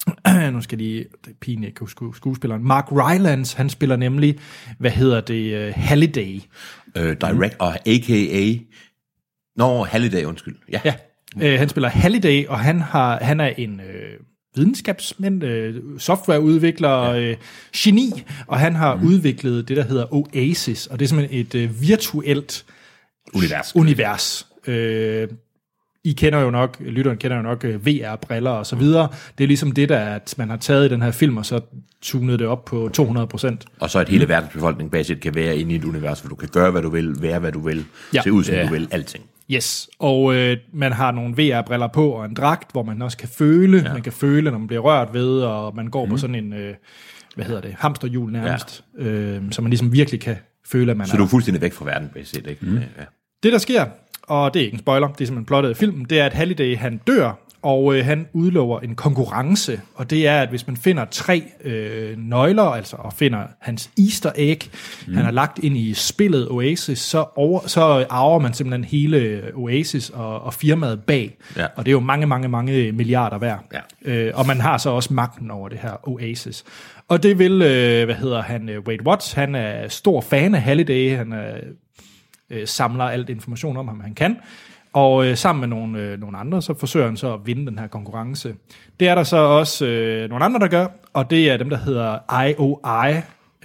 Speaker 1: (clears throat) nu skal jeg lige, det er pinligt, jeg ikke kan huske skuespilleren, Mark Rylance, han spiller nemlig, hvad hedder det, øh, Halliday.
Speaker 2: Øh, direct, og a.k.a. Nå, Halliday, undskyld. Ja.
Speaker 1: Ja, øh, han spiller Halliday, og han, har, han er en øh, videnskabsmand, øh, softwareudvikler, ja. øh, geni, og han har mm. udviklet det, der hedder Oasis, og det er simpelthen et øh, virtuelt
Speaker 2: Univers.
Speaker 1: univers. Øh, I kender jo nok, lytteren kender jo nok øh, VR-briller og så videre. Det er ligesom det, der er, at man har taget i den her film, og så tunet det op på 200 procent.
Speaker 2: Og så at hele verdens befolkning basisk set kan være inde i et univers, hvor du kan gøre, hvad du vil, være, hvad du vil,
Speaker 1: Ja.
Speaker 2: ja. se ud, som
Speaker 3: Ja.
Speaker 2: ja. du vil, alting.
Speaker 1: Yes, og øh, man har nogle VR-briller på og en dragt, hvor man også kan føle, ja. man kan føle, når man bliver rørt ved, og man går mm. på sådan en, øh, hvad hedder det, hamsterhjul nærmest, ja. øh, så man ligesom virkelig kan føle, at man
Speaker 2: Så
Speaker 1: er
Speaker 2: du er fuldstændig væk fra verden, basisk set, ikke? Mm. Ja.
Speaker 1: Det, der sker, og det er ikke en spoiler, det er simpelthen plottet i filmen, det er, at Halliday, han dør, og øh, han udlover en konkurrence, og det er, at hvis man finder tre øh, nøgler, altså og finder hans easter egg, mm. han har lagt ind i spillet Oasis, så, over, så arver man simpelthen hele øh, Oasis og, og firmaet bag,
Speaker 2: Ja.
Speaker 1: og det er jo mange, mange, mange milliarder værd.
Speaker 2: Ja.
Speaker 1: Øh, og man har så også magten over det her Oasis. Og det vil, øh, hvad hedder han, øh, Wade Watts, han er stor fan af Halliday, han er øh, samler alt information om ham, han kan. Og øh, sammen med nogle, øh, nogle andre, så forsøger han så at vinde den her konkurrence. Det er der så også øh, nogle andre, der gør, og det er dem, der hedder IOI.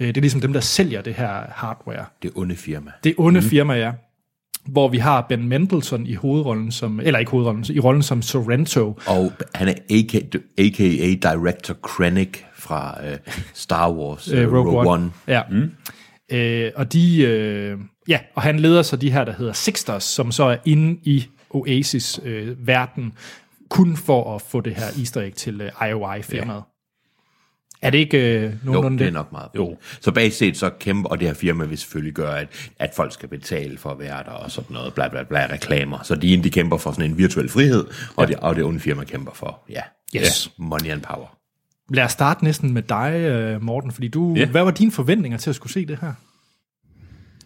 Speaker 1: Øh, det er ligesom dem, der sælger det her hardware.
Speaker 2: Det onde firma.
Speaker 1: Det onde mm. firma, ja. Hvor vi har Ben Mendelsohn i hovedrollen som, eller ikke hovedrollen, i rollen som Sorrento.
Speaker 2: Og han er aka, aka Director Krennic fra øh, Star Wars øh, Rogue, Rogue One. One.
Speaker 1: Ja. Mm. Øh, og de, øh, ja, og han leder så de her, der hedder Sixters, som så er inde i Oasis-verden, kun for at få det her easter egg til øh, IOI-firmaet. Er det ikke øh,
Speaker 2: Jo,
Speaker 1: nogenlunde
Speaker 2: det er nok meget. Jo. Så basisk set så kæmper, og det her firma vil selvfølgelig gøre, at, at folk skal betale for at være der og sådan noget, bla bla bla, reklamer. Så de, ene, de kæmper for sådan en virtuel frihed, og, det, og det onde firma kæmper for, ja,
Speaker 1: Yes.
Speaker 2: ja, money and power.
Speaker 1: Lad os starte næsten med dig, øh, Morten, fordi du,
Speaker 3: Ja.
Speaker 1: yeah. hvad var dine forventninger til at skulle se det her?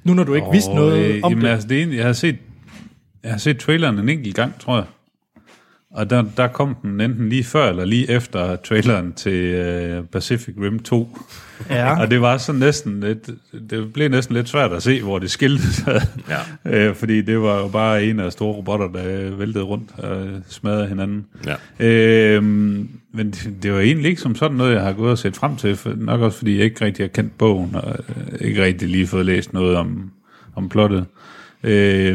Speaker 1: Nu når du ikke oh, vidste
Speaker 3: Og,
Speaker 1: noget om
Speaker 3: jamen,
Speaker 1: det.
Speaker 3: Altså, det er egentlig, jeg har set, jeg har set traileren en enkelt gang, tror jeg. Og der, der kom den enten lige før eller lige efter traileren til øh, Pacific Rim
Speaker 2: (laughs)
Speaker 3: 2.
Speaker 1: Ja.
Speaker 3: Og det var sådan næsten lidt, det blev næsten lidt svært at se, hvor det skilte sig.
Speaker 2: Ja.
Speaker 3: (laughs) Øh, fordi det var jo bare en af store robotter, der øh, væltede rundt og øh, smadrede hinanden.
Speaker 2: Ja.
Speaker 3: Øh, men det, det var egentlig ikke som sådan noget, jeg har gået og set frem til. For, nok også fordi jeg ikke rigtig har kendt bogen, og øh, ikke rigtig lige fået læst noget om, om plottet. Øh,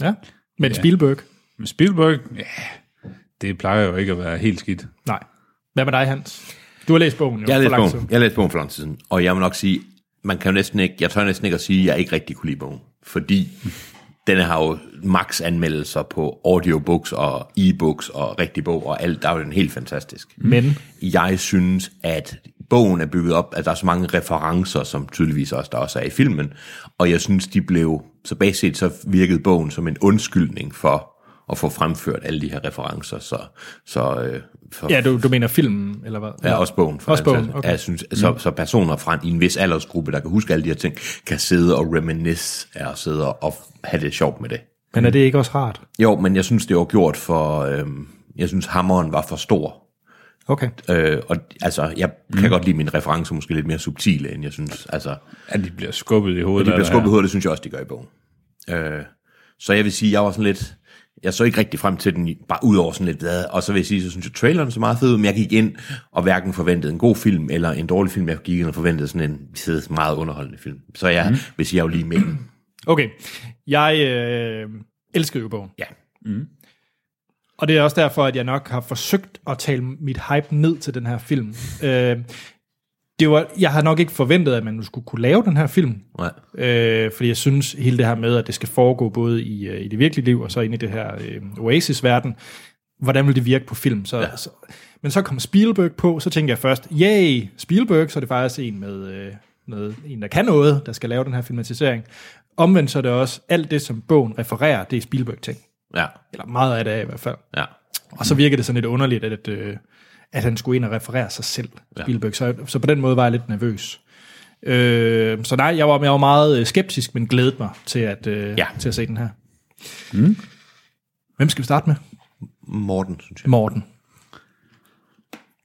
Speaker 1: ja. Men Spielberg?
Speaker 3: men Spielberg, ja, det plejer jo ikke at være helt skidt.
Speaker 1: Nej. Hvad med dig, Hans? Du har læst bogen jo.
Speaker 2: Jeg har
Speaker 1: for
Speaker 2: læst
Speaker 1: lang
Speaker 2: bogen.
Speaker 1: tid.
Speaker 2: Jeg har læst bogen for lang tid siden, og jeg må nok sige, man kan jo næsten ikke, jeg tør næsten ikke at sige, at jeg ikke rigtig kunne lide bogen, fordi den har jo max anmeldelser på audiobooks og e-books og rigtig bog og alt, der er jo den helt fantastisk.
Speaker 1: Men
Speaker 2: jeg synes, at bogen er bygget op, at der er så mange referencer, som tydeligvis også der også er i filmen, og jeg synes, de blev, så basisk set, så virkede bogen som en undskyldning for at få fremført alle de her referencer, så, så, øh, så
Speaker 1: ja, du, du mener filmen, eller hvad?
Speaker 2: Ja, også bogen. For
Speaker 1: Også
Speaker 2: altså,
Speaker 1: bogen, okay.
Speaker 2: jeg synes, så, så personer fra en, i en vis aldersgruppe, der kan huske alle de her ting, kan sidde og reminisce og sidde og, og have det sjovt med det.
Speaker 1: Men er det ikke også rart?
Speaker 2: Jo, men jeg synes, det var gjort for... Øhm, jeg synes, hammeren var for stor.
Speaker 1: Okay.
Speaker 2: Øh, og altså, jeg kan godt lide mine referencer måske lidt mere subtile, end jeg synes. Altså,
Speaker 3: At de bliver skubbet i
Speaker 2: og
Speaker 3: hovedet.
Speaker 2: de bliver
Speaker 3: eller-
Speaker 2: skubbet i hovedet, det synes jeg også, de gør i bogen. Øh, så jeg vil sige, jeg var sådan lidt... Jeg så ikke rigtig frem til den, bare ud over sådan lidt hvad. Og så vil jeg sige, så synes jeg, traileren så meget fed ud, men jeg gik ind og hverken forventede en god film eller en dårlig film. Jeg gik ind og forventede sådan en fed, meget underholdende film. Så jeg mm. vil sige, jeg er jo lige med.
Speaker 1: Okay. Jeg øh, elskede jo bogen.
Speaker 2: Ja.
Speaker 1: Og det er også derfor, at jeg nok har forsøgt at tale mit hype ned til den her film. Øh, det var, jeg har nok ikke forventet, at man nu skulle kunne lave den her film.
Speaker 2: Nej.
Speaker 1: Øh, fordi jeg synes, hele det her med, at det skal foregå både i, øh, i det virkelige liv, og så ind i det her øh, Oasis-verden, hvordan vil det virke på film? Så, ja. så, men så kom Spielberg på, så tænkte jeg først, yay, Spielberg, så er det faktisk en med, øh, med en, der kan noget, der skal lave den her filmatisering. Omvendt så er det også alt det, som bogen refererer, det er Spielberg-ting.
Speaker 2: Ja,
Speaker 1: Eller meget af det er i hvert fald.
Speaker 2: ja.
Speaker 1: Og så virker det sådan lidt underligt, at, øh, at han skulle ind og referere sig selv, Spielberg. Så, så på den måde var jeg lidt nervøs. Øh, så nej, jeg var, jeg var meget øh, skeptisk, men glædede mig til at, øh, ja.
Speaker 2: Ja.
Speaker 1: til at se den her. Mm. Hvem skal vi starte med?
Speaker 2: Morten, synes jeg.
Speaker 1: Morten.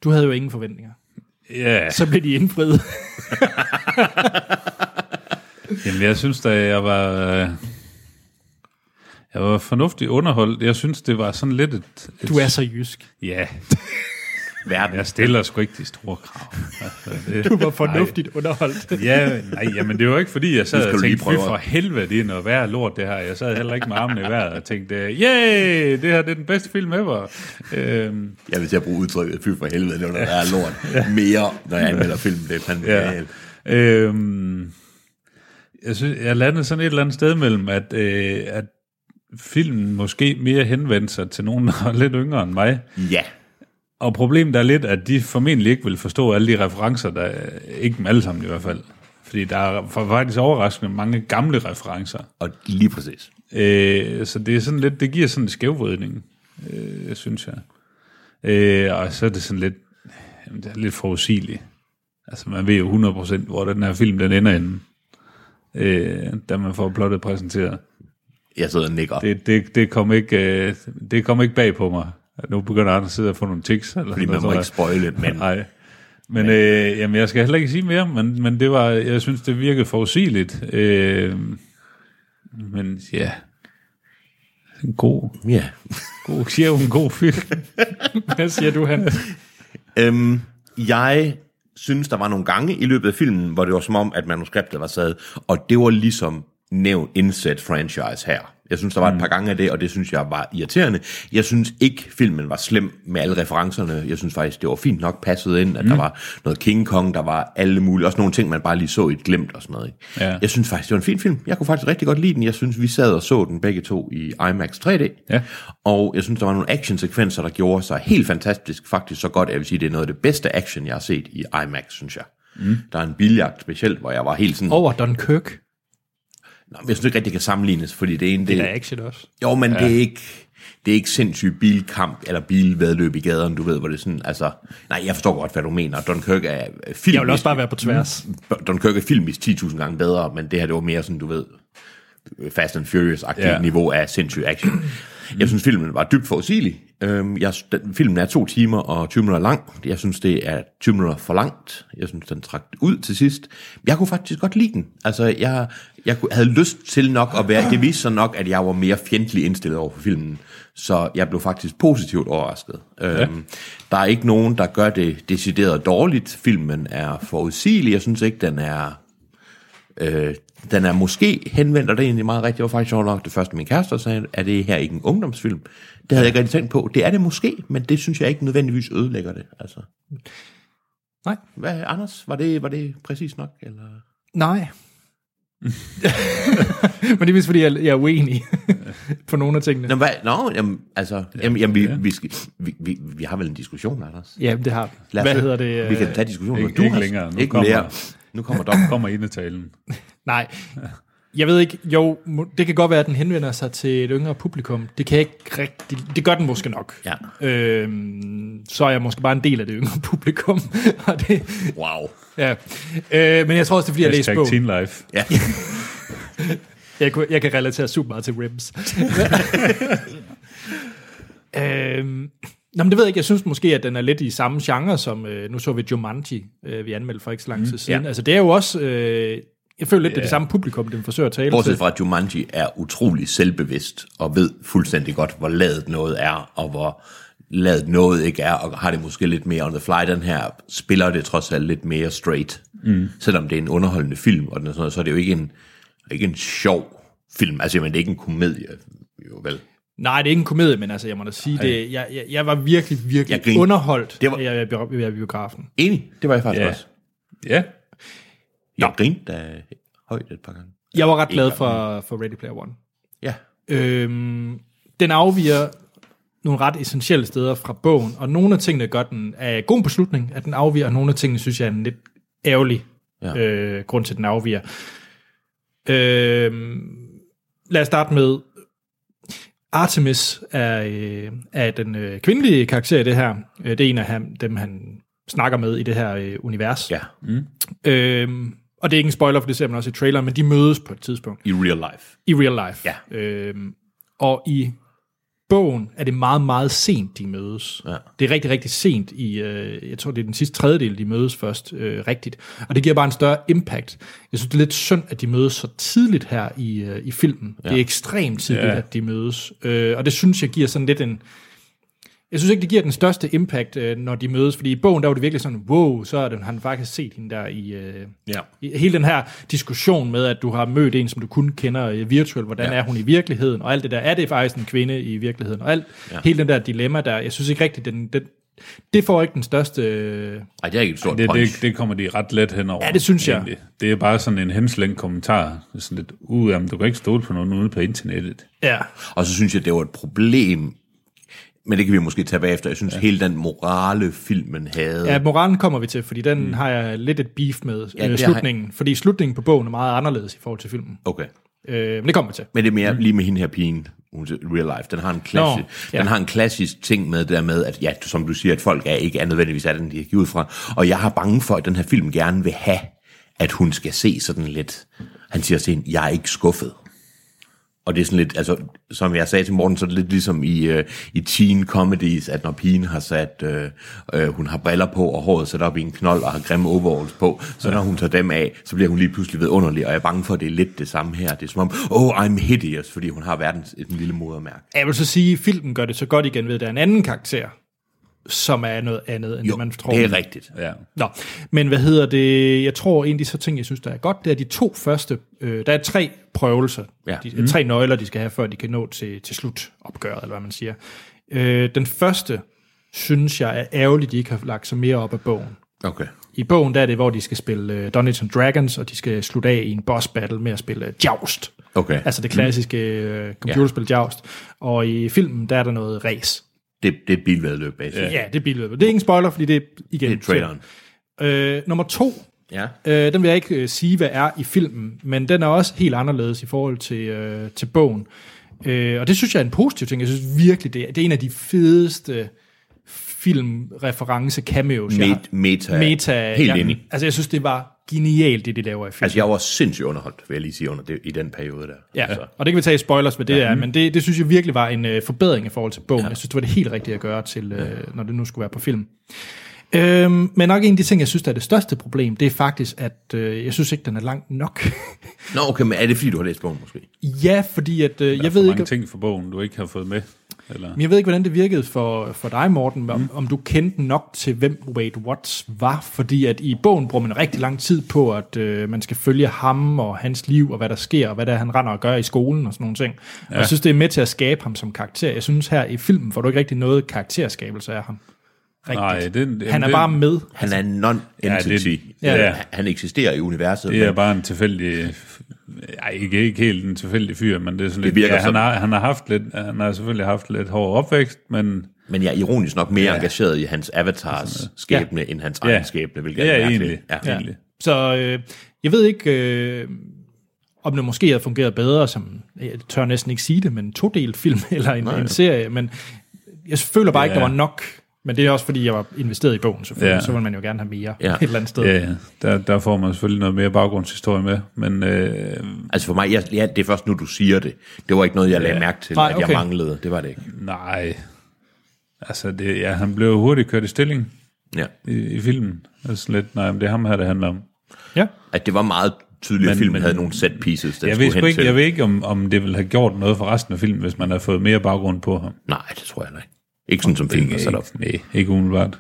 Speaker 1: Du havde jo ingen forventninger.
Speaker 3: Ja.
Speaker 1: Så blev de indfriet.
Speaker 3: Jamen, jeg synes da, jeg var... øh, Jeg var fornuftig underholdt. Jeg synes, det var sådan lidt et... et
Speaker 1: Du er så jysk.
Speaker 3: Ja,
Speaker 2: Verden.
Speaker 3: jeg stiller sgu ikke de store krav. Altså, det,
Speaker 1: Du var fornuftigt underholdt.
Speaker 3: Nej. Ja, nej, jamen det var ikke fordi, jeg sad
Speaker 2: skal
Speaker 3: og
Speaker 2: du lige
Speaker 3: tænkte, fy
Speaker 2: prøve
Speaker 3: for
Speaker 2: at-
Speaker 3: helvede, det er noget værd lort det her. Jeg sad heller ikke med armene i vejret og tænkte, yay, det her det er den bedste film ever. Øhm,
Speaker 2: Jeg vil til at bruge udtrykket, fy for helvede, det var noget, der er lort. Mere, når jeg anmelder film, det er fandme
Speaker 3: Ja.
Speaker 2: galt.
Speaker 3: Øhm, jeg synes, jeg landede sådan et eller andet sted mellem, at, øh, at filmen måske mere henvendte sig til nogen, der er lidt yngre end mig.
Speaker 2: Ja,
Speaker 3: Og problemet er lidt, at de formentlig ikke vil forstå alle de referencer, der øh, ikke dem alle sammen i hvert fald. Fordi der er for- faktisk overraskende mange gamle referencer.
Speaker 2: og lige præcis.
Speaker 3: Øh, så det er sådan lidt, det giver sådan en skævvridning, øh, synes jeg. Øh, og så er det sådan lidt, jamen, det er lidt forudsigeligt. Altså man ved jo 100% hvor den her film den ender inden. Øh, da man får plottet præsenteret.
Speaker 2: Jeg sidder og nikker.
Speaker 3: Det, det, det, kom ikke, øh, det kom ikke bag på mig. Nu begynder Anders at sidde og få nogle tics. Eller
Speaker 2: Fordi
Speaker 3: sådan
Speaker 2: man må
Speaker 3: noget,
Speaker 2: ikke spoile, men
Speaker 3: Nej. Men øh, jamen, jeg skal heller ikke sige mere, men, men det var, jeg synes, det virkede forudsigeligt. Øh, men ja, en god,
Speaker 2: ja.
Speaker 3: god, siger jo en god film.
Speaker 1: (laughs) Hvad siger du, han?
Speaker 2: Øhm, jeg synes, der var nogle gange i løbet af filmen, hvor det var som om, at manuskriptet var sad, og det var ligesom nævnt indsæt franchise her. Jeg synes, der var et par gange af det, og det synes jeg var irriterende. Jeg synes ikke, filmen var slem med alle referencerne. Jeg synes faktisk, det var fint nok passet ind, at mm. der var noget King Kong, der var alle mulige, også nogle ting, man bare lige så i et glemt og sådan noget. Ikke?
Speaker 3: Ja.
Speaker 2: Jeg synes faktisk, det var en fin film. Jeg kunne faktisk rigtig godt lide den. Jeg synes, vi sad og så den begge to i IMAX 3D.
Speaker 3: Ja.
Speaker 2: Og jeg synes, der var nogle actionsekvenser, der gjorde sig helt fantastisk. Faktisk så godt, at jeg vil sige, det er noget af det bedste action, jeg har set i IMAX, synes jeg. Mm. Der er en biljagt specielt, hvor jeg var helt sådan...
Speaker 1: Over Dunkirk.
Speaker 2: Nå, men jeg synes ikke rigtig, det kan sammenlignes, fordi det ene...
Speaker 1: Det er action også.
Speaker 2: Jo, men ja. det er ikke... Det er ikke sindssygt bilkamp eller bilvedløb i gaderne, du ved, hvor det er sådan, altså... Nej, jeg forstår godt, hvad du mener. Dunkirk er filmisk...
Speaker 1: Jeg vil også bare være på tværs.
Speaker 2: Dunkirk er filmisk 10.000 gange bedre, men det her, det var mere sådan, du ved, Fast and Furious-agtigt
Speaker 3: Ja.
Speaker 2: ja. niveau af sindssyg action. Jeg synes, filmen var dybt forudsigelig. Øhm, jeg, den, filmen er to timer og 20 minutter lang. Jeg synes, det er 20 minutter for langt. Jeg synes, den trak ud til sidst. Jeg kunne faktisk godt lide den. Altså, jeg, jeg kunne- havde lyst til nok at være... Det viste sig nok, at jeg var mere fjendtlig indstillet over for filmen. Så jeg blev faktisk positivt overrasket. Øhm, Der er ikke nogen, der gør det decideret dårligt. Filmen er forudsigelig. Jeg synes ikke, den er... Øh, den er måske henvendt, og det er egentlig meget rigtigt. Det var faktisk sjovt nok det første, min kæreste sagde, at det her ikke en ungdomsfilm. Det havde jeg ikke rigtig tænkt på. Det er det måske, men det synes jeg ikke nødvendigvis ødelægger det. Altså.
Speaker 1: Nej.
Speaker 2: Hvad, Anders, var det, var det præcis nok? Eller?
Speaker 1: Nej. (laughs) Men det er vist, fordi jeg, jeg er uenig (laughs) på nogle af tingene.
Speaker 2: Nå, hvad, nå jamen, altså, jamen, jamen, vi, vi, skal, vi, vi, vi, har vel en diskussion, Anders?
Speaker 1: Ja, det har vi.
Speaker 2: Lad os-
Speaker 1: Hvad hedder det?
Speaker 2: Vi
Speaker 1: øh,
Speaker 2: kan tage diskussionen.
Speaker 3: Ikke-
Speaker 2: når du
Speaker 3: ikke
Speaker 2: har-
Speaker 3: længere. Nu
Speaker 2: ikke
Speaker 3: kommer-
Speaker 2: mere. Nu kommer dom.
Speaker 3: (laughs) Kommer ind i talen.
Speaker 1: Nej. Jeg ved ikke, jo, må- det kan godt være, at den henvender sig til et yngre publikum. Det kan jeg ikke rigtig... Det gør den måske nok.
Speaker 2: Ja.
Speaker 1: Øhm, så er jeg måske bare en del af det yngre (laughs) publikum. og det,
Speaker 2: Wow.
Speaker 1: ja. øh, men jeg tror også, det er, fordi jeg læste
Speaker 3: Hashtag
Speaker 1: bogen.
Speaker 3: Teen Life.
Speaker 2: Ja.
Speaker 3: (laughs)
Speaker 1: Jeg, kunne- jeg kan relatere super meget til
Speaker 2: (laughs)
Speaker 1: ribs. øhm, Nå, men det ved jeg ikke. Jeg synes måske, at den er lidt i samme genre, som øh, nu så vi Jumanji, øh, vi anmeldte for ikke så lang tid siden.
Speaker 2: Mm, ja.
Speaker 1: Altså, det er jo også... Øh, jeg føler lidt, det er det samme publikum, den forsøger at tale
Speaker 2: Bortset
Speaker 1: til.
Speaker 2: fra, at Jumanji er utrolig selvbevidst og ved fuldstændig godt, hvor ladet noget er, og hvor ladet noget ikke er, og har det måske lidt mere on the fly. Den her spiller det trods alt lidt mere straight. Mm. Selvom det er en underholdende film, og den er sådan noget, så er det jo ikke en, ikke en sjov film. Altså, men det er ikke en komedie, jo vel.
Speaker 1: Nej, det er ikke en komedie, men altså, jeg må da sige, det, jeg, jeg, jeg var virkelig,
Speaker 2: Jeg
Speaker 1: virkelig
Speaker 2: grinede.
Speaker 1: underholdt det
Speaker 2: Det
Speaker 1: var...
Speaker 2: var-
Speaker 1: af at være- være i biografen.
Speaker 2: Enig, det var jeg faktisk
Speaker 3: Ja.
Speaker 2: yeah. også.
Speaker 3: Ja.
Speaker 2: Jeg grinte da højt et par gange.
Speaker 1: Jeg var ret glad for, for Ready Player One.
Speaker 2: Ja.
Speaker 1: Øhm, den afviger nogle ret essentielle steder fra bogen, og nogle af tingene gør den er god en beslutning, at den afviger, og nogle af tingene synes jeg er en lidt ærgerlig ja.
Speaker 2: Ja.
Speaker 1: øh, grund til, at den afviger. Øhm, lad os starte med Artemis er, øh, er den øh, kvindelige karakter i det her. Øh, Det er en af ham, dem, han snakker med i det her øh, univers.
Speaker 2: Ja,
Speaker 1: Øhm, og det er ikke en spoiler, for det ser man også i traileren, men de mødes på et tidspunkt
Speaker 2: i real life.
Speaker 1: i real life.
Speaker 2: Ja.
Speaker 1: Øhm, og i bogen er det meget, meget sent, de mødes.
Speaker 2: Ja.
Speaker 1: Det er rigtig, rigtig sent i, øh, jeg tror, det er den sidste tredjedel, de mødes først øh, rigtigt. Og det giver bare en større impact. Jeg synes, det er lidt synd, at de mødes så tidligt her i, øh, i filmen. Ja. Det er ekstremt tidligt,
Speaker 3: Ja.
Speaker 1: ja. at de mødes. Øh, og det synes jeg giver sådan lidt en... Jeg synes ikke, det giver den største impact, øh, når de mødes, fordi i bogen, der var det virkelig sådan, wow, så har den- har han faktisk set hende der i, øh,
Speaker 2: Ja.
Speaker 1: i- hele den her diskussion med, at du har mødt en, som du kun kender øh, virtuelt, hvordan ja.
Speaker 2: Ja.
Speaker 1: er hun i virkeligheden, og alt det der, er det faktisk en kvinde i virkeligheden, og alt, ja. hele den der dilemma der, jeg synes ikke rigtigt, den, den, det får ikke den største... øh,
Speaker 2: Ej, det er ikke et stort
Speaker 3: Det,
Speaker 2: punch.
Speaker 3: det, det kommer de ret let henover.
Speaker 1: Ja, det synes jeg.
Speaker 3: Det er bare sådan en henslængt kommentar. Det er Sådan lidt, uh, jamen, du kan ikke stole på nogen ude på internettet.
Speaker 1: Ja,
Speaker 2: Og så synes jeg, det var et problem, men det kan vi måske tage bagefter. Jeg synes, ja. hele den morale filmen havde...
Speaker 1: ja moralen kommer vi til, fordi den mm. har jeg lidt et beef med
Speaker 2: det har
Speaker 1: ja, øh,
Speaker 2: jeg-
Speaker 1: slutningen, fordi slutningen på bogen er meget anderledes i forhold til filmen.
Speaker 2: Okay.
Speaker 1: Øh, men det kommer vi til.
Speaker 2: Men det er mere mm. lige med hende her pigen, hun til- real life. Den har en klassisk,
Speaker 1: ja.
Speaker 2: ja. den har en klassisk ting med det der med, at ja, som du siger, at folk er ikke er nødvendigvis af den, de er givet fra. Og jeg har bange for, at den her film gerne vil have, at hun skal se sådan lidt... Han siger til hende, jeg er ikke skuffet. Og det er sådan lidt, altså, som jeg sagde til Morten, så er det lidt ligesom i, øh, i teen comedies, at når pigen har sat, øh, øh, hun har briller på, og håret sat op i en knold, og har grimme overalls på, så når hun tager dem af, så bliver hun lige pludselig ved underlig, og jeg er bange for, at det er lidt det samme her. Det er som om, oh, I'm hideous, fordi hun har verdens et lille modermærke.
Speaker 1: Jeg vil så sige, at filmen gør det så godt igen ved, at der er en anden karakter, som er noget andet, end
Speaker 2: Jo,
Speaker 1: det, man tror.
Speaker 2: det er rigtigt.
Speaker 3: Ja.
Speaker 1: Nå, men hvad hedder det? Jeg tror egentlig så ting, jeg synes, der er godt, det er de to første. Øh, der er tre prøvelser,
Speaker 2: Ja.
Speaker 1: de, mm. tre nøgler, de skal have, før de kan nå til, til slutopgøret, eller hvad man siger. Øh, den første, synes jeg, er ærgerligt, de ikke har lagt sig mere op af bogen.
Speaker 2: Okay.
Speaker 1: I bogen der er det, hvor de skal spille øh, Dungeons and Dragons, og de skal slutte af i en boss battle med at spille øh, Joust.
Speaker 2: Okay.
Speaker 1: Altså det klassiske øh,
Speaker 2: Mm.
Speaker 1: computerspil Joust. Og i filmen, der er der noget race.
Speaker 2: Det, det er et bilvedløb, basic.
Speaker 1: Ja, det er billedet. Det er ingen spoiler, fordi det er igen...
Speaker 2: Det er traileren.
Speaker 1: Øh, nummer to,
Speaker 2: Ja.
Speaker 1: øh, den vil jeg ikke øh, sige, hvad er i filmen, men den er også helt anderledes i forhold til, øh, til bogen. Øh, og det synes jeg er en positiv ting. Jeg synes virkelig, det er, det er en af de fedeste filmreference cameos, jeg har.
Speaker 2: Met, meta.
Speaker 1: Meta.
Speaker 2: Helt
Speaker 1: jeg,
Speaker 2: enig.
Speaker 1: Altså, jeg synes, det var genialt, det de laver i filmen.
Speaker 2: Altså, jeg var sindssygt underholdt, vil jeg lige sige, under det, i den periode der.
Speaker 1: Ja,
Speaker 2: Altså,
Speaker 1: og det kan vi tage i spoilers, hvad det er, men det, det synes jeg virkelig var en øh, forbedring i forhold til bogen. Ja. Jeg synes, det var det helt rigtige at gøre, til, øh, når det nu skulle være på film. Øhm, men nok en af de ting, jeg synes, der er det største problem, det er faktisk, at øh, jeg synes ikke, den er lang nok. (laughs)
Speaker 2: Nå, okay, men er det fordi, du har læst bogen måske?
Speaker 1: ja, fordi at, øh, jeg,
Speaker 3: for
Speaker 1: ved
Speaker 3: mange
Speaker 1: ikke,
Speaker 3: ting fra bogen, du ikke har fået med. Eller?
Speaker 1: men jeg ved ikke, hvordan det virkede for, for dig, Morten,
Speaker 3: Mm.
Speaker 1: om, om du kendte nok til, hvem Wade Watts var, fordi at i bogen bruger man rigtig lang tid på, at øh, man skal følge ham og hans liv, og hvad der sker, og hvad der han render og gør i skolen og sådan nogle ting. Ja. Og jeg synes, det er med til at skabe ham som karakter. Jeg synes her i filmen får du ikke rigtig noget karakterskabelse af ham. Rigtigt.
Speaker 3: Nej, det- jamen,
Speaker 1: han er
Speaker 3: det-
Speaker 1: bare med.
Speaker 2: Han er en non-entity.
Speaker 3: Ja,
Speaker 2: Ja,
Speaker 3: det- ja.
Speaker 2: Han eksisterer i universet.
Speaker 3: Det er
Speaker 2: men-
Speaker 3: bare en tilfældig... Ej, ikke, ikke helt en tilfældig fyr, men det er sådan lidt...
Speaker 2: virker
Speaker 3: ja, han,
Speaker 2: sådan.
Speaker 3: har, han, har haft lidt, han har selvfølgelig haft lidt hård opvækst, men
Speaker 2: Men jeg er ironisk nok mere ja. engageret i hans avatars skæbne, ja. end hans egen
Speaker 3: Ja.
Speaker 2: skæbne, hvilket
Speaker 3: Ja,
Speaker 2: er mærkeligt.
Speaker 3: egentlig.
Speaker 2: Ja.
Speaker 3: Egentlig.
Speaker 1: Så øh, jeg ved ikke, øh, om det måske havde fungeret bedre som, jeg tør næsten ikke sige det, men en todelt film (laughs) eller en, en serie, men jeg føler bare ikke,
Speaker 3: Ja.
Speaker 1: der var nok. Men det er også, fordi jeg var investeret i bogen, selvfølgelig.
Speaker 3: Ja.
Speaker 1: Så ville man jo gerne have mere
Speaker 2: Ja.
Speaker 1: et eller andet sted.
Speaker 3: ja, ja, der, der får man selvfølgelig noget mere baggrundshistorie med. Men øh,
Speaker 2: Altså for mig, jeg, ja, det er først nu, du siger det. Det var ikke noget, jeg lagde mærke til,
Speaker 1: Nej,
Speaker 2: Nej, okay. at
Speaker 1: okay.
Speaker 2: jeg manglede. Det var det ikke.
Speaker 3: nej, altså det, ja, han blev hurtigt kørt i stilling
Speaker 2: Ja.
Speaker 3: i, i filmen. Altså lidt, nej, men det er ham her, det handler om.
Speaker 1: Ja.
Speaker 2: At det var meget tydeligt, at
Speaker 3: Men-
Speaker 2: filmen
Speaker 3: men-
Speaker 2: havde nogle set pieces, den
Speaker 3: Jeg
Speaker 2: skulle
Speaker 3: ved,
Speaker 2: hen
Speaker 3: sgu
Speaker 2: ikke,
Speaker 3: ikke,
Speaker 2: til.
Speaker 3: jeg ved ikke, om, om det ville have gjort noget for resten af filmen, hvis man havde fået mere baggrund på ham.
Speaker 2: Nej, det tror jeg ikke. Ikke sådan, som filmen er sat op.
Speaker 3: Nej, ikke umiddelbart.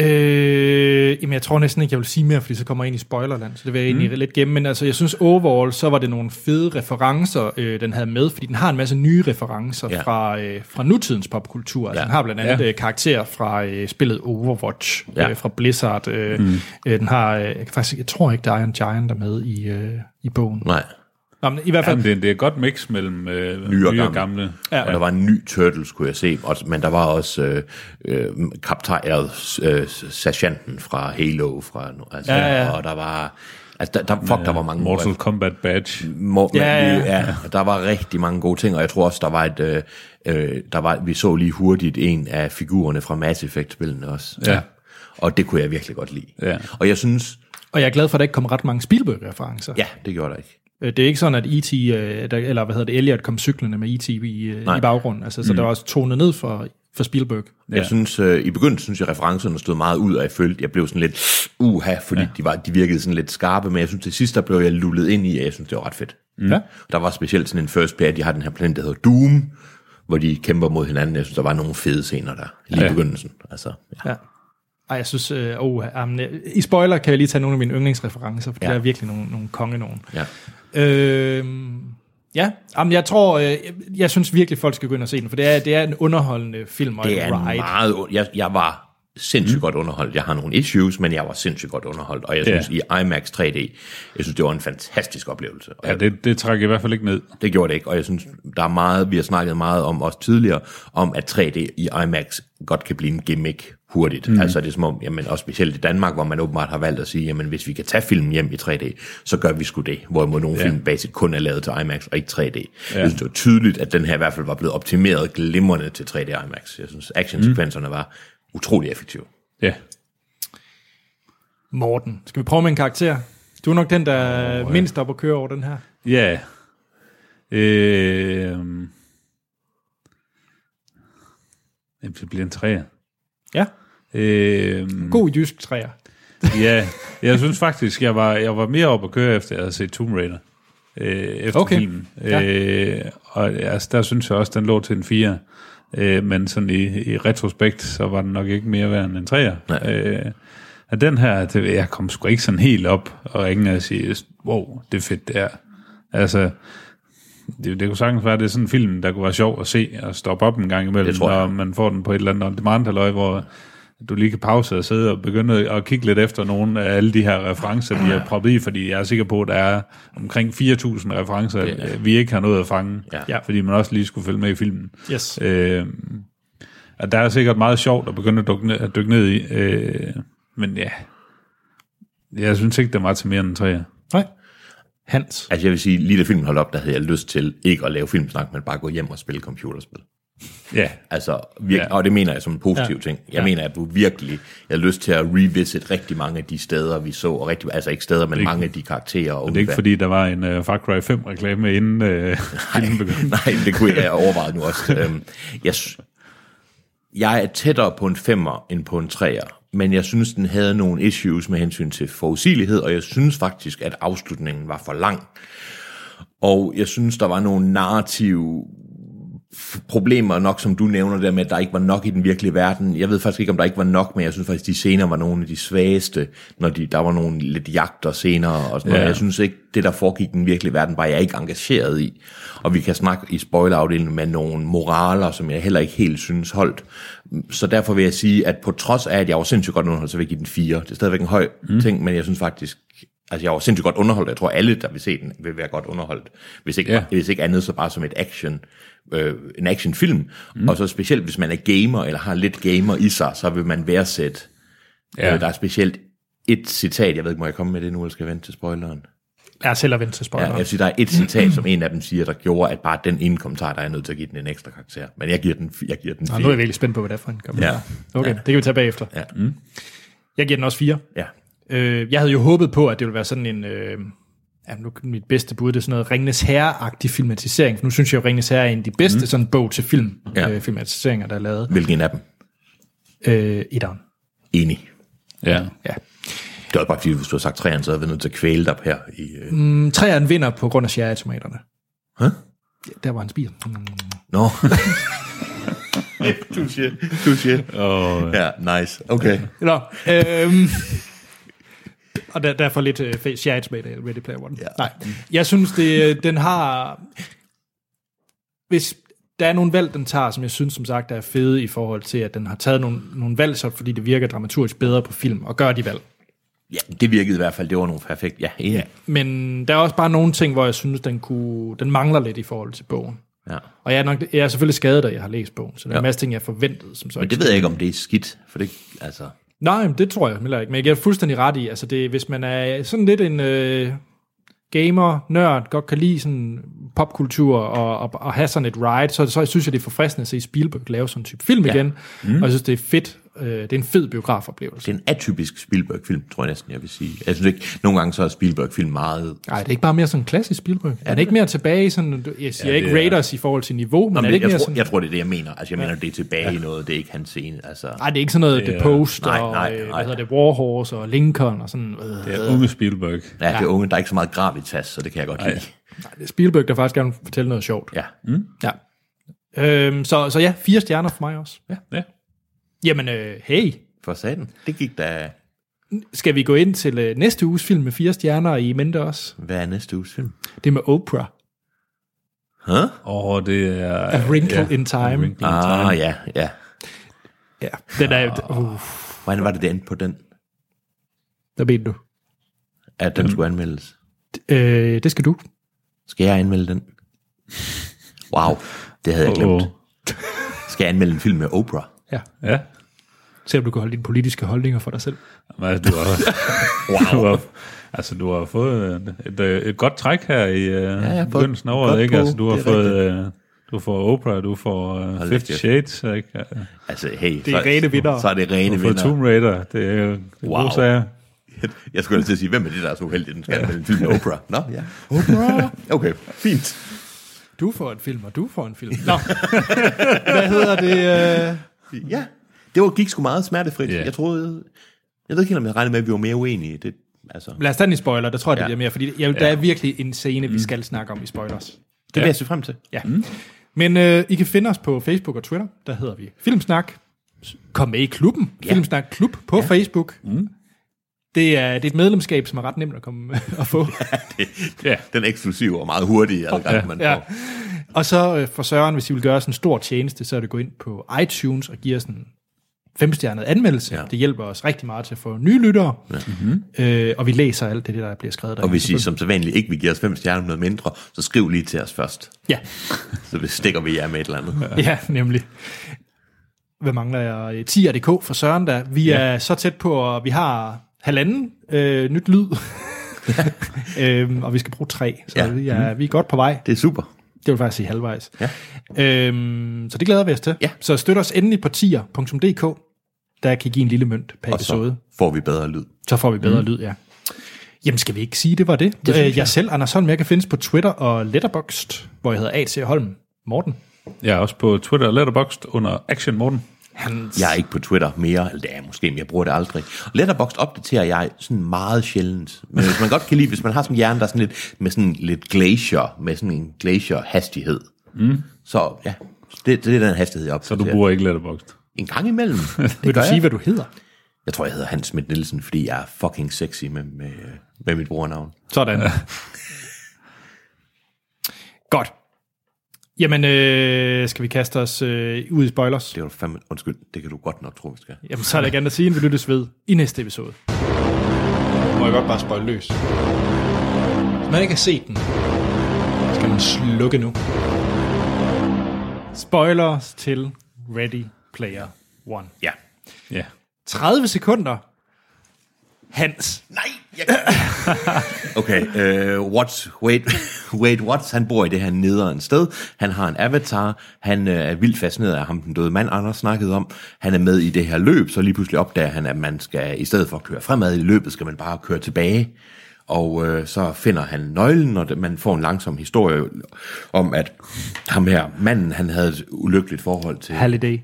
Speaker 1: Øh, jamen, jeg tror næsten ikke, jeg vil sige mere, fordi så kommer jeg ind i spoilerland, så det vil jeg egentlig lidt gemme. Men altså, jeg synes overall, så var det nogle fede referencer, øh, den havde med, fordi den har en masse nye referencer ja.
Speaker 2: Ja.
Speaker 1: fra, øh, fra nutidens popkultur. Altså,
Speaker 2: Ja.
Speaker 1: Den har blandt andet
Speaker 3: Ja.
Speaker 1: ja. øh, karakterer fra øh, spillet Overwatch, ja.
Speaker 2: Ja.
Speaker 1: øh, fra Blizzard. Øh, mm. øh, den har, øh, jeg kan faktisk, jeg tror ikke, der er en Giant der er med i, øh, i bogen.
Speaker 2: Nej.
Speaker 1: Nå, men i hvert fald,
Speaker 3: Jamen, det, er- det er et godt mix mellem øh,
Speaker 2: Nye
Speaker 3: nye,
Speaker 2: og
Speaker 3: og
Speaker 2: gamle.
Speaker 3: gamle.
Speaker 1: Ja.
Speaker 2: Og der var en ny Turtles, kunne jeg se. Og, men der var også øh, øh, kaptajeret øh, sergeanten fra Halo. Fra, altså,
Speaker 1: Ja, ja.
Speaker 2: Og der var... Altså, der, der, fuck, der var mange
Speaker 3: Mortal Kombat Badge.
Speaker 2: Må,
Speaker 1: Ja,
Speaker 2: ja,
Speaker 1: ja.
Speaker 2: ja. ja, og der var rigtig mange gode ting, og jeg tror også, der var et, øh, øh, der var, vi så lige hurtigt en af figurerne fra Mass Effect-spillene også.
Speaker 3: Ja.
Speaker 2: Og det kunne jeg virkelig godt lide.
Speaker 3: Ja.
Speaker 2: Og jeg synes,
Speaker 1: og jeg er glad for, at der ikke kom ret mange Spielberg-referencer.
Speaker 2: ja, det gjorde der ikke.
Speaker 1: Øh, Det er ikke sådan, at E.T., øh, der- eller hvad hedder det, Elliot kom cyklende med E.T. i, øh,
Speaker 2: Nej. Mm.
Speaker 1: i baggrunden. Altså, så der var også tonet ned for, for Spielberg.
Speaker 2: Jeg synes, øh, i begyndelsen synes jeg, referencerne stod meget ud, og jeg følte, jeg blev sådan lidt uha, fordi ja. de, var, de virkede sådan lidt skarpe, men jeg synes, til sidst, der blev jeg lullet ind i, at jeg synes, det var ret fedt.
Speaker 1: Mm. Ja.
Speaker 2: Der var specielt sådan en first player, de har den her planet, der hedder Doom, hvor de kæmper mod hinanden. Jeg synes, der var nogle fede scener der, lige i
Speaker 3: Ja.
Speaker 2: begyndelsen. Altså, ja.
Speaker 1: ja. Ej, jeg synes, øh, oh, um, i spoiler kan jeg lige tage nogle af mine yndlingsreferencer, for ja.
Speaker 2: Ja.
Speaker 1: der er virkelig nogle, nogle konge nogen.
Speaker 2: ja.
Speaker 1: Øh, ja, Jamen, jeg tror, øh, jeg, jeg synes virkelig, folk skal gå ind og se den, for det er, det er en underholdende film og
Speaker 2: Det
Speaker 1: en
Speaker 2: er en
Speaker 1: ride.
Speaker 2: meget... ond- Jeg, jeg var sindssygt mm. godt underholdt. Jeg har nogle issues, men jeg var sindssygt godt underholdt. Og jeg
Speaker 3: Ja.
Speaker 2: synes, i IMAX 3D, jeg synes, det var en fantastisk oplevelse. Og
Speaker 3: Ja,
Speaker 2: jeg-
Speaker 3: det, det trækker i hvert fald ikke ned.
Speaker 2: det gjorde det ikke, og jeg synes, der er meget, vi har snakket meget om også tidligere, om at 3D i IMAX godt kan blive en gimmick hurtigt. Mm. Altså det er som om, jamen, og specielt i Danmark, hvor man åbenbart har valgt at sige, jamen hvis vi kan tage film hjem i 3D, så gør vi sgu det. Hvorimod nogle film basic kun er lavet til IMAX og ikke 3D. Ja. Jeg synes, det var tydeligt, at den her i hvert fald var blevet optimeret glimrende til 3D IMAX. Jeg synes, actionsekvenserne mm. var utrolig effektive.
Speaker 3: Ja.
Speaker 1: Morten, skal vi prøve med en karakter? Du er nok den, der oh, mindst er op at køre over den her.
Speaker 3: Ja. Øh, jamen, det bliver en træer.
Speaker 1: Ja,
Speaker 3: Øh,
Speaker 1: god jysk træer.
Speaker 3: ja, jeg synes faktisk, jeg var, jeg var mere oppe at køre, efter jeg havde set Tomb Raider. Øh, efter
Speaker 1: Okay.
Speaker 3: filmen. Øh, og altså, der synes jeg også, den lå til en 4. Øh, men sådan i, i retrospekt, så var den nok ikke mere værd end en træer. Øh, og den her, det, jeg kom sgu ikke sådan helt op og ringe og sige, wow, det er fedt, det er. Altså, det, det kunne sagtens være, at det er sådan en film, der kunne være sjov at se og stoppe op en gang imellem,
Speaker 2: Det tror jeg.
Speaker 3: når man får den på et eller andet on demand halløj, hvor du lige kan pause og sidde og begynde at kigge lidt efter nogle af alle de her referencer, de har proppet i, fordi jeg er sikker på, at der er omkring 4.000 referencer, det, vi ikke har nået at fange,
Speaker 2: Ja.
Speaker 3: fordi man også lige skulle følge med i filmen.
Speaker 1: Yes.
Speaker 3: Øh, og der er sikkert meget sjovt at begynde at dykke ned, at dykke ned i, øh, men ja, jeg synes ikke, det var til mere end en træer.
Speaker 1: Nej. Hans.
Speaker 2: Altså jeg vil sige, lige da filmen holdt op, der havde jeg lyst til ikke at lave filmsnak, men bare gå hjem og spille computerspil.
Speaker 3: Ja,
Speaker 2: Altså, virkelig,
Speaker 3: Ja.
Speaker 2: ja. og det mener jeg som en positiv
Speaker 1: Ja.
Speaker 2: ja. ting. Jeg ja. mener, at du virkelig jeg har lyst til at revisit rigtig mange af de steder, vi så, og rigtig, altså ikke steder, men
Speaker 3: Ikke-
Speaker 2: mange af de karakterer. Og
Speaker 3: det er ikke fordi, der var en uh, Far Cry 5-reklame inden (laughs) uh, filmen
Speaker 2: (laughs)
Speaker 3: begyndte.
Speaker 2: Nej, men det kunne jeg overveje nu også. Øhm, jeg, s- jeg er tættere på en femmer end på en treer, men jeg synes, den havde nogle issues med hensyn til forudsigelighed, og jeg synes faktisk, at afslutningen var for lang. Og jeg synes, der var nogle narrative f- problemer nok, som du nævner der med, at der ikke var nok i den virkelige verden. Jeg ved faktisk ikke, om der ikke var nok, men jeg synes faktisk, de scener var nogle af de svageste, når de, der var nogle lidt jagter senere og sådan noget.
Speaker 3: Ja.
Speaker 2: Jeg synes ikke, det der foregik i den virkelige verden, var jeg ikke engageret i. Og vi kan snakke i spoilerafdelingen med nogle moraler, som jeg heller ikke helt synes holdt. Så derfor vil jeg sige, at på trods af, at jeg var sindssygt godt underholdt, så vil jeg give den 4. Det er stadigvæk en høj mm. ting, men jeg synes faktisk, altså jeg var sindssygt godt underholdt. Jeg tror, alle, der vil se den, vil være godt underholdt. Hvis ikke,
Speaker 3: Ja.
Speaker 2: yeah. hvis ikke andet, så bare som et action, øh, en actionfilm. Mm. Og så specielt, hvis man er gamer, eller har lidt gamer i sig, så vil man værdsætte.
Speaker 3: Ja.
Speaker 2: Ja. Øh, der er specielt et citat, jeg ved ikke, må jeg komme med det nu, eller skal jeg vente til spoileren?
Speaker 1: Lad os hellere vente til
Speaker 2: Ja,
Speaker 1: spoileren.
Speaker 2: jeg synes, der er et citat, som en af dem siger, der gjorde, at bare den ene kommentar, der er jeg nødt til at give den en ekstra karakter. Men jeg giver den, fi- jeg giver den
Speaker 1: Nå, nu er jeg
Speaker 2: fire.
Speaker 1: virkelig spændt på, hvad det er for en kommentar.
Speaker 2: Ja.
Speaker 1: Okay, det kan vi tage bagefter.
Speaker 2: Ja.
Speaker 1: Mm. Jeg giver den også fire.
Speaker 2: Ja.
Speaker 1: Øh, jeg havde jo håbet på, at det ville være sådan en... Øh, ja, nu, mit bedste bud, det er sådan noget Ringnes Herre-agtig filmatisering. For nu synes jeg jo, Ringnes Herre er en af de bedste mm. sådan bog til film, ja.
Speaker 2: Ja.
Speaker 1: øh, filmatiseringer, der er lavet.
Speaker 2: Hvilken af dem?
Speaker 1: Øh, etteren.
Speaker 2: Enig.
Speaker 3: Ja.
Speaker 1: Ja.
Speaker 2: Det var bare fordi, hvis du havde sagt træerne, så havde vi nødt til at kvæle dig her. I, øh... mm.
Speaker 1: Mm, Træerne vinder på grund af cherrytomaterne.
Speaker 2: Hæ?
Speaker 1: Ja, der var han spiser. Mm.
Speaker 2: Nå. (laughs) du siger, du siger.
Speaker 3: Og,
Speaker 2: Ja, nice. Okay.
Speaker 1: Nå, øhm, (laughs) og der, derfor lidt øh, shades med det, Ready Player One.
Speaker 2: Ja.
Speaker 1: Nej, jeg synes, det, øh, den har... Hvis der er nogle valg, den tager, som jeg synes, som sagt, er fede i forhold til, at den har taget nogle, nogle valg, så fordi det virker dramaturgisk bedre på film, og gør de valg.
Speaker 2: Ja, det virkede i hvert fald. Det var nogle perfekt. Ja, ja.
Speaker 1: Men der er også bare nogle ting, hvor jeg synes, den, kunne, den mangler lidt i forhold til bogen.
Speaker 2: ja.
Speaker 1: Og jeg er, nok, jeg er selvfølgelig skadet, at jeg har læst bogen, så der er
Speaker 2: Ja.
Speaker 1: en masse ting, jeg forventede, som så
Speaker 2: Men
Speaker 1: ikke
Speaker 2: det ved jeg ikke, om det er skidt. For det, altså...
Speaker 1: Nej, men det tror jeg heller ikke. Men jeg giver fuldstændig ret i, altså det, hvis man er sådan lidt en øh, gamer, nørd, godt kan lide sådan popkultur og, og, og have sådan et ride, så, så synes jeg, det er forfriskende at se Spielberg lave sådan en type film ja. igen. Mm. Og jeg synes, det er fedt. Øh, det er en fed biografoplevelse.
Speaker 2: Det er en atypisk Spielberg-film, tror jeg næsten, jeg vil sige. Jeg synes ikke, nogle gange så er Spielberg-film meget...
Speaker 1: Nej, det er ikke bare mere sådan en klassisk Spielberg. Er det ikke mere tilbage i sådan, jeg siger ja, ikke Raiders i forhold til niveau, men
Speaker 2: Nå,
Speaker 1: Nå, er
Speaker 2: men
Speaker 1: det
Speaker 2: det,
Speaker 1: ikke
Speaker 2: jeg,
Speaker 1: mere
Speaker 2: tror,
Speaker 1: sådan...
Speaker 2: jeg tror, det er det, jeg mener. Altså, jeg mener, det er tilbage i noget. Det er ikke hans scene. Altså,
Speaker 1: Nej, det er ikke sådan noget The Post
Speaker 2: nej,
Speaker 1: og
Speaker 2: nej,
Speaker 1: øh, hvad
Speaker 2: nej.
Speaker 1: hedder det, War Horse og Lincoln og sådan. Øh.
Speaker 3: det er unge Spielberg.
Speaker 2: ja, det er unge, der er ikke så meget gravitas, så det kan jeg godt lide. (laughs)
Speaker 1: Det er Spielberg, der faktisk gerne vil fortælle noget sjovt.
Speaker 2: Ja.
Speaker 1: Ja. Øhm, så, så ja, fire stjerner for mig også.
Speaker 3: Ja.
Speaker 1: Jamen, øh, hey,
Speaker 2: For satan. Det gik da...
Speaker 1: skal vi gå ind til øh, næste uges film med fire stjerner i mente også?
Speaker 2: Hvad er næste uges film?
Speaker 1: Det er med Oprah.
Speaker 2: Huh?
Speaker 3: Og det er...
Speaker 1: A Wrinkle in Time.
Speaker 3: A Wrinkle in Time.
Speaker 2: Ah, ja, ja.
Speaker 1: Ja, den er... Uh,
Speaker 2: Hvordan var det, det endte på den?
Speaker 1: hvad mener du?
Speaker 2: At den skulle anmeldes?
Speaker 1: Øh, det skal du.
Speaker 2: Skal jeg anmelde den? Wow, det havde jeg glemt.
Speaker 3: Åh.
Speaker 2: Skal jeg anmelde en film med Oprah?
Speaker 1: Ja.
Speaker 3: Ja.
Speaker 1: Se om du kan holde dine politiske holdninger for dig selv.
Speaker 3: Men
Speaker 2: (laughs)
Speaker 3: altså, du har, wow. du har, altså, du har fået øh, et, øh, et godt træk her i
Speaker 2: jeg
Speaker 3: ja,
Speaker 2: har fået
Speaker 3: begyndelsen af
Speaker 2: godt
Speaker 3: året, ikke?
Speaker 2: på,
Speaker 3: Altså, du har
Speaker 2: det er
Speaker 3: fået... Øh, du får Oprah, du får uh,
Speaker 2: Hold
Speaker 3: Fifty
Speaker 2: kæft.
Speaker 3: Shades, ikke? Øh,
Speaker 2: Altså, hey.
Speaker 1: Det er rene vindere.
Speaker 2: Så er det rene
Speaker 3: Du får
Speaker 2: vinder.
Speaker 3: Tomb Raider, det er jo det er
Speaker 2: Wow.
Speaker 3: gode sager.
Speaker 2: (laughs) Jeg skulle ellers til at sige, hvem er det, der er så uheldig, den skal anmelde en film med Oprah? Nå, ja. Oprah. Okay, fint.
Speaker 1: (laughs) Du får en film, og du får en film. Nå. hvad hedder det? Øh...
Speaker 2: Ja, det var, gik sgu meget smertefrit.
Speaker 3: Ja.
Speaker 2: Yeah. Jeg troede... Jeg ved ikke helt, om jeg regnede med, at vi var mere uenige. Det, altså, det
Speaker 1: Lad os tage den i spoiler, der tror jeg, det
Speaker 2: Ja.
Speaker 1: bliver mere, fordi jeg, der er virkelig en scene, vi skal snakke om i spoilers.
Speaker 2: vil jeg se frem til.
Speaker 1: Ja. Mm. Men øh, I kan finde os på Facebook og Twitter. Der hedder vi Filmsnak. Kom med i klubben. Ja. Filmsnak Klub på ja. Facebook. Mm. Det, er, det er et medlemskab, som er ret nemt at komme (laughs) at få.
Speaker 2: ja. Den eksklusive og meget hurtige adgang, ja. man får.
Speaker 1: Ja. Og så øh, for Søren, hvis I vil gøre os en stor tjeneste, så er det at gå ind på iTunes og give os en femstjernet anmeldelse. Ja. Det hjælper os rigtig meget til at få nye lyttere. Ja. Mm-hmm. Øh, og vi læser alt det, der bliver skrevet der.
Speaker 2: Og hvis I som så vanligt ikke vil give os fem stjerner med noget mindre, så skriv lige til os først.
Speaker 1: Ja.
Speaker 2: Så stikker vi jer med et eller andet. Ja.
Speaker 1: ja, nemlig. Hvad mangler jeg? Øh, 10.dk for Søren der. Vi ja. er så tæt på, at vi har halvanden øh, nyt
Speaker 2: (laughs)
Speaker 1: lyd. øhm, og vi skal bruge tre, så ja.
Speaker 2: Ja.
Speaker 1: vi, er, vi er godt på vej.
Speaker 2: Det er super.
Speaker 1: Det vil faktisk sige halvvejs.
Speaker 2: Ja.
Speaker 1: Øhm, så det glæder vi os til.
Speaker 2: Ja.
Speaker 1: Så støt os endelig på tier.dk. Der kan I give en lille mønt per
Speaker 2: Og
Speaker 1: episode.
Speaker 2: så Mhm. får vi bedre lyd.
Speaker 1: Så får vi bedre mm. lyd, ja. Jamen, skal vi ikke sige, det var det? det øh, jeg, jeg selv, Anders Holm, jeg kan findes på Twitter og Letterboxd, hvor jeg hedder A.C. Holm Morten.
Speaker 3: Jeg er også på Twitter og Letterboxd under Action Morten.
Speaker 1: Hans.
Speaker 2: Jeg er ikke på Twitter mere, eller det er jeg måske, men jeg bruger det aldrig. Letterboxd opdaterer jeg sådan meget sjældent. Men hvis man godt kan lide, hvis man har sådan en hjerne, der er sådan lidt, med sådan lidt glacier, med sådan en glacier-hastighed. Mm. Så ja, det, det, er den hastighed, jeg
Speaker 3: Så
Speaker 2: opdaterer.
Speaker 3: du bruger ikke Letterboxd.
Speaker 2: En gang imellem. Det
Speaker 1: Vil du
Speaker 2: gør
Speaker 1: sige,
Speaker 2: jeg.
Speaker 1: hvad du hedder?
Speaker 2: jeg tror, jeg hedder Hans Schmidt Nielsen, fordi jeg er fucking sexy med, med, med mit brugernavn.
Speaker 1: Sådan. Godt. Jamen, øh, skal vi kaste os øh, ud i spoilers?
Speaker 2: Det er jo fandme, undskyld, det kan du godt nok tro, vi skal.
Speaker 1: Jamen, så er der ikke andet at sige, end vi lyttes ved i næste episode.
Speaker 10: Må jeg godt bare spoil løs?
Speaker 1: Hvis man ikke har set den, skal man slukke nu. Spoilers til Ready Player One.
Speaker 2: Ja.
Speaker 3: Ja.
Speaker 1: 30 sekunder. Hans.
Speaker 2: Nej, jeg (laughs) Okay, øh, Watts, Wade, (laughs) Wade Watts, han bor i det her nederen sted. Han har en avatar. Han øh, er vildt fascineret af ham, den døde mand, Anders snakkede om. Han er med i det her løb, så lige pludselig opdager han, at man skal, i stedet for at køre fremad i løbet, skal man bare køre tilbage. Og øh, så finder han nøglen, og det- man får en langsom historie om, at ham her, manden, han havde et ulykkeligt forhold til...
Speaker 1: Halliday.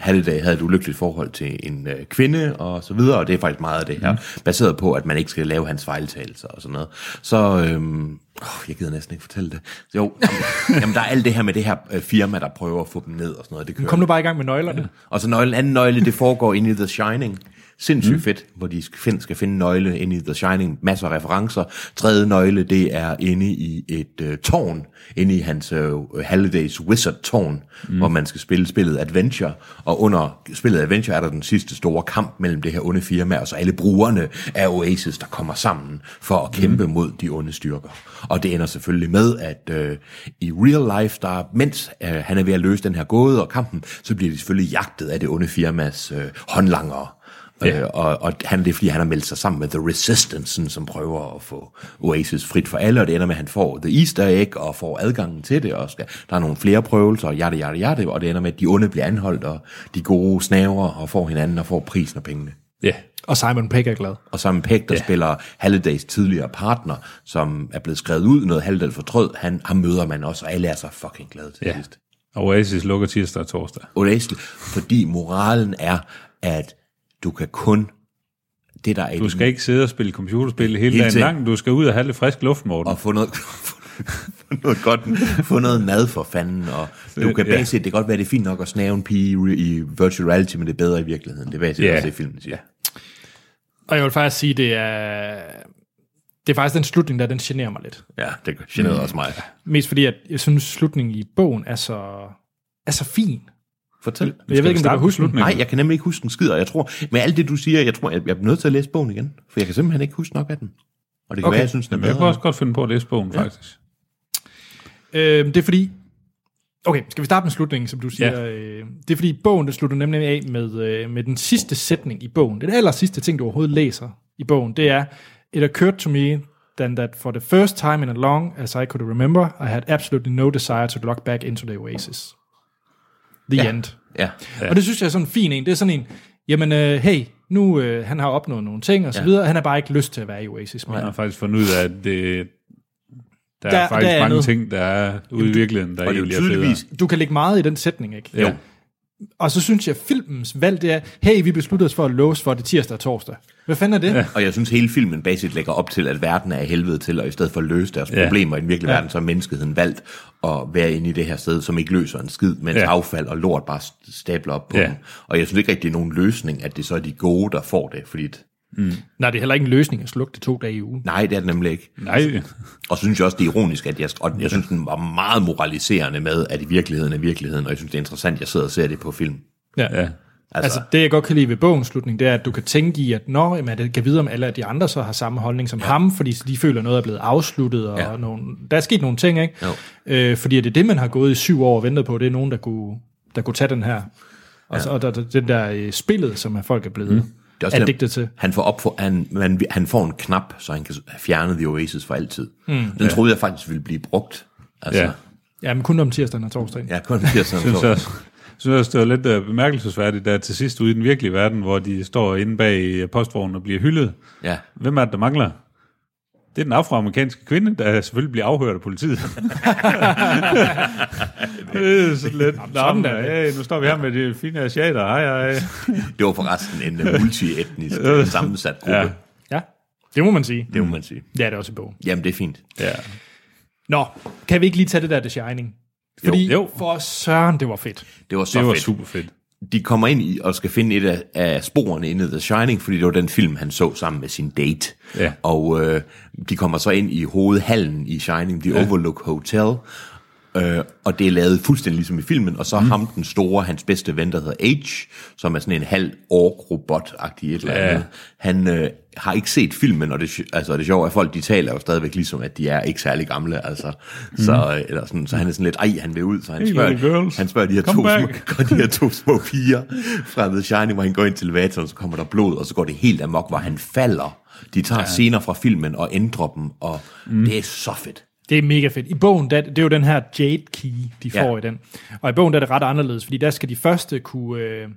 Speaker 2: Halliday havde et ulykkeligt forhold til en øh, kvinde og så videre, og det er faktisk meget af det her, mm. baseret på, at man ikke skal lave hans fejltagelser og sådan noget. Så, øhm, oh, jeg gider næsten ikke fortælle det. Så, jo, jamen, jamen, der er alt det her med det her øh, firma, der prøver at få dem ned og sådan noget. Det kører.
Speaker 1: Kom nu bare i gang med nøglerne.
Speaker 2: Og så nøglen, anden nøgle, det foregår inde i The Shining. Sindssygt mm. fedt, hvor de skal finde, skal finde nøgle inde i The Shining. Masser af referencer. Tredje nøgle, det er inde i et øh, tårn. Inde i hans øh, Hallidays Wizard-tårn, mm. hvor man skal spille spillet Adventure. Og under spillet Adventure er der den sidste store kamp mellem det her onde firma, og så alle brugerne af Oasis, der kommer sammen for at kæmpe mm. mod de onde styrker. Og det ender selvfølgelig med, at øh, i real life, der, er- mens øh, han er ved at løse den her gåde og kampen, så bliver de selvfølgelig jagtet af det onde firmas øh, håndlangere. Yeah. Øh, og, og han, det er fordi, han har meldt sig sammen med The Resistance, sådan, som prøver at få Oasis frit for alle, og det ender med, at han får The Easter Egg og får adgangen til det, og skal, der er nogle flere prøvelser, og jada, jada, jada, og det ender med, at de onde bliver anholdt, og de gode snaver og får hinanden og får prisen og pengene.
Speaker 3: Ja.
Speaker 1: Og Simon Pegg er glad.
Speaker 2: Og Simon Pegg, der yeah. spiller Hallidays tidligere partner, som er blevet skrevet ud, noget Halliday fortrød, han, ham møder man også, og alle er så fucking glade til
Speaker 3: Ja.
Speaker 2: sidst.
Speaker 3: Og Oasis lukker tirsdag og torsdag.
Speaker 2: Olæsel, fordi moralen er, at du kan kun det, der er i
Speaker 3: Du
Speaker 2: din-
Speaker 3: skal ikke sidde og spille computerspil hele
Speaker 2: Hele
Speaker 3: dagen
Speaker 2: tiden.
Speaker 3: lang. Du skal ud og have lidt frisk luft, Morten.
Speaker 2: og få noget, (laughs) få noget godt, få noget mad for fanden, og du kan
Speaker 3: Ja.
Speaker 2: base set, det kan godt være, det er fint nok at snave en pige i, i virtual reality, men det er bedre i virkeligheden. Det er baseret
Speaker 3: Ja.
Speaker 2: også det, filmen siger.
Speaker 1: Og jeg vil faktisk sige, det er... Det er faktisk den slutning, der den generer mig lidt.
Speaker 2: Ja, det generede også mig.
Speaker 1: Mest fordi, at jeg synes, slutningen i bogen er så, er så fin.
Speaker 2: Fortæl.
Speaker 1: Jeg ved ikke, om du kan huske den.
Speaker 2: Nej, jeg kan nemlig ikke huske den skid, og jeg tror, med alt det, du siger, jeg tror, jeg, jeg er nødt til at læse bogen igen, for jeg kan simpelthen ikke huske nok af den. Og det kan okay. være, jeg synes, den er
Speaker 3: Jeg kunne
Speaker 2: bedre.
Speaker 3: også godt finde på at læse bogen, faktisk.
Speaker 1: Øh, det er fordi... Okay, skal vi starte med slutningen, som du siger?
Speaker 3: Ja.
Speaker 1: Øh, det er fordi, bogen der slutter nemlig af med, øh, med den sidste sætning i bogen. Den aller sidste ting, du overhovedet læser i bogen, det er, It occurred to me than that for the first time in a long as I could remember, I had absolutely no desire to log back into the oasis. The ja. end.
Speaker 2: Ja.
Speaker 1: Ja. Og det synes jeg er sådan en fin en. Det er sådan en, jamen øh, hey, nu øh, han har opnået nogle ting og så
Speaker 2: Ja.
Speaker 1: videre, han har bare ikke lyst til at være i Oasis mere.
Speaker 3: Jeg har faktisk fundet ud af, at det, der,
Speaker 1: Der-
Speaker 3: er faktisk
Speaker 1: der er
Speaker 3: mange
Speaker 1: noget.
Speaker 3: ting, der er ude i virkeligheden, der
Speaker 2: Og det er jo
Speaker 3: egentlig er federe.
Speaker 2: tydeligvis,
Speaker 1: Du kan lægge meget i den sætning, ikke?
Speaker 3: Jo.
Speaker 1: Og så synes jeg, filmens valg det er, hey, vi besluttede os for at låse for det tirsdag og torsdag. Hvad fanden er det? Ja.
Speaker 2: Og jeg synes, hele filmen basic lægger op til, at verden er af helvede til, og i stedet for at løse deres
Speaker 3: Ja.
Speaker 2: ja. problemer i den virkelige ja. verden, så har menneskeheden valgt at være inde i det her sted, som ikke løser en skid, mens
Speaker 3: Ja.
Speaker 2: ja. affald og lort bare st- stabler op på
Speaker 3: Ja.
Speaker 2: ja. dem. Og jeg synes ikke rigtig, det er nogen løsning, at det så er de gode, der får det, fordi det-
Speaker 1: Nej, det er heller ikke en løsning at slukke det to dage i ugen.
Speaker 2: nej, det er det nemlig ikke.
Speaker 3: Nej,
Speaker 2: Og så synes jeg også, det er ironisk, at jeg, og jeg synes, den var meget moraliserende med, at i virkeligheden er virkeligheden, og jeg synes, det er interessant, at jeg sidder og ser det på film.
Speaker 1: Ja.
Speaker 3: ja.
Speaker 1: Altså, det jeg godt kan lide ved bogens slutning, det er, at du kan tænke i, at nå, jamen, at jeg kan vide, om alle af de andre så har samme holdning som ja. ham, fordi de føler, noget er blevet afsluttet, og ja.
Speaker 2: Ja.
Speaker 1: nogle, der er sket nogle ting, ikke?
Speaker 2: Jo.
Speaker 1: Øh, fordi at det er det, man har gået i syv år og ventet på, det er nogen, der kunne, der kunne tage den her. Og, ja. så, og der, der, den der øh, spillet, som er folk er blevet
Speaker 2: Det er
Speaker 1: mm.
Speaker 2: også
Speaker 1: addiktet
Speaker 2: det,
Speaker 1: til.
Speaker 2: Han får, op for, han, man, han får en knap, så han kan fjerne The Oasis for altid. Mm, den troede jeg faktisk ville blive brugt. Altså,
Speaker 3: Hmm,
Speaker 2: ja.
Speaker 3: Ja.
Speaker 1: Ja, men kun om tirsdagen og torsdagen. Ja.
Speaker 2: Jeg kun siger sådan
Speaker 3: (laughs) synes
Speaker 2: så.
Speaker 3: også, synes også, det var lidt øh, bemærkelsesværdigt, der til sidst ude i den virkelige verden, hvor de står inde bag øh, postvognen og bliver hyldet.
Speaker 2: Ja.
Speaker 3: Hvem er det, der mangler? Det er den afroamerikanske kvinde, der selvfølgelig bliver afhørt af (laughs) politiet. det er sådan lidt, sådan
Speaker 1: er
Speaker 3: der,
Speaker 1: det."
Speaker 3: hey, nu står vi her med de fine asiater, hej, hej.
Speaker 2: Det var forresten en øh, multietnisk øh, sammensat gruppe.
Speaker 3: (laughs) Ja.
Speaker 2: Ja.
Speaker 1: ja, det må man sige.
Speaker 2: Det må man sige.
Speaker 1: Ja, det er også i bogen.
Speaker 2: Jamen, det er fint.
Speaker 3: Ja.
Speaker 1: Nå, kan vi ikke lige tage det der The Shining? Fordi
Speaker 3: Jo.
Speaker 1: for søren, det var fedt.
Speaker 2: Det var så
Speaker 3: Det var
Speaker 2: fedt.
Speaker 3: super fedt.
Speaker 2: De kommer ind i og skal finde et af, af sporene inde i The Shining, fordi det var den film, han så sammen med sin date.
Speaker 3: Ja.
Speaker 2: Og øh, de kommer så ind i hovedhallen i Shining, The Overlook Hotel. Øh, og det er lavet fuldstændig ligesom i filmen, og så mm. ham den store, hans bedste ven, der hedder H, som er sådan en halv ork robot agtig et eller andet. Han øh, har ikke set filmen, og det, sj- altså, det sjove er, at folk de taler jo stadigvæk ligesom, at de er ikke særlig gamle. Altså. Så, øh, eller sådan, så han er sådan lidt, ej, han vil ud, så han
Speaker 3: Mm. Hey,
Speaker 2: spørger,
Speaker 3: little girls,
Speaker 2: han spørger de her, to
Speaker 3: come
Speaker 2: små, (laughs)
Speaker 3: back.
Speaker 2: og de her to
Speaker 3: (laughs)
Speaker 2: små piger fra The Shining, hvor han går ind til elevatoren, så kommer der blod, og så går det helt amok, hvor han falder. De tager ja. scener fra filmen og ændrer dem, og mm. det er så fedt.
Speaker 1: Det er mega fedt. I bogen, der, det er jo den her Jade Key, de får
Speaker 2: Ja.
Speaker 1: i den. Og i bogen der er det ret anderledes, fordi der skal de første kunne, øh,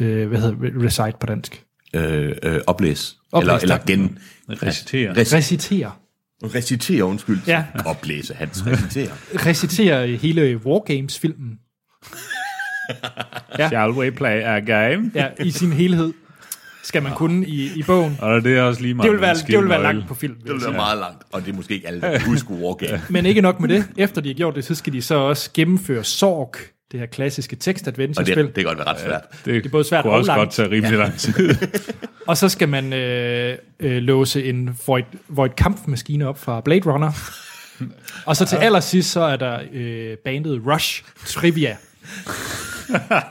Speaker 1: øh, hvad hedder det, recite på dansk?
Speaker 2: Øh, øh, oplæs.
Speaker 1: Oplæs,
Speaker 2: eller, eller
Speaker 1: tak.
Speaker 2: gen...
Speaker 3: Recitere.
Speaker 2: Rec-
Speaker 1: Recitere.
Speaker 2: recitere, undskyld.
Speaker 1: Ja.
Speaker 2: Oplæse, hans recitere.
Speaker 1: Recitere hele Wargames-filmen. Ja.
Speaker 3: Shall we play a game?
Speaker 1: Ja, i sin helhed skal man kunne i, i bogen.
Speaker 3: Og det er også lige meget.
Speaker 1: Det vil
Speaker 3: med
Speaker 1: være,
Speaker 3: en
Speaker 1: det vil være
Speaker 3: skinnøgle.
Speaker 1: langt på film. vil
Speaker 2: Det
Speaker 1: jeg
Speaker 2: lyder meget langt, og det er måske ikke alle, der kan huske Wargame.
Speaker 1: Men ikke nok med det. Efter de har gjort det, så skal de så også gennemføre Sorg, det her klassiske
Speaker 2: Og det,
Speaker 1: tekstadventure-spil.
Speaker 2: det kan godt være ret svært.
Speaker 3: Det,
Speaker 1: er både svært
Speaker 3: kunne
Speaker 1: og
Speaker 3: også
Speaker 1: langt.
Speaker 3: godt tage rimelig lang tid.
Speaker 1: Og så skal man øh, øh, låse en Void, Void Kampf-maskine op fra Blade Runner. og så til allersidst, så er der øh, bandet Rush Trivia.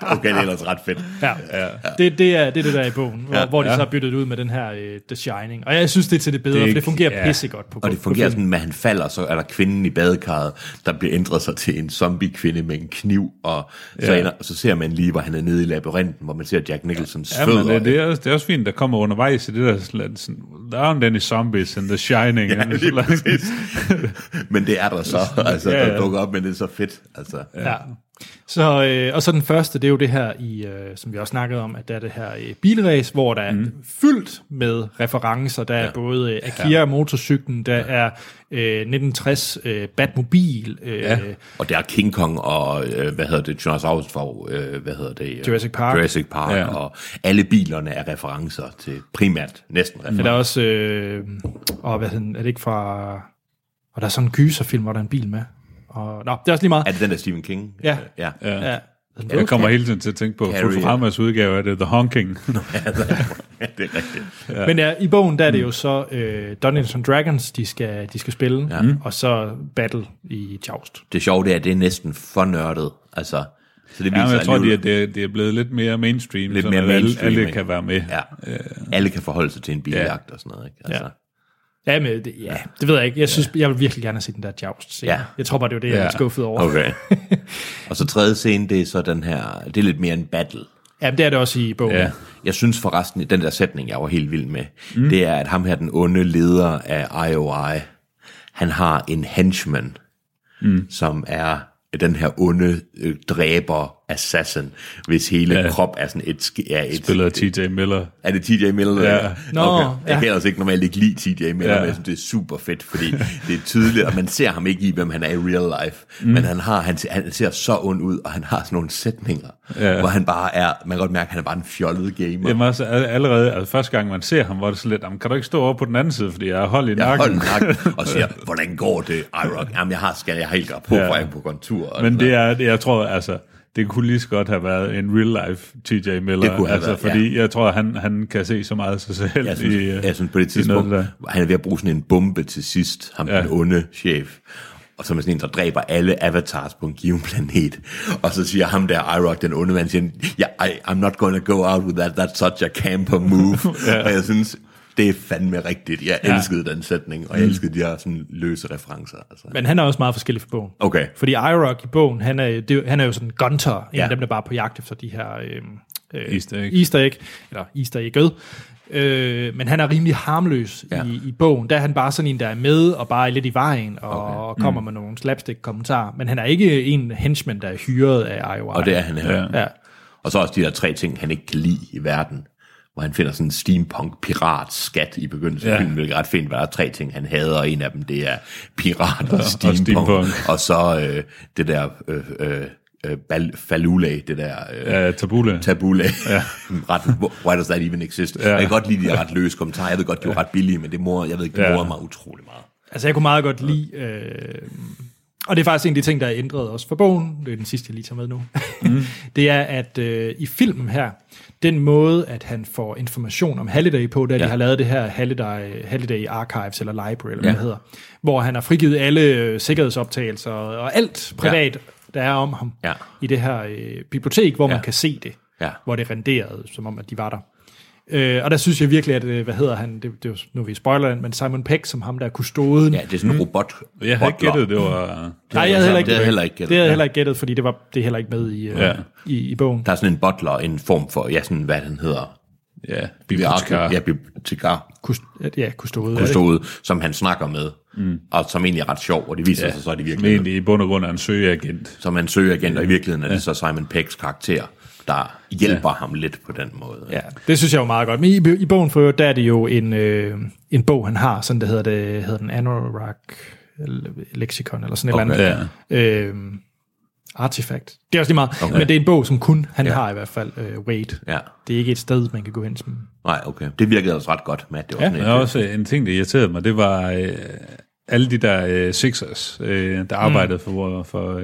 Speaker 2: Okay, det er ellers ret fedt.
Speaker 1: Ja. Ja. Det, det, er, det er det der er i bogen, hvor, ja. hvor de så har byttet det ud med den her øh, The Shining. Og jeg synes, det er til det bedre,
Speaker 3: Det
Speaker 1: det for
Speaker 3: er
Speaker 1: det
Speaker 3: ikke-
Speaker 1: fungerer
Speaker 3: ja.
Speaker 1: ja. pissegodt på
Speaker 2: Og det
Speaker 1: på
Speaker 2: fungerer
Speaker 1: film.
Speaker 2: sådan, at han falder, så er der kvinden i badekarret, der bliver ændret sig til en zombie-kvinde med en kniv, og så,
Speaker 3: Ja.
Speaker 2: ja. ender, så ser man lige, hvor han er nede i labyrinten, hvor man ser Jack Nicholsons
Speaker 3: Ja,
Speaker 2: fødder.
Speaker 3: men øh, det, det, er også, det er også fint, der kommer undervejs i det der, sådan, sådan, der er jo Danny Zombies and The Shining. ja,
Speaker 2: lige præcis. men det er der så, altså,
Speaker 3: Ja,
Speaker 2: ja,
Speaker 3: ja.
Speaker 2: ja. der dukker op, men det er så fedt. Altså. Ja.
Speaker 1: Ja. Så, øh, og så den første, det er jo det her, i, øh, som vi også snakkede om, at der er det her øh, bilræs, hvor der er mm. fyldt med referencer. Der er ja. både øh, Akira-motorcyklen, der ja. er øh, 1960 øh, Batmobil, øh, ja.
Speaker 2: Og der er King Kong og, øh, hvad hedder det, Jonas August fra, øh, hvad hedder det? øh,
Speaker 1: Jurassic Park.
Speaker 2: Jurassic Park,
Speaker 3: Ja.
Speaker 2: ja. og alle bilerne er referencer til primært, næsten referencer.
Speaker 1: der er også, øh, og hvad hedder den, er det ikke fra, og der er sådan en gyserfilm, hvor der er en bil med. Og, nå, det er også lige meget.
Speaker 2: Er det den der Stephen King? Øh,
Speaker 1: Ja.
Speaker 2: ja.
Speaker 1: ja. Ja.
Speaker 3: Jeg kommer hele tiden til at tænke på
Speaker 2: Carrie.
Speaker 3: Futuramas udgave af det, The Honking.
Speaker 2: (laughs) det er rigtigt.
Speaker 1: Ja. Men ja, i bogen, der er det jo så øh, Dungeons and Dragons, de skal, de skal spille, ja. Mm. og så Battle i Joust.
Speaker 2: Det sjove det er, at det er næsten for nørdet. Altså, så det viser
Speaker 3: ja, men jeg tror, det er,
Speaker 2: alligevel-
Speaker 3: det, er, det er blevet lidt mere mainstream,
Speaker 2: Lidt
Speaker 3: sådan
Speaker 2: mere
Speaker 3: at alle-
Speaker 2: mainstream,
Speaker 3: alle
Speaker 2: ikke?
Speaker 3: kan være med.
Speaker 2: Ja.
Speaker 3: Øh.
Speaker 2: Alle kan forholde sig til en biljagt og sådan noget. Ikke? Altså,
Speaker 1: Ja. Ja, men det, ja, det ved jeg ikke. Jeg, synes, jeg vil virkelig gerne se den der Joust. Ja.
Speaker 2: Ja.
Speaker 1: Jeg tror bare, det var det, jeg
Speaker 3: Ja.
Speaker 1: var skuffet over.
Speaker 3: (laughs)
Speaker 2: Okay. og så tredje scene, det er så den her, det er lidt mere en battle.
Speaker 1: Ja, men det er det også i bogen.
Speaker 3: Ja.
Speaker 1: Ja.
Speaker 2: Jeg synes forresten, at den der sætning, jeg var helt vild med, mm. det er, at ham her, den onde leder af IOI, han har en henchman, mm. som er den her onde øh, dræber assassin, hvis hele
Speaker 3: Ja.
Speaker 2: ja. krop er sådan et... sk- Er et
Speaker 3: Spiller T.J. Miller.
Speaker 2: Er det TJ Miller?
Speaker 3: Ja.
Speaker 2: Ja.
Speaker 1: Nå,
Speaker 2: okay. Jeg
Speaker 1: ja.
Speaker 2: kan ellers ikke normalt ikke lide TJ Miller,
Speaker 3: Ja.
Speaker 2: ja. men jeg synes, det er super fedt, fordi det er tydeligt, og man ser ham ikke i, hvem han er i real life. Mm. Men han, har, han, ser- han ser så ond ud, og han har sådan nogle sætninger,
Speaker 3: Ja.
Speaker 2: ja. hvor han bare er... Man kan godt mærke, at han er bare en fjollet gamer.
Speaker 3: Jamen også al- allerede, altså første gang man ser ham, var det så lidt, "Jamen, kan du ikke stå over på den anden side, fordi jeg har hold i
Speaker 2: Jeg
Speaker 3: nakken.
Speaker 2: holder nakken og siger, hvordan går det, Irock? Jamen, jeg har, skal jeg har helt grad på,
Speaker 3: Ja.
Speaker 2: for jeg er på kontur. og
Speaker 3: (laughs) Men
Speaker 2: sådan
Speaker 3: det er, det- jeg tror, altså, det kunne lige så godt have været en real life TJ Miller.
Speaker 2: Det kunne have
Speaker 3: altså,
Speaker 2: været, ja.
Speaker 3: fordi jeg tror, han, han kan se så meget af sig selv.
Speaker 2: Jeg synes,
Speaker 3: i, øh,
Speaker 2: jeg synes på det
Speaker 3: i noget
Speaker 2: tidspunkt,
Speaker 3: der.
Speaker 2: han er ved at bruge sådan en bombe til sidst, ham
Speaker 3: Ja.
Speaker 2: ja. den onde chef, og som er sådan en, der dræber alle avatars på en given planet. Og så siger ham der, Irock, den onde mand, siger, yeah, I, I'm not gonna go out with that, that's such a camper move. (laughs) ja. Og jeg synes, det er fandme rigtigt. Jeg
Speaker 3: Ja.
Speaker 2: elskede den sætning, og jeg elskede de her sådan løse referencer. Altså.
Speaker 1: Men han er også meget forskellig fra bogen.
Speaker 2: Okay.
Speaker 1: Fordi Irock i bogen, han er, det, er jo- han er jo sådan en gunter, en ja. af
Speaker 2: Ja.
Speaker 1: dem, der bare er på jagt efter de her øhm, øh,
Speaker 3: Easter egg.
Speaker 1: Easter egg, eller Easter egg øh, men han er rimelig harmløs ja.
Speaker 2: Ja.
Speaker 1: i, i bogen. Der er han bare sådan en, der er med og bare er lidt i vejen og okay. kommer mm. med nogle slapstick-kommentarer. Men han er ikke en henchman, der er hyret af IOI.
Speaker 2: Og det er han her. Ja.
Speaker 1: Ja.
Speaker 2: Og så også de der tre ting, han ikke kan lide i verden. Hvor han finder sådan en steampunk-pirat-skat i begyndelsen af
Speaker 3: Ja.
Speaker 2: ja. filmen, hvilket er ret fint, hvad der er tre ting, han hader, og en af dem, det er pirat og,
Speaker 3: og
Speaker 2: steampunk.
Speaker 3: steampunk.
Speaker 2: Og så øh, det der øh, øh, øh, bal- falule, det der øh,
Speaker 3: Ja, Tabula.
Speaker 2: tabule. Ja. (laughs) ret, why does that even exist? Ja. Jeg kan godt lide de der ret løse kommentarer. Jeg ved godt, de var ret billige, men det mor, jeg ved ikke, det
Speaker 3: Ja.
Speaker 2: morer mig utrolig meget.
Speaker 1: Altså, jeg kunne meget godt lide... Øh, og det er faktisk en af de ting, der er ændret også for bogen. Det er den sidste, jeg lige tager med nu. Mm. (laughs) det er, at øh, i filmen her, den måde, at han får information om Halliday på, da ja. de
Speaker 2: Ja.
Speaker 1: har lavet det her Halliday, Halliday Archives, eller Library, eller ja. hvad
Speaker 2: Ja.
Speaker 1: det hedder, hvor han har frigivet alle øh, sikkerhedsoptagelser og, og alt privat, ja. der er om ham,
Speaker 2: Ja.
Speaker 1: i det her øh, bibliotek, hvor ja.
Speaker 2: Ja.
Speaker 1: man kan se det,
Speaker 2: Ja.
Speaker 1: hvor det renderede, som om, at de var der. Øh, og der synes jeg virkelig, at, øh, hvad hedder han, det, det er jo, nu er vi i spoileren, men Simon Peck, som ham, der er kustoden,
Speaker 2: Ja, det er sådan en robot.
Speaker 3: Mm. Jeg havde ikke
Speaker 2: butler.
Speaker 3: gættet, det var...
Speaker 1: Nej, jeg havde heller ikke,
Speaker 2: Det havde jeg heller
Speaker 1: gættet.
Speaker 2: ikke gættet.
Speaker 1: Det havde jeg
Speaker 2: Ja.
Speaker 1: heller ikke gættet, fordi det, var, det er heller ikke med i, øh,
Speaker 3: Ja.
Speaker 1: ja. i, i bogen.
Speaker 2: Der er sådan en butler, en form for, ja, sådan, hvad han hedder.
Speaker 3: Ja,
Speaker 2: Bibliotekar.
Speaker 3: bibliotekar.
Speaker 2: Ja, bibliotekar.
Speaker 1: Kust, ja, kustode.
Speaker 2: forstået, som han snakker med, mm. og som egentlig er ret sjov, og det viser ja. sig så, at det
Speaker 3: Som
Speaker 2: virkelig
Speaker 3: egentlig i bund og grund er en søgeagent.
Speaker 2: som han søger igen, og i virkeligheden er det så Simon Peggs karakter, der hjælper ja. ham lidt på den måde.
Speaker 1: Ja, det synes jeg jo meget godt. Men i, i bogen for øvrigt, der er det jo en, øh, en bog, han har, sådan det hedder det, hedder den Anorak Lexicon, eller sådan et
Speaker 2: Okay.
Speaker 1: eller andet. Ja. Øh, artifact. Det er også lige meget. Okay. Men det er en bog, som kun han ja. har i hvert fald øh, Wade.
Speaker 2: Ja.
Speaker 1: Det er ikke et sted, man kan gå hen som...
Speaker 2: Nej, okay. Det virkede altså ret godt, Matt. Det var
Speaker 1: Ja.
Speaker 2: ja. sådan
Speaker 3: Der er
Speaker 2: en,
Speaker 3: også øh, en ting, der irriterede mig, det var øh, alle de der øh, Sixers,
Speaker 2: Mm.
Speaker 3: øh, der arbejdede for, for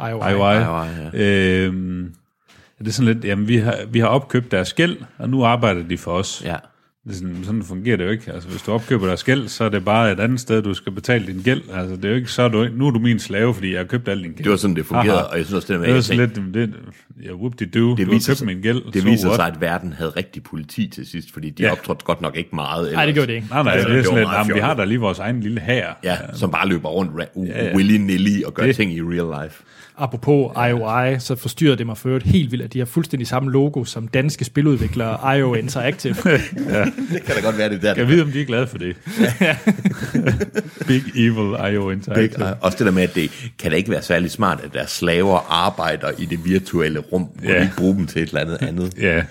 Speaker 3: øh, IOI.
Speaker 2: IOI,
Speaker 3: Øhm, det er sådan lidt, jamen vi har, vi har opkøbt deres gæld, og nu arbejder de for os.
Speaker 2: ja.
Speaker 3: Det er sådan, sådan fungerer det jo ikke. Altså, hvis du opkøber deres gæld, så er det bare et andet sted, du skal betale din gæld. Altså, det er jo ikke, så er du, nu er du min slave, fordi jeg har købt al din gæld.
Speaker 2: Det var sådan, det fungerede,
Speaker 3: Aha.
Speaker 2: og jeg synes også, det der med,
Speaker 3: det var
Speaker 2: jeg
Speaker 3: sådan
Speaker 2: tænkte,
Speaker 3: lidt, jamen, det, ja, whoop de do
Speaker 2: det
Speaker 3: du har
Speaker 2: viser,
Speaker 3: købt
Speaker 2: sig,
Speaker 3: min gæld.
Speaker 2: det
Speaker 3: so
Speaker 2: viser
Speaker 3: what?
Speaker 2: sig, at verden havde rigtig politi til sidst, fordi de
Speaker 3: Ja.
Speaker 2: ja. optrådte godt nok ikke meget.
Speaker 1: Nej, det
Speaker 2: ellers.
Speaker 1: gjorde det ikke.
Speaker 3: Nej, nej,
Speaker 2: Altså,
Speaker 3: det er
Speaker 2: det var
Speaker 3: sådan lidt,
Speaker 2: meget
Speaker 3: jamen, vi har
Speaker 2: fjollet."
Speaker 3: da lige vores egen lille her.
Speaker 2: Ja, som bare løber rundt ra-
Speaker 3: Ja, ja.
Speaker 2: ja. willy-nilly og gør
Speaker 3: Det-
Speaker 2: det. ting i real life.
Speaker 1: Apropos IOI, så forstyrrer det mig for øvrigt helt vildt, at de har fuldstændig samme logo som danske spiludviklere IO Interactive.
Speaker 2: Det kan da godt være, det er der.
Speaker 3: Jeg ved, om de er glade for
Speaker 2: (laughs)
Speaker 3: det. Big Evil I.O.
Speaker 2: Big,
Speaker 3: Interactive.
Speaker 2: også det der med, at det kan da ikke være særlig smart, at deres slaver arbejder i det virtuelle rum, hvor
Speaker 3: Ja.
Speaker 2: yeah. de ikke bruger dem til et eller andet
Speaker 3: (laughs)
Speaker 2: andet.
Speaker 3: Ja,
Speaker 2: At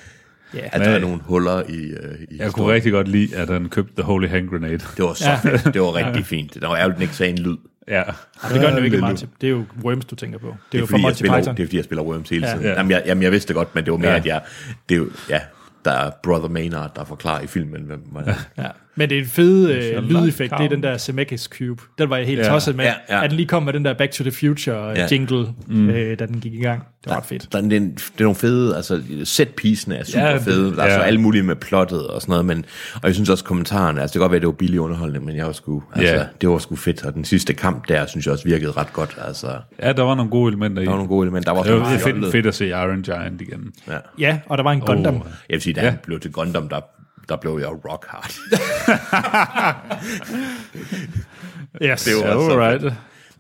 Speaker 2: der
Speaker 3: Men-
Speaker 2: er nogle huller i, øh, i
Speaker 3: jeg kunne
Speaker 2: historien.
Speaker 3: rigtig godt lide, at han købte The Holy Hand Grenade.
Speaker 2: Det var så fedt. Det var
Speaker 3: (laughs)
Speaker 2: rigtig fint. Det var ærgerligt, den ikke sagde en lyd. Det
Speaker 3: Ja.
Speaker 1: Ej, det gør den jo ikke meget til. Det er jo Worms, du tænker på. Det er, det er jo fra
Speaker 2: jeg
Speaker 1: Monty
Speaker 2: spiller,
Speaker 1: Python.
Speaker 2: det er fordi, jeg spiller Worms hele
Speaker 1: Ja.
Speaker 2: tiden.
Speaker 3: Ja.
Speaker 2: Ja. Jamen, jeg, jamen, jeg vidste det godt, men det var mere,
Speaker 3: Ja.
Speaker 2: ja. at jeg... Det er jo, ja, der er Brother Maynard, der forklarer i filmen,
Speaker 3: (laughs)
Speaker 2: hvem man er.
Speaker 1: Ja. Men det er en fed øh, lydeffekt, det er
Speaker 3: count.
Speaker 1: den der Zemeckis Cube. Den var jeg helt
Speaker 3: Ja.
Speaker 1: ja. tosset med,
Speaker 2: Ja,
Speaker 1: ja,
Speaker 2: ja.
Speaker 1: ja. at den lige kom med den der Back to the Future ja.
Speaker 2: Ja.
Speaker 1: jingle, mm. øh, da den gik i gang. Det var ret fedt.
Speaker 2: Der er, den, det er nogle fede, altså set-piecene er super
Speaker 3: Ja,
Speaker 2: ja,
Speaker 3: det-
Speaker 2: fede, der er
Speaker 3: ja.
Speaker 2: ja. så alle mulige med plottet og sådan noget, men, og jeg synes også kommentarerne, altså det kan godt være, at det var billig underholdning, men jeg var sgu, altså,
Speaker 3: Ja.
Speaker 2: det var sgu fedt, og den sidste kamp der, synes jeg også virkede ret godt, altså der
Speaker 3: ja, der var nogle gode elementer i.
Speaker 2: var nogle gode elementer, der var også
Speaker 3: Det
Speaker 2: nogle
Speaker 3: var fedt,
Speaker 2: fjollede-
Speaker 3: fedt at se Iron Giant igen.
Speaker 2: Ja.
Speaker 1: Ja, og der var en Gundam.
Speaker 3: Åh.
Speaker 2: Jeg vil sige, da ja. han blev til Gundam, der, der blev jeg rock (laughs) hard.
Speaker 1: Yes. Det var.
Speaker 2: var- altså-
Speaker 3: Alright.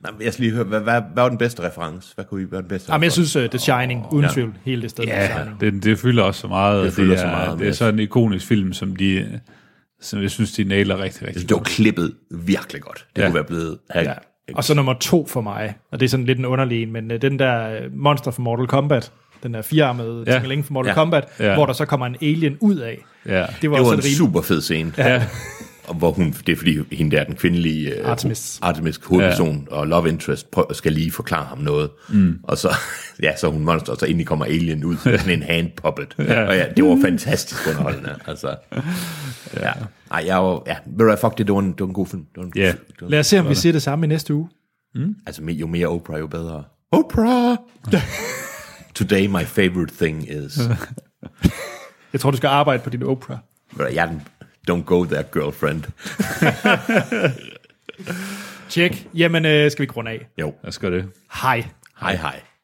Speaker 2: Nej, men jeg skal lige høre, hvad, hvad, hvad var den bedste reference? Hvad kunne I være den bedste
Speaker 1: Jamen, jeg
Speaker 2: reference?
Speaker 1: synes, uh, The Shining, uden
Speaker 2: Ja.
Speaker 1: tvivl, hele det sted. med The
Speaker 3: Ja,
Speaker 1: Shining.
Speaker 3: det, det fylder også så meget.
Speaker 2: Det fylder
Speaker 3: er,
Speaker 2: så meget,
Speaker 3: Det er
Speaker 2: men-
Speaker 3: sådan en ikonisk film, som de som jeg synes, de nailer rigtig, rigtig
Speaker 2: Det var klippet virkelig godt. Det
Speaker 3: Ja.
Speaker 2: ja. kunne være blevet... Ja.
Speaker 1: Og så nummer to øh, for mig, og det er sådan lidt en underlig en, men uh, den der øh, monster fra Mortal Kombat, den der firearmede
Speaker 3: Ja.
Speaker 1: ja. tingeling fra Mortal
Speaker 2: Ja.
Speaker 1: ja. Kombat,
Speaker 3: Ja.
Speaker 1: ja. hvor der så kommer en alien ud af.
Speaker 3: Ja.
Speaker 1: Det var,
Speaker 2: Det var
Speaker 1: også
Speaker 2: en
Speaker 1: et rim-
Speaker 2: super fed scene.
Speaker 3: Ja.
Speaker 2: Og Hvor hun, det er fordi, hende der, den kvindelige øh,
Speaker 1: Artemis.
Speaker 2: Artemis hovedperson og love interest, prøv, skal lige forklare ham noget. Mm. Og så, (laughs) ja, så er hun monster, og så endelig kommer alien ud, sådan en hand puppet. Ja. Og ja, det var fantastisk underholdende. Altså, ja. Ej, jeg var, ja, ved du hvad, fuck det, det var en, det var en god film. Det var en,
Speaker 3: Ja.
Speaker 2: det var en,
Speaker 1: Lad os se, om vi siger det samme i næste uge.
Speaker 2: altså, jo mere Oprah, jo bedre. Oprah!
Speaker 1: (laughs)
Speaker 2: Today my favorite thing is...
Speaker 1: Jeg tror, du skal arbejde på din Oprah.
Speaker 2: Ved du hvad, Jeg er den, don't go there, girlfriend.
Speaker 1: Tjek. Jamen, øh, skal vi ikke runde af?
Speaker 2: Jo,
Speaker 3: Hvad skal det?
Speaker 1: Hej.
Speaker 2: hej hej.